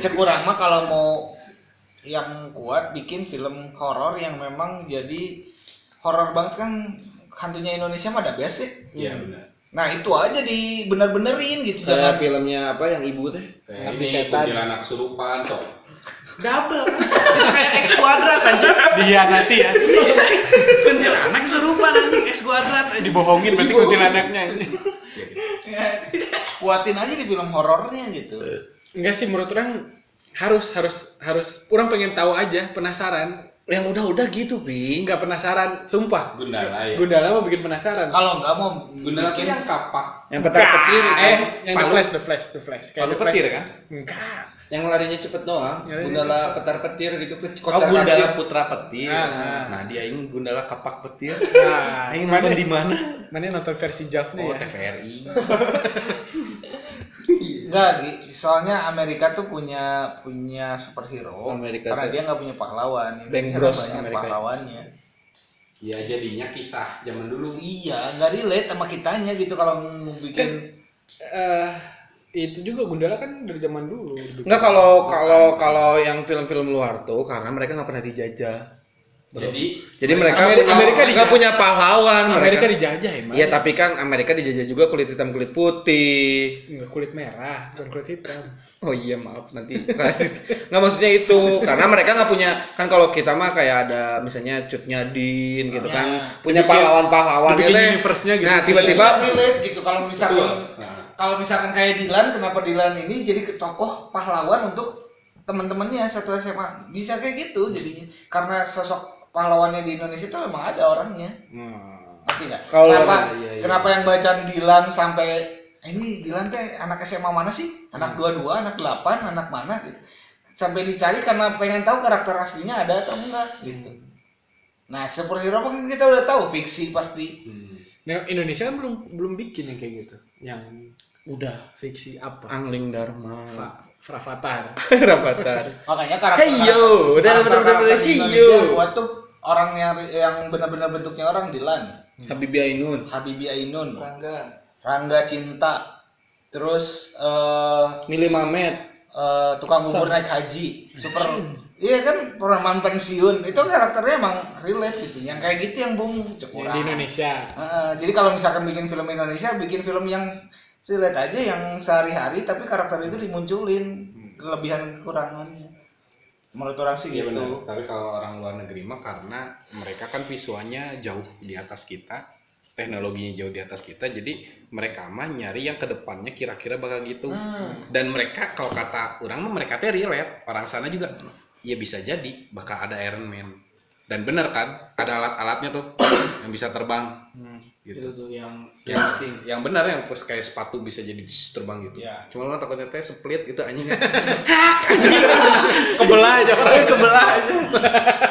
[SPEAKER 3] Cek kurang mah kalau mau yang kuat bikin film horor yang memang jadi horor banget kan hantunya Indonesia mah ada biasa.
[SPEAKER 2] Iya benar.
[SPEAKER 3] Nah itu aja di bener-benerin gitu
[SPEAKER 1] Kayak
[SPEAKER 3] jangan
[SPEAKER 1] filmnya apa yang ibu teh?
[SPEAKER 2] Kayak
[SPEAKER 6] Abdi
[SPEAKER 2] ini
[SPEAKER 6] setan.
[SPEAKER 2] kuntilanak kesurupan sok.
[SPEAKER 9] Double. Kayak X kuadrat anjing.
[SPEAKER 8] Dia nanti ya,
[SPEAKER 9] Kuntilanak serupa anjing X kuadrat.
[SPEAKER 6] Eh,
[SPEAKER 9] anjing.
[SPEAKER 8] dibohongin berarti kuntilanaknya.
[SPEAKER 2] Ya, gitu.
[SPEAKER 3] kuatin aja di film horornya gitu.
[SPEAKER 1] Eh.
[SPEAKER 6] Enggak sih menurut orang harus harus harus orang pengen tahu aja penasaran
[SPEAKER 3] Yang udah-udah gitu, Bi.
[SPEAKER 6] enggak penasaran sumpah
[SPEAKER 2] Gundala ya.
[SPEAKER 6] Gundala mah bikin penasaran
[SPEAKER 3] Kalau nggak mau
[SPEAKER 2] Gundala tuh
[SPEAKER 3] bikin-
[SPEAKER 2] yang kapak.
[SPEAKER 1] Yang petar petir itu.
[SPEAKER 6] eh yang the
[SPEAKER 2] Palu.
[SPEAKER 6] flash the flash the flash
[SPEAKER 2] Palu
[SPEAKER 6] The Flash.
[SPEAKER 2] petir kan?
[SPEAKER 6] enggak
[SPEAKER 1] Yang larinya cepet
[SPEAKER 3] Iya,
[SPEAKER 1] doang.
[SPEAKER 6] Larinya
[SPEAKER 1] Gundala petar petir gitu ke
[SPEAKER 2] Oh,
[SPEAKER 1] kocar
[SPEAKER 2] Gundala
[SPEAKER 1] kacir.
[SPEAKER 2] Putra Petir.
[SPEAKER 6] Ah.
[SPEAKER 2] Nah, dia ini Gundala Kapak Petir.
[SPEAKER 6] nah
[SPEAKER 1] Ini
[SPEAKER 6] mana
[SPEAKER 1] nonton di mana?
[SPEAKER 6] mana nonton versi Javnya
[SPEAKER 2] Oh,
[SPEAKER 6] ya
[SPEAKER 2] TVRI.
[SPEAKER 3] Enggak, Gi. soalnya Amerika tuh punya punya superhero.
[SPEAKER 1] Amerika
[SPEAKER 3] karena
[SPEAKER 1] tuh.
[SPEAKER 3] dia nggak punya pahlawan.
[SPEAKER 1] Bang
[SPEAKER 3] Indonesia
[SPEAKER 1] Bros
[SPEAKER 3] kan banyak
[SPEAKER 1] Amerika.
[SPEAKER 3] pahlawannya.
[SPEAKER 2] Ya jadinya kisah zaman dulu.
[SPEAKER 3] Iya, nggak relate sama kitanya gitu kalau mau bikin
[SPEAKER 6] Eh, itu juga Gundala kan dari zaman dulu
[SPEAKER 1] Enggak kalau kalau kalau yang film-film luar tuh karena mereka nggak pernah dijajah. Bro.
[SPEAKER 2] Jadi
[SPEAKER 1] Jadi mereka
[SPEAKER 6] Amerika-
[SPEAKER 1] punya-
[SPEAKER 6] Amerika
[SPEAKER 1] nggak
[SPEAKER 6] dijajah.
[SPEAKER 1] punya pahlawan
[SPEAKER 6] Amerika
[SPEAKER 1] mereka.
[SPEAKER 6] dijajah emang
[SPEAKER 1] Iya tapi kan Amerika dijajah juga kulit hitam kulit putih.
[SPEAKER 6] enggak kulit merah bukan kulit hitam
[SPEAKER 1] Oh iya maaf nanti rasis. Nggak maksudnya itu karena mereka nggak punya kan kalau kita mah kayak ada misalnya Cut Nyadin gitu kan punya
[SPEAKER 6] Dibikin-
[SPEAKER 1] pahlawan-pahlawan
[SPEAKER 6] dibikin
[SPEAKER 1] gitu.
[SPEAKER 6] universe-nya gitu.
[SPEAKER 1] Nah tiba-tiba
[SPEAKER 3] Nggak relate gitu kalau
[SPEAKER 2] Betul.
[SPEAKER 3] misalkan
[SPEAKER 2] Nah,
[SPEAKER 3] kalau misalkan kayak Dilan, kenapa Dilan ini jadi ke- tokoh pahlawan untuk teman-temannya satu SMA bisa kayak gitu jadinya karena sosok pahlawannya di Indonesia tuh emang ada orangnya
[SPEAKER 1] Hmm.
[SPEAKER 3] ngerti nggak?
[SPEAKER 1] Kalau-
[SPEAKER 3] kenapa
[SPEAKER 1] iya, iya.
[SPEAKER 3] kenapa yang bacaan Dilan sampai ini Dilan teh anak SMA mana sih
[SPEAKER 1] Hmm.
[SPEAKER 3] anak dua-dua anak delapan anak mana gitu sampai dicari karena pengen tahu karakter aslinya ada atau enggak
[SPEAKER 1] Hmm.
[SPEAKER 3] gitu nah superhero mungkin kita udah tahu fiksi pasti
[SPEAKER 2] hmm.
[SPEAKER 6] Nah, Indonesia kan belum belum bikin yang kayak gitu yang
[SPEAKER 1] udah
[SPEAKER 6] fiksi apa
[SPEAKER 1] Angling Dharma.
[SPEAKER 6] Fra- Fravatar
[SPEAKER 1] Rapatar.
[SPEAKER 3] makanya karakter
[SPEAKER 1] Hey, yo. Udah, udah, udah,
[SPEAKER 3] karakter- karakter
[SPEAKER 1] udah,
[SPEAKER 3] di
[SPEAKER 1] hey,
[SPEAKER 3] Indonesia
[SPEAKER 1] yo.
[SPEAKER 3] kuat tuh orang yang yang benar-benar bentuknya orang Dilan
[SPEAKER 1] Habibie Ainun.
[SPEAKER 3] Habibie Ainun
[SPEAKER 7] Rangga.
[SPEAKER 3] Rangga Cinta terus eh
[SPEAKER 1] Mili Mamet.
[SPEAKER 3] eh, tukang bubur naik haji super iya kan perumahan pensiun itu karakternya emang relate gitu yang kayak gitu yang boom
[SPEAKER 6] yang
[SPEAKER 3] cekurang
[SPEAKER 6] di Indonesia
[SPEAKER 3] Heeh, jadi kalau misalkan bikin film Indonesia bikin film yang relate aja yang sehari-hari tapi karakter itu dimunculin kelebihan kekurangannya menurut orang sih
[SPEAKER 2] Iya benar.
[SPEAKER 3] gitu
[SPEAKER 2] Tapi kalau orang luar negeri mah karena mereka kan visualnya jauh di atas kita, teknologinya jauh di atas kita, jadi mereka mah nyari yang kedepannya kira-kira bakal gitu.
[SPEAKER 3] Hmm.
[SPEAKER 2] Dan mereka kalau kata orang mah mereka teh relate, orang sana juga ya bisa jadi bakal ada Iron Man. Dan bener kan, ada alat-alatnya tuh yang bisa terbang.
[SPEAKER 1] Itu
[SPEAKER 2] Gitu.
[SPEAKER 1] tuh yang
[SPEAKER 2] Yang, yang benar yang terus kayak sepatu bisa jadi zzz, terbang gitu.
[SPEAKER 3] Ya.
[SPEAKER 2] Cuma orang takutnya teh split itu anjing. Iya,
[SPEAKER 6] kebelah aja orang
[SPEAKER 2] kebelah aja.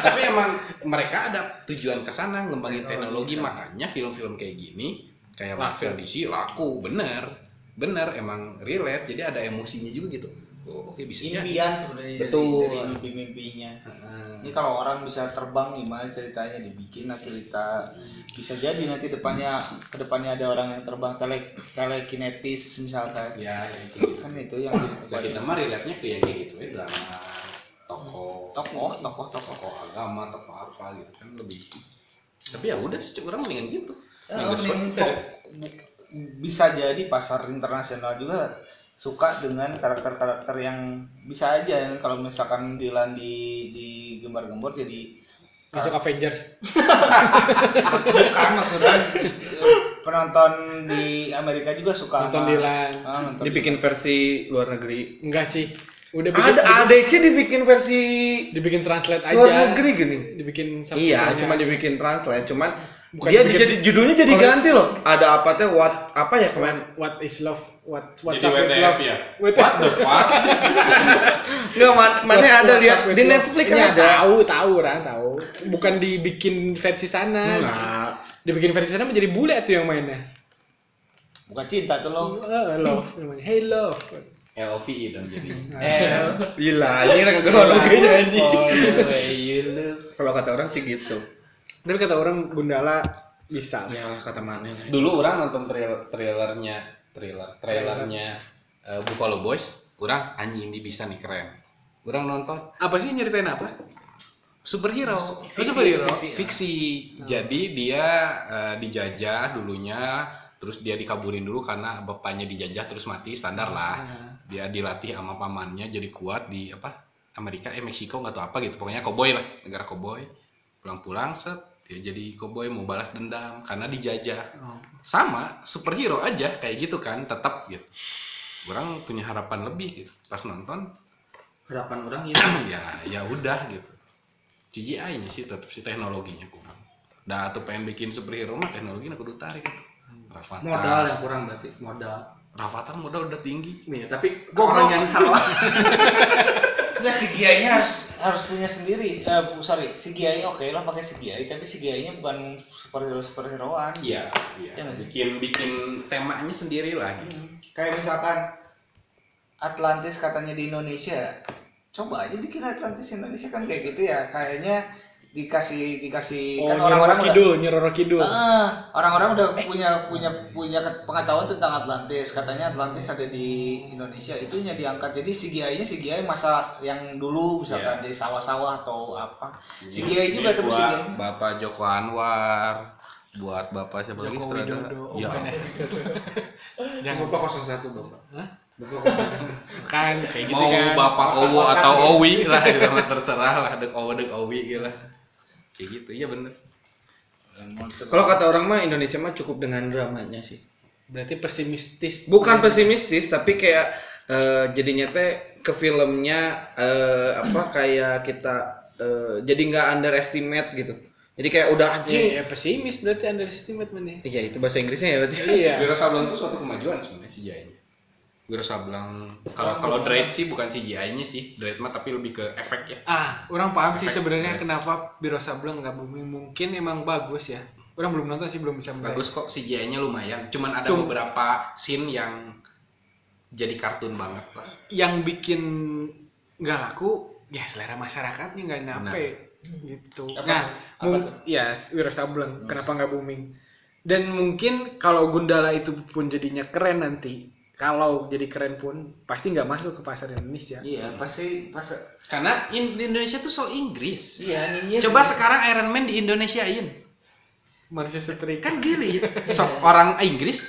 [SPEAKER 2] Tapi emang mereka ada tujuan ke sana ngembangin teknologi makanya film-film kayak gini kayak Marvel DC laku bener bener emang relate jadi ada emosinya juga gitu Oh, oke bisa jadi.
[SPEAKER 3] impian sebenarnya dari-
[SPEAKER 1] Betul.
[SPEAKER 3] dari mimpi-mimpinya ini kalau orang bisa terbang gimana ceritanya dibikin lah cerita bisa jadi nanti depannya kedepannya ada orang yang terbang tele telekinetis misalkan
[SPEAKER 2] Ya, ya itu.
[SPEAKER 3] kan itu yang
[SPEAKER 2] Dan Nah, kita mah relate-nya ke yang kayak gitu ya, drama tokoh,
[SPEAKER 3] tokoh tokoh tokoh
[SPEAKER 2] tokoh agama, tokoh apa gitu kan lebih. Tapi ya udah sih, Cuk, orang mendingan gitu.
[SPEAKER 3] Eh,
[SPEAKER 2] Minggu
[SPEAKER 3] mending
[SPEAKER 2] sore.
[SPEAKER 3] kok- bu- bisa jadi pasar internasional juga suka dengan karakter-karakter yang bisa aja kalau misalkan Dylan di di gembar-gembor jadi
[SPEAKER 6] Masuk Avengers.
[SPEAKER 3] bukan maksudnya eh, penonton di Amerika juga suka
[SPEAKER 6] Nonton
[SPEAKER 3] sama-
[SPEAKER 6] Dylan.
[SPEAKER 3] Ah, nonton
[SPEAKER 1] Dibikin versi luar negeri. Ya,
[SPEAKER 6] Enggak sih. Udah bikin,
[SPEAKER 1] Ada ADC dibikin versi
[SPEAKER 6] dibikin translate aja.
[SPEAKER 1] luar negeri gini.
[SPEAKER 6] Dibikin
[SPEAKER 1] Iya,
[SPEAKER 6] subtitlenya.
[SPEAKER 1] cuma dibikin translate, cuman
[SPEAKER 6] Bukan
[SPEAKER 1] dia
[SPEAKER 6] dibikin-
[SPEAKER 1] jadi judulnya jadi
[SPEAKER 6] Kalau-
[SPEAKER 1] ganti loh. Ada apa teh what apa ya kemarin?
[SPEAKER 6] What is love? What what's
[SPEAKER 2] Jadi
[SPEAKER 6] up with
[SPEAKER 2] WTF
[SPEAKER 6] love?
[SPEAKER 2] ya?
[SPEAKER 6] WTF.
[SPEAKER 2] What the fuck?
[SPEAKER 1] Enggak, man, mana
[SPEAKER 6] What-
[SPEAKER 1] ada
[SPEAKER 6] what's
[SPEAKER 1] lihat
[SPEAKER 6] up with
[SPEAKER 1] di
[SPEAKER 6] love?
[SPEAKER 1] Netflix kan
[SPEAKER 6] Iya,
[SPEAKER 1] ada.
[SPEAKER 6] Tahu, tahu, orang tahu. Bukan dibikin versi sana.
[SPEAKER 1] Nah,
[SPEAKER 6] Dibikin versi sana menjadi bule tuh yang mainnya.
[SPEAKER 3] bukan cinta tuh lo
[SPEAKER 6] Eh, love namanya. Hey love.
[SPEAKER 2] LVE dong jadi.
[SPEAKER 1] gila, ini ngegono kayaknya anjing.
[SPEAKER 3] Always.
[SPEAKER 1] Kalau kata orang sih gitu.
[SPEAKER 6] Tapi kata orang Gundala bisa.
[SPEAKER 1] Ya lah kata mana. lah.
[SPEAKER 2] Dulu orang nonton trailer trailernya, trailer trailernya eh, Buffalo Boys, orang anjing ini bisa nih keren. Orang nonton
[SPEAKER 6] Apa sih nyeritain apa?
[SPEAKER 2] superhero
[SPEAKER 6] Fiksi, superhero.
[SPEAKER 2] fiksi, Fiksi. jadi dia eh, dijajah dulunya terus dia dikaburin dulu karena bapaknya dijajah terus mati standar lah dia dilatih sama pamannya jadi kuat di apa Amerika eh Meksiko nggak tahu apa gitu pokoknya koboi lah negara koboi pulang-pulang set dia jadi koboi mau balas dendam karena dijajah
[SPEAKER 6] Oh.
[SPEAKER 2] sama superhero aja kayak gitu kan tetap gitu orang punya harapan lebih gitu pas nonton
[SPEAKER 1] Harapan orang gitu. itu.
[SPEAKER 2] ya ya udah gitu CGI nya sih tetap sih teknologinya kurang dah tuh pengen bikin superhero mah teknologi kudu tarik gitu. Rafathar
[SPEAKER 1] Hmm.
[SPEAKER 3] Nah.
[SPEAKER 1] Modal ya? yang kurang berarti, modal.
[SPEAKER 2] Rafathar modal udah tinggi
[SPEAKER 1] Nih, tapi
[SPEAKER 3] Goblok.
[SPEAKER 1] orang yang salah.
[SPEAKER 3] Enggak CGI-nya harus harus punya sendiri. Eh bu- sorry, CGI oke lah pakai CGI, tapi CGI-nya bukan superhero superheroan.
[SPEAKER 2] iya iya
[SPEAKER 3] Iya nggak sih?
[SPEAKER 2] bikin bikin temanya sendiri lah gitu.
[SPEAKER 1] Hmm,
[SPEAKER 3] Kayak misalkan Atlantis katanya di Indonesia, coba aja bikin Atlantis Indonesia kan kayak gitu ya. Kayaknya dikasih dikasih
[SPEAKER 6] Oh,
[SPEAKER 3] kan
[SPEAKER 6] Nyeroro
[SPEAKER 3] orang-orang udah
[SPEAKER 6] Kidul, Nyeroro Kidul.
[SPEAKER 3] Ah, orang-orang udah punya punya punya ke- pengetahuan tentang Atlantis. Katanya Atlantis ada di Indonesia. Itunya diangkat. Jadi CGI-nya CGI masa yang dulu misalkan
[SPEAKER 2] Iya.
[SPEAKER 3] di sawah-sawah atau apa. CGI juga
[SPEAKER 2] Ini
[SPEAKER 3] tapi
[SPEAKER 2] buat
[SPEAKER 3] CGI.
[SPEAKER 2] bapak Joko Anwar buat bapak siapa lagi
[SPEAKER 6] Joko
[SPEAKER 2] sutradara
[SPEAKER 6] Widodo.
[SPEAKER 2] ya
[SPEAKER 6] Bukan ya. Yang
[SPEAKER 1] Bapak 01 Bapak.
[SPEAKER 6] kan kayak gitu
[SPEAKER 2] mau
[SPEAKER 6] kan.
[SPEAKER 2] bapak Owo
[SPEAKER 6] Otak-otak
[SPEAKER 2] atau
[SPEAKER 6] gitu.
[SPEAKER 2] Owi lah itu mah terserah lah dek Owo dek Owi gitu lah kayak gitu iya bener
[SPEAKER 1] Kalau kata orang mah Indonesia mah cukup dengan dramanya sih.
[SPEAKER 6] Berarti pesimistis.
[SPEAKER 3] Iya.
[SPEAKER 6] Iya,
[SPEAKER 1] Bukan pesimistis tapi kayak eh, jadinya teh ke filmnya eh,
[SPEAKER 3] Hmm.
[SPEAKER 1] apa kayak kita eh, jadi nggak underestimate gitu. Jadi kayak udah anjing.
[SPEAKER 6] Iya, ya, pesimis berarti underestimate mana?
[SPEAKER 1] Iya itu bahasa Inggrisnya ya berarti.
[SPEAKER 6] Iya.
[SPEAKER 2] Wiro Sablang itu suatu kemajuan sebenarnya CGI-nya. Wiro Sablang kalau kalau Dread sih bukan CGI-nya sih, Dread mah tapi lebih ke efek ya.
[SPEAKER 6] Ah, orang paham sih
[SPEAKER 2] Efek.
[SPEAKER 3] ya.
[SPEAKER 6] sebenarnya kenapa Biro Sableng nggak booming. Mungkin emang bagus ya. Orang belum nonton sih, belum bisa menilai.
[SPEAKER 2] Bagus kok CGI-nya lumayan, cuman ada
[SPEAKER 6] Cum-
[SPEAKER 2] beberapa scene yang jadi kartun banget lah.
[SPEAKER 6] Yang bikin nggak laku, ya selera masyarakatnya nggak nyampe gitu.
[SPEAKER 3] Apa
[SPEAKER 6] Nah,
[SPEAKER 3] tuh? Apa
[SPEAKER 6] mung-
[SPEAKER 3] tuh? Hmm.
[SPEAKER 6] ya Wiro Sableng kenapa nggak booming? Dan mungkin kalau Gundala itu pun jadinya keren nanti, kalau jadi keren pun pasti nggak masuk ke pasar Indonesia.
[SPEAKER 3] Iya, pasti pas
[SPEAKER 2] Karena in- di Indonesia tuh so Inggris.
[SPEAKER 3] iya nyinyir.
[SPEAKER 2] Coba sekarang Iron Man di Indonesiain.
[SPEAKER 6] Manusia setrika.
[SPEAKER 2] Kan geli. So, orang Inggris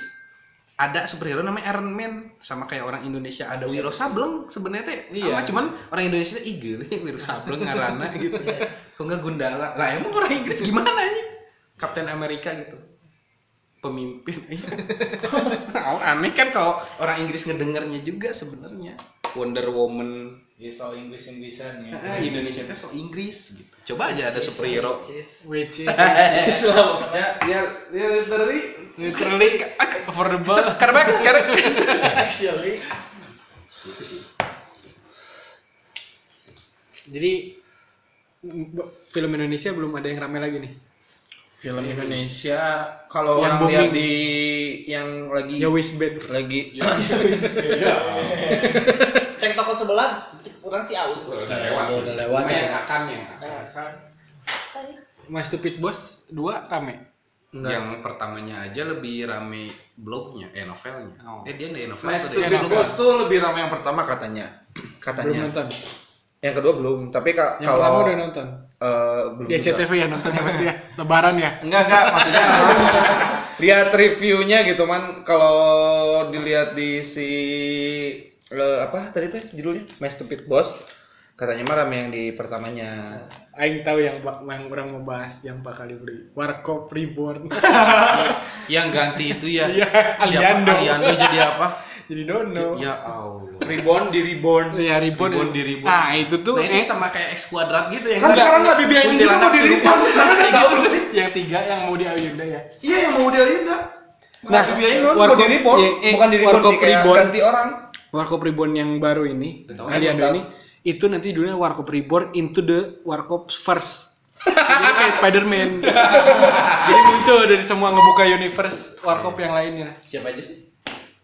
[SPEAKER 2] ada superhero namanya Iron Man sama kayak orang Indonesia ada Wiro Sableng sebenarnya teh sama
[SPEAKER 6] Iya.
[SPEAKER 2] cuman orang Indonesia teh igel Wiro Sableng ngarana gitu kok nggak Gundala lah emang orang Inggris gimana nih Kapten Amerika gitu pemimpin Nah, aneh kan kalau orang Inggris ngedengarnya juga sebenarnya Wonder Woman
[SPEAKER 3] Ya soal Inggris Inggrisan ya.
[SPEAKER 2] ah, Indonesia teh so Inggris gitu coba aja ada superhero
[SPEAKER 6] Which is
[SPEAKER 2] ya ya ya literally
[SPEAKER 6] literally affordable.
[SPEAKER 2] karena karena
[SPEAKER 3] Actually.
[SPEAKER 6] Jadi m- film Indonesia belum ada yang rame lagi nih.
[SPEAKER 1] Film Indonesia kalau
[SPEAKER 6] Yang
[SPEAKER 1] orang lihat
[SPEAKER 6] booming.
[SPEAKER 1] di yang lagi
[SPEAKER 6] Ya Wisbed.
[SPEAKER 1] lagi
[SPEAKER 7] Cek toko sebelah, cek kurang si aus.
[SPEAKER 2] Udah lewat. sih.
[SPEAKER 11] Udah lewat
[SPEAKER 2] Cuma
[SPEAKER 11] ya.
[SPEAKER 2] yang akan yang akan.
[SPEAKER 7] Nah, kan.
[SPEAKER 6] My Stupid Boss 2 rame.
[SPEAKER 11] Enggak.
[SPEAKER 2] Yang pertamanya aja lebih rame blognya, eh novelnya.
[SPEAKER 6] Oh.
[SPEAKER 2] Eh dia dari novel
[SPEAKER 11] Mas
[SPEAKER 2] atau
[SPEAKER 11] tuh
[SPEAKER 2] dari
[SPEAKER 6] Stupid
[SPEAKER 2] blog?
[SPEAKER 6] Boss.
[SPEAKER 11] tuh lebih ramai yang pertama katanya.
[SPEAKER 12] Belum
[SPEAKER 11] Katanya.
[SPEAKER 12] nonton.
[SPEAKER 11] Yang kedua belum, tapi ka-
[SPEAKER 12] Yang pertama
[SPEAKER 11] kalau
[SPEAKER 12] udah nonton.
[SPEAKER 11] eh, belum
[SPEAKER 6] Di
[SPEAKER 11] juga.
[SPEAKER 6] SCTV ya nontonnya pasti ya. Lebaran ya.
[SPEAKER 11] Enggak, enggak, maksudnya lihat reviewnya gitu man kalau dilihat di si eh, apa tadi tuh judulnya My Stupid Boss katanya mah rame yang di pertamanya
[SPEAKER 12] Aing tahu yang bak- yang orang mau bahas yang bakal dibeli. Warkop Reborn.
[SPEAKER 2] Yang ganti itu ya.
[SPEAKER 12] Iya,
[SPEAKER 2] Siapa?
[SPEAKER 12] Aliando.
[SPEAKER 2] Aliando jadi apa?
[SPEAKER 12] Jadi dono.
[SPEAKER 2] Ya Allah.
[SPEAKER 11] reborn di reborn
[SPEAKER 6] Ya Reborn.
[SPEAKER 2] Reborn di Reborn.
[SPEAKER 6] Nah, itu tuh
[SPEAKER 2] Nah, ini
[SPEAKER 6] eh,
[SPEAKER 2] sama kayak X kuadrat gitu ya.
[SPEAKER 11] kan sekarang nggak bibi Ainun juga mau
[SPEAKER 2] Kuntilanak Iya.
[SPEAKER 11] di
[SPEAKER 2] siluman.
[SPEAKER 11] reborn sama nggak tahu lu sih
[SPEAKER 6] eh, yang tiga yang mau di Ayunda ya.
[SPEAKER 11] iya yang mau dia Ainun dah
[SPEAKER 6] Nah,
[SPEAKER 11] nah bibi Ainun mau
[SPEAKER 6] Warkop-
[SPEAKER 11] di reborn
[SPEAKER 6] iya, eh,
[SPEAKER 11] bukan di reborn
[SPEAKER 6] Warkop
[SPEAKER 11] sih kayak
[SPEAKER 6] Reborn.
[SPEAKER 11] ganti orang
[SPEAKER 6] Warkop Reborn yang baru ini,
[SPEAKER 2] Tahu,
[SPEAKER 6] Aliando
[SPEAKER 11] tahu.
[SPEAKER 6] ini, itu nanti judulnya Warkop Reborn into the Warkop Verse. Jadi kayak Spider-Man. Jadi muncul dari semua ngebuka universe Warkop yang lainnya.
[SPEAKER 2] Siapa aja sih?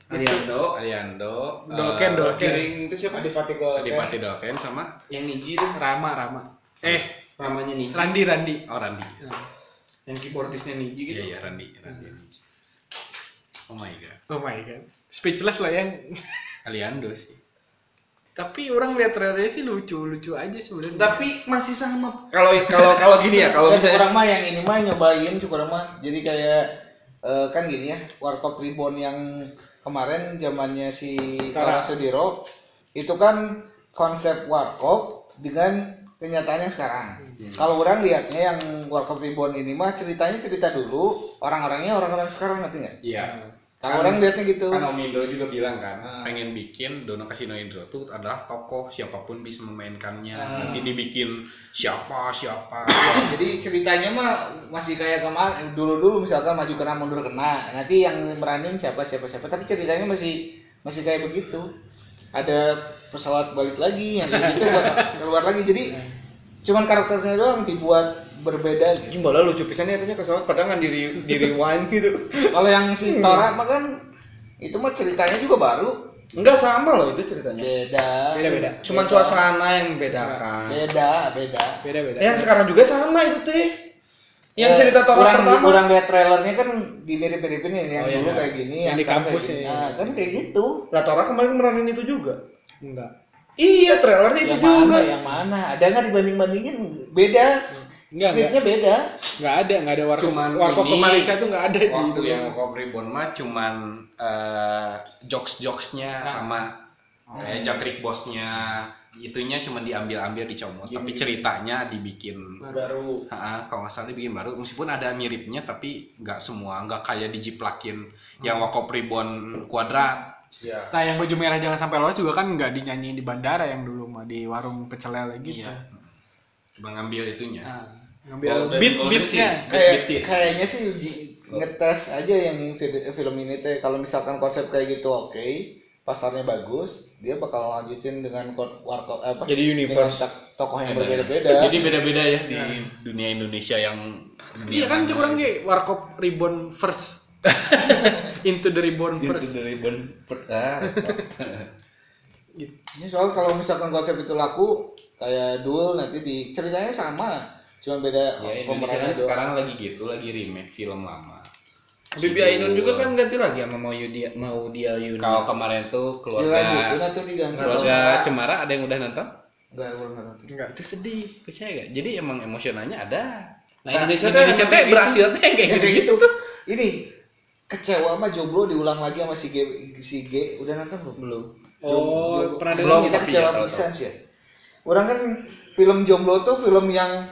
[SPEAKER 11] Aliando
[SPEAKER 2] Aliando. eh,
[SPEAKER 6] Doken, Doken.
[SPEAKER 11] Kiring itu siapa
[SPEAKER 3] Adipati Gold.
[SPEAKER 2] Adipati Doken sama
[SPEAKER 11] yang Niji tuh
[SPEAKER 6] Rama, Rama. Eh,
[SPEAKER 11] namanya Niji
[SPEAKER 6] Randi, Randi.
[SPEAKER 2] oh Randi.
[SPEAKER 11] yang keyboardisnya Niji gitu
[SPEAKER 2] Iya iya Randi, Randi. Oh my god.
[SPEAKER 6] Oh my god. Speechless lah yang.
[SPEAKER 2] Aliando sih.
[SPEAKER 6] Tapi orang lihat trailernya sih lucu-lucu aja sebenarnya.
[SPEAKER 11] tapi masih sama kalau kalau kalau gini ya kalau
[SPEAKER 3] Kan
[SPEAKER 11] misalnya
[SPEAKER 3] orang mah yang ini mah nyobain cukurang mah. Jadi kayak eh, kan gini ya, Warkop Reborn yang kemarin zamannya si Kara Sudiro itu kan konsep Warkop dengan kenyataannya sekarang.
[SPEAKER 11] Iya.
[SPEAKER 3] Kalau orang lihatnya yang Warkop Reborn ini mah ceritanya cerita dulu, orang-orangnya orang-orang sekarang ngerti nggak?
[SPEAKER 2] Iya.
[SPEAKER 3] Kalau orang lihatnya gitu.
[SPEAKER 2] Kan Om Indro juga bilang kan,
[SPEAKER 3] Ah.
[SPEAKER 2] pengen bikin Dono Casino Indro tuh adalah tokoh siapapun bisa memainkannya.
[SPEAKER 11] Ah.
[SPEAKER 2] Nanti dibikin siapa siapa.
[SPEAKER 11] Ya,
[SPEAKER 3] Jadi ceritanya mah masih kayak kemarin dulu-dulu misalkan maju kena mundur kena. Nanti yang meranin siapa siapa siapa tapi ceritanya masih masih kayak begitu. Ada pesawat balik lagi yang kayak gitu bakal keluar lagi. Jadi cuman karakternya doang dibuat berbeda gitu.
[SPEAKER 11] Jumlah lucu pisannya katanya kesawat padahal nggak diri diri rewind gitu.
[SPEAKER 3] Kalau yang si Tora mah kan itu mah ceritanya juga baru.
[SPEAKER 11] Enggak sama loh itu ceritanya. Iya,
[SPEAKER 3] Beda.
[SPEAKER 6] Beda-beda.
[SPEAKER 11] Cuman suasana yang bedakan.
[SPEAKER 3] Beda, beda.
[SPEAKER 6] Beda-beda.
[SPEAKER 2] Ya.
[SPEAKER 11] Yang sekarang juga sama itu teh. Yang
[SPEAKER 3] Eh,
[SPEAKER 11] cerita Tora
[SPEAKER 3] orang,
[SPEAKER 11] pertama.
[SPEAKER 3] Orang lihat trailernya kan di mirip-miripin yang
[SPEAKER 6] Oh, iya,
[SPEAKER 3] dulu
[SPEAKER 6] iya.
[SPEAKER 3] kayak gini,
[SPEAKER 6] Yang di
[SPEAKER 3] sekarang kayak
[SPEAKER 6] kampus
[SPEAKER 3] gini.
[SPEAKER 6] ya, iya.
[SPEAKER 3] Nah, kan kayak gitu.
[SPEAKER 11] Lah Tora kemarin meranin itu juga.
[SPEAKER 6] Enggak.
[SPEAKER 11] Iya, trailernya itu
[SPEAKER 3] yang
[SPEAKER 11] juga.
[SPEAKER 3] mana ya? yang mana ada nggak dibanding bandingin beda
[SPEAKER 6] Enggak,
[SPEAKER 3] skripnya beda
[SPEAKER 6] Enggak ada, enggak ada warkop.
[SPEAKER 2] Cuman
[SPEAKER 6] warkop
[SPEAKER 2] ini-
[SPEAKER 6] ke Malaysia tuh enggak ada
[SPEAKER 2] Waktu
[SPEAKER 6] di
[SPEAKER 2] yang Om Reborn mah cuman eh,
[SPEAKER 3] Ah.
[SPEAKER 2] jokes-jokesnya sama
[SPEAKER 3] Oh.
[SPEAKER 2] kayak jangkrik bosnya itunya cuman diambil-ambil dicomot tapi
[SPEAKER 3] Iya.
[SPEAKER 2] ceritanya dibikin
[SPEAKER 11] Baru.
[SPEAKER 2] Ah, kalau nggak salah dibikin baru, meskipun ada miripnya tapi nggak semua, nggak kayak dijiplakin
[SPEAKER 3] Hmm.
[SPEAKER 2] yang Wakop Ribbon kuadrat.
[SPEAKER 11] Iya.
[SPEAKER 6] Nah, yang baju merah jangan sampai lolos juga kan nggak dinyanyiin di bandara yang dulu mah di warung pecelele gitu.
[SPEAKER 2] Iya. Coba ngambil itunya.
[SPEAKER 6] Nah, ngambil
[SPEAKER 2] Golden-
[SPEAKER 6] beat
[SPEAKER 2] golden
[SPEAKER 6] beatnya.
[SPEAKER 2] sih.
[SPEAKER 3] kayak
[SPEAKER 2] Kecil.
[SPEAKER 3] kayaknya sih di- ngetes aja yang vid- film ini teh kalau misalkan konsep kayak gitu oke pasarnya bagus dia bakal lanjutin dengan kon- warkop apa
[SPEAKER 11] Jadi
[SPEAKER 3] dengan
[SPEAKER 11] universe.
[SPEAKER 3] tak- tokoh yang
[SPEAKER 2] Beda.
[SPEAKER 3] berbeda-beda
[SPEAKER 2] Jadi beda-beda ya di dunia Indonesia yang
[SPEAKER 6] Iya kan kurang ge warkop reborn first. Into the reborn
[SPEAKER 2] First.
[SPEAKER 6] first.
[SPEAKER 2] Ah. Ya,
[SPEAKER 3] ini soal kalau misalkan konsep itu laku kayak duel nanti di ceritanya sama cuma beda
[SPEAKER 2] Ya, Indonesia
[SPEAKER 3] pemerannya
[SPEAKER 2] kan
[SPEAKER 3] doang
[SPEAKER 2] sekarang lagi gitu, lagi remake film lama.
[SPEAKER 11] Bibi Ainun juga kan ganti lagi sama mau dia mau dia Yuna.
[SPEAKER 2] Kalau kemarin tuh
[SPEAKER 3] dilanjutin
[SPEAKER 2] keluarga
[SPEAKER 3] atau diganti
[SPEAKER 2] keluarga Cemara ada yang udah nonton?
[SPEAKER 3] nggak orang nggak nonton
[SPEAKER 6] Enggak.
[SPEAKER 2] Itu sedih, percaya gak? Jadi emang emosionalnya ada. Nah,
[SPEAKER 3] Nah, kita
[SPEAKER 2] Indonesia tuh Indonesia
[SPEAKER 3] emang
[SPEAKER 2] tuh
[SPEAKER 3] gitu.
[SPEAKER 2] berhasil tuh yang kayak
[SPEAKER 3] Ya,
[SPEAKER 2] gitu.
[SPEAKER 3] kayak gitu ini kecewa mah jomblo diulang lagi sama si G si G udah nonton belum belum
[SPEAKER 6] Oh, pernah dengar
[SPEAKER 3] belum
[SPEAKER 2] tapi
[SPEAKER 3] kita kecewa
[SPEAKER 2] ya, tahu-tahu.
[SPEAKER 3] pisan sih ya. orang kan film jomblo tuh film yang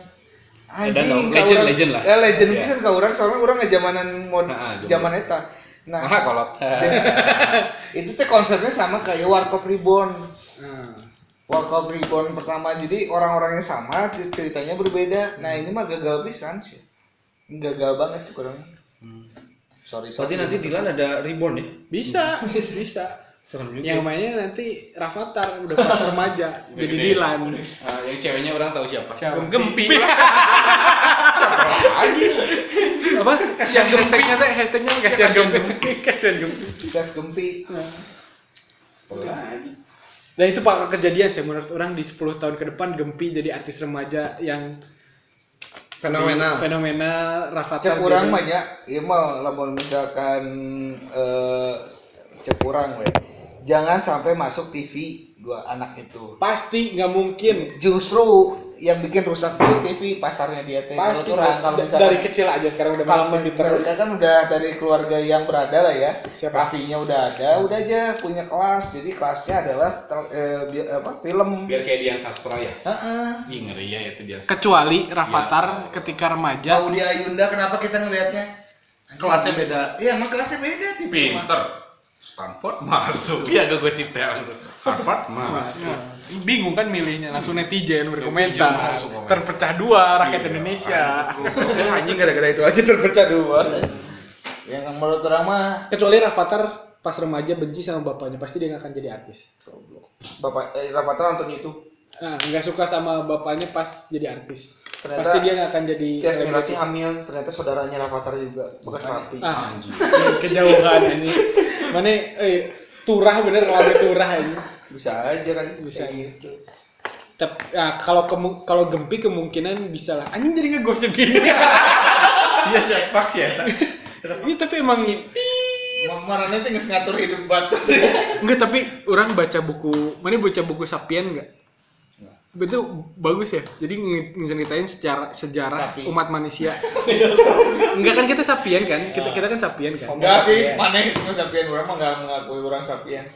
[SPEAKER 3] anjing
[SPEAKER 2] dong,
[SPEAKER 3] ka
[SPEAKER 2] legend-
[SPEAKER 3] urang-
[SPEAKER 2] legend lah.
[SPEAKER 3] eh, legend
[SPEAKER 2] Iya.
[SPEAKER 3] pisan ka orang soalnya orang ngejamanan mod
[SPEAKER 2] Ah, ah, jomblo.
[SPEAKER 3] zaman eta nah
[SPEAKER 2] Nah, kalau
[SPEAKER 3] itu teh konsepnya sama kayak Warkop Reborn
[SPEAKER 6] Nah.
[SPEAKER 3] Warkop Reborn pertama jadi orang-orangnya sama ceritanya berbeda nah ini mah gagal pisan sih gagal banget tuh kurang
[SPEAKER 6] Hmm.
[SPEAKER 3] sorry sorry
[SPEAKER 11] Berarti nanti Dilan ada reborn ya?
[SPEAKER 6] Bisa, bisa.
[SPEAKER 11] Serem
[SPEAKER 6] Yang mainnya nanti Rafathar udah pas remaja jadi Dilan.
[SPEAKER 2] Ah, yang ceweknya orang tahu siapa?
[SPEAKER 6] Siapa?
[SPEAKER 2] Gempi lah. siapa lagi?
[SPEAKER 6] Apa? Kasihan hashtagnya teh, hashtagnya kasihan gempi. Kasihan gempi.
[SPEAKER 3] Chef Gempi.
[SPEAKER 6] Dan Nah, itu bakal kejadian sih menurut orang di 10 tahun ke depan Gempi jadi artis remaja yang
[SPEAKER 1] Fenomenal.
[SPEAKER 6] fenomenal Rafathar
[SPEAKER 3] cek kurang
[SPEAKER 6] jadi-
[SPEAKER 3] mah ya ieu mah lamun misalkan eh cek kurang we jangan sampai masuk TV dua anak itu
[SPEAKER 6] Pasti nggak mungkin.
[SPEAKER 3] justru yang bikin rusak tuh TV pasarnya dia teh
[SPEAKER 6] Pasti
[SPEAKER 3] Menurut orang,
[SPEAKER 6] da-
[SPEAKER 3] misalkan-
[SPEAKER 6] dari kecil aja sekarang udah
[SPEAKER 3] kalau
[SPEAKER 6] makin pinter.
[SPEAKER 3] mereka kan udah dari keluarga yang berada lah ya
[SPEAKER 6] Siapa?
[SPEAKER 3] Raffinya udah ada udah aja punya kelas jadi kelasnya adalah tel- eh, bi- apa film
[SPEAKER 2] biar kayak Dian Sastro ya
[SPEAKER 3] Heeh.
[SPEAKER 2] Ih, ngeri ya itu Dian Sastro.
[SPEAKER 8] Kecuali Rafathar ketika remaja
[SPEAKER 3] Maudy Ayunda kenapa kita ngelihatnya
[SPEAKER 1] Ya. Kelasnya beda.
[SPEAKER 3] iya emang kelasnya beda TV mah.
[SPEAKER 2] pinter Stanford masuk iya gue gosip teh langsung. Stanford masuk
[SPEAKER 8] bingung kan milihnya langsung netizen
[SPEAKER 2] Netizen
[SPEAKER 8] berkomentar
[SPEAKER 2] langsung komentar.
[SPEAKER 8] terpecah dua rakyat
[SPEAKER 2] Iya,
[SPEAKER 8] Indonesia
[SPEAKER 1] Oh, Anjing gara-gara itu aja terpecah dua.
[SPEAKER 3] yang menurut orang mah
[SPEAKER 6] Kecuali Rafathar pas remaja benci sama bapaknya pasti dia nggak akan jadi artis.
[SPEAKER 1] Bapak eh, Rafathar nonton itu.
[SPEAKER 6] Ah, nggak suka sama bapaknya pas jadi artis.
[SPEAKER 1] Ternyata
[SPEAKER 6] pasti dia nggak akan jadi.
[SPEAKER 1] Tias Mirasih hamil, ternyata saudaranya Rafathar juga bekas rapi.
[SPEAKER 6] Ah,
[SPEAKER 8] Iya,
[SPEAKER 6] kejauhan ini. Mana eh, turah bener kalau turah ini.
[SPEAKER 1] Bisa aja kan
[SPEAKER 6] Bisa
[SPEAKER 1] kayak gitu.
[SPEAKER 6] Tep, ah, kalau kemu- kalau gempi kemungkinan bisa lah. Anjing jadi ngegosip gini.
[SPEAKER 2] iya siapa sih ya
[SPEAKER 6] Ini tapi emang
[SPEAKER 3] Marane teh geus ngatur hidup batu.
[SPEAKER 6] enggak tapi orang baca buku, mana baca buku Sapien enggak? Itu bagus ya. Jadi nge- ngeceritain secara sejarah
[SPEAKER 3] Sapi.
[SPEAKER 6] umat manusia.
[SPEAKER 2] Iya,
[SPEAKER 6] enggak kan kita Sapien kan? Kita kita kan Sapien kan?
[SPEAKER 3] Enggak sih,
[SPEAKER 1] Iya.
[SPEAKER 3] maneh itu sapiens orang mah enggak mengakui orang sapiens.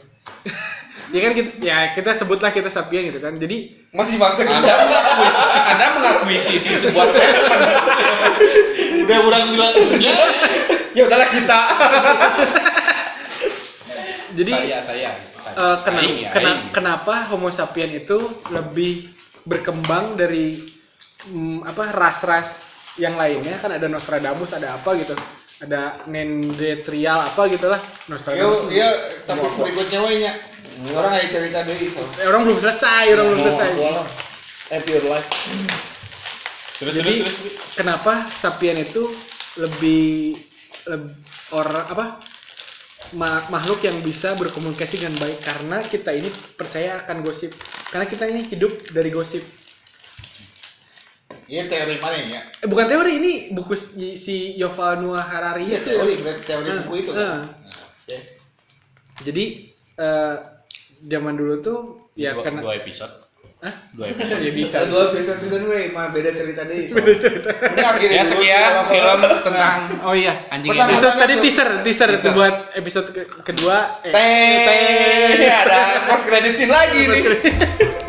[SPEAKER 6] Ya kan kita ya kita sebutlah kita Sapien gitu kan. Jadi
[SPEAKER 3] Masih bangsa
[SPEAKER 2] anda mengakui anda mengakui sisi sebuah statement
[SPEAKER 3] udah orang bilang
[SPEAKER 2] "Iya, ya udahlah kita
[SPEAKER 6] jadi
[SPEAKER 2] saya saya, saya.
[SPEAKER 6] Eh, kena-
[SPEAKER 2] Aing ya,
[SPEAKER 6] kena-
[SPEAKER 2] aing.
[SPEAKER 6] kenapa Homo sapien itu lebih berkembang dari mm, apa ras-ras yang lainnya kan ada Nostradamus ada apa gitu ada Nendetrial apa gitulah Nostradamus
[SPEAKER 3] Yo, iya, tapi berikutnya we nya. Orang aya cerita deui so.
[SPEAKER 6] Eh, orang belum selesai orang
[SPEAKER 3] Iya,
[SPEAKER 6] belum selesai
[SPEAKER 2] terus
[SPEAKER 6] jadi
[SPEAKER 2] terus terus
[SPEAKER 6] kenapa sapien itu lebih, leb- orang apa ma- makhluk yang bisa berkomunikasi dengan baik karena kita ini percaya akan gosip karena kita ini hidup dari gosip
[SPEAKER 3] Iya teori maneh nya.
[SPEAKER 6] Eh, bukan teori ini buku si- si Yuval Noah Harari
[SPEAKER 3] Iya
[SPEAKER 6] itu.
[SPEAKER 3] teori, berarti teori
[SPEAKER 6] Eh,
[SPEAKER 3] buku itu.
[SPEAKER 6] eh.
[SPEAKER 3] Oke.
[SPEAKER 6] Jadi eh, zaman dulu tuh ya
[SPEAKER 2] dua,
[SPEAKER 6] karena
[SPEAKER 2] dua episode
[SPEAKER 6] Hah?
[SPEAKER 2] dua episode
[SPEAKER 6] ya bisa.
[SPEAKER 3] Bisa dua episode kan we, mah beda cerita deui. so. Udah akhirnya
[SPEAKER 2] ya
[SPEAKER 3] dulu,
[SPEAKER 2] sekian
[SPEAKER 3] kalau-
[SPEAKER 2] film tentang
[SPEAKER 6] Oh iya.
[SPEAKER 2] anjing
[SPEAKER 3] Pesan-
[SPEAKER 2] ini
[SPEAKER 6] Itu tadi
[SPEAKER 3] Pesan-
[SPEAKER 6] teaser, teaser,
[SPEAKER 2] Teaser.
[SPEAKER 6] buat episode ke- kedua. Eh,
[SPEAKER 3] Iya,
[SPEAKER 1] Teh, ada pas kreditin lagi nih.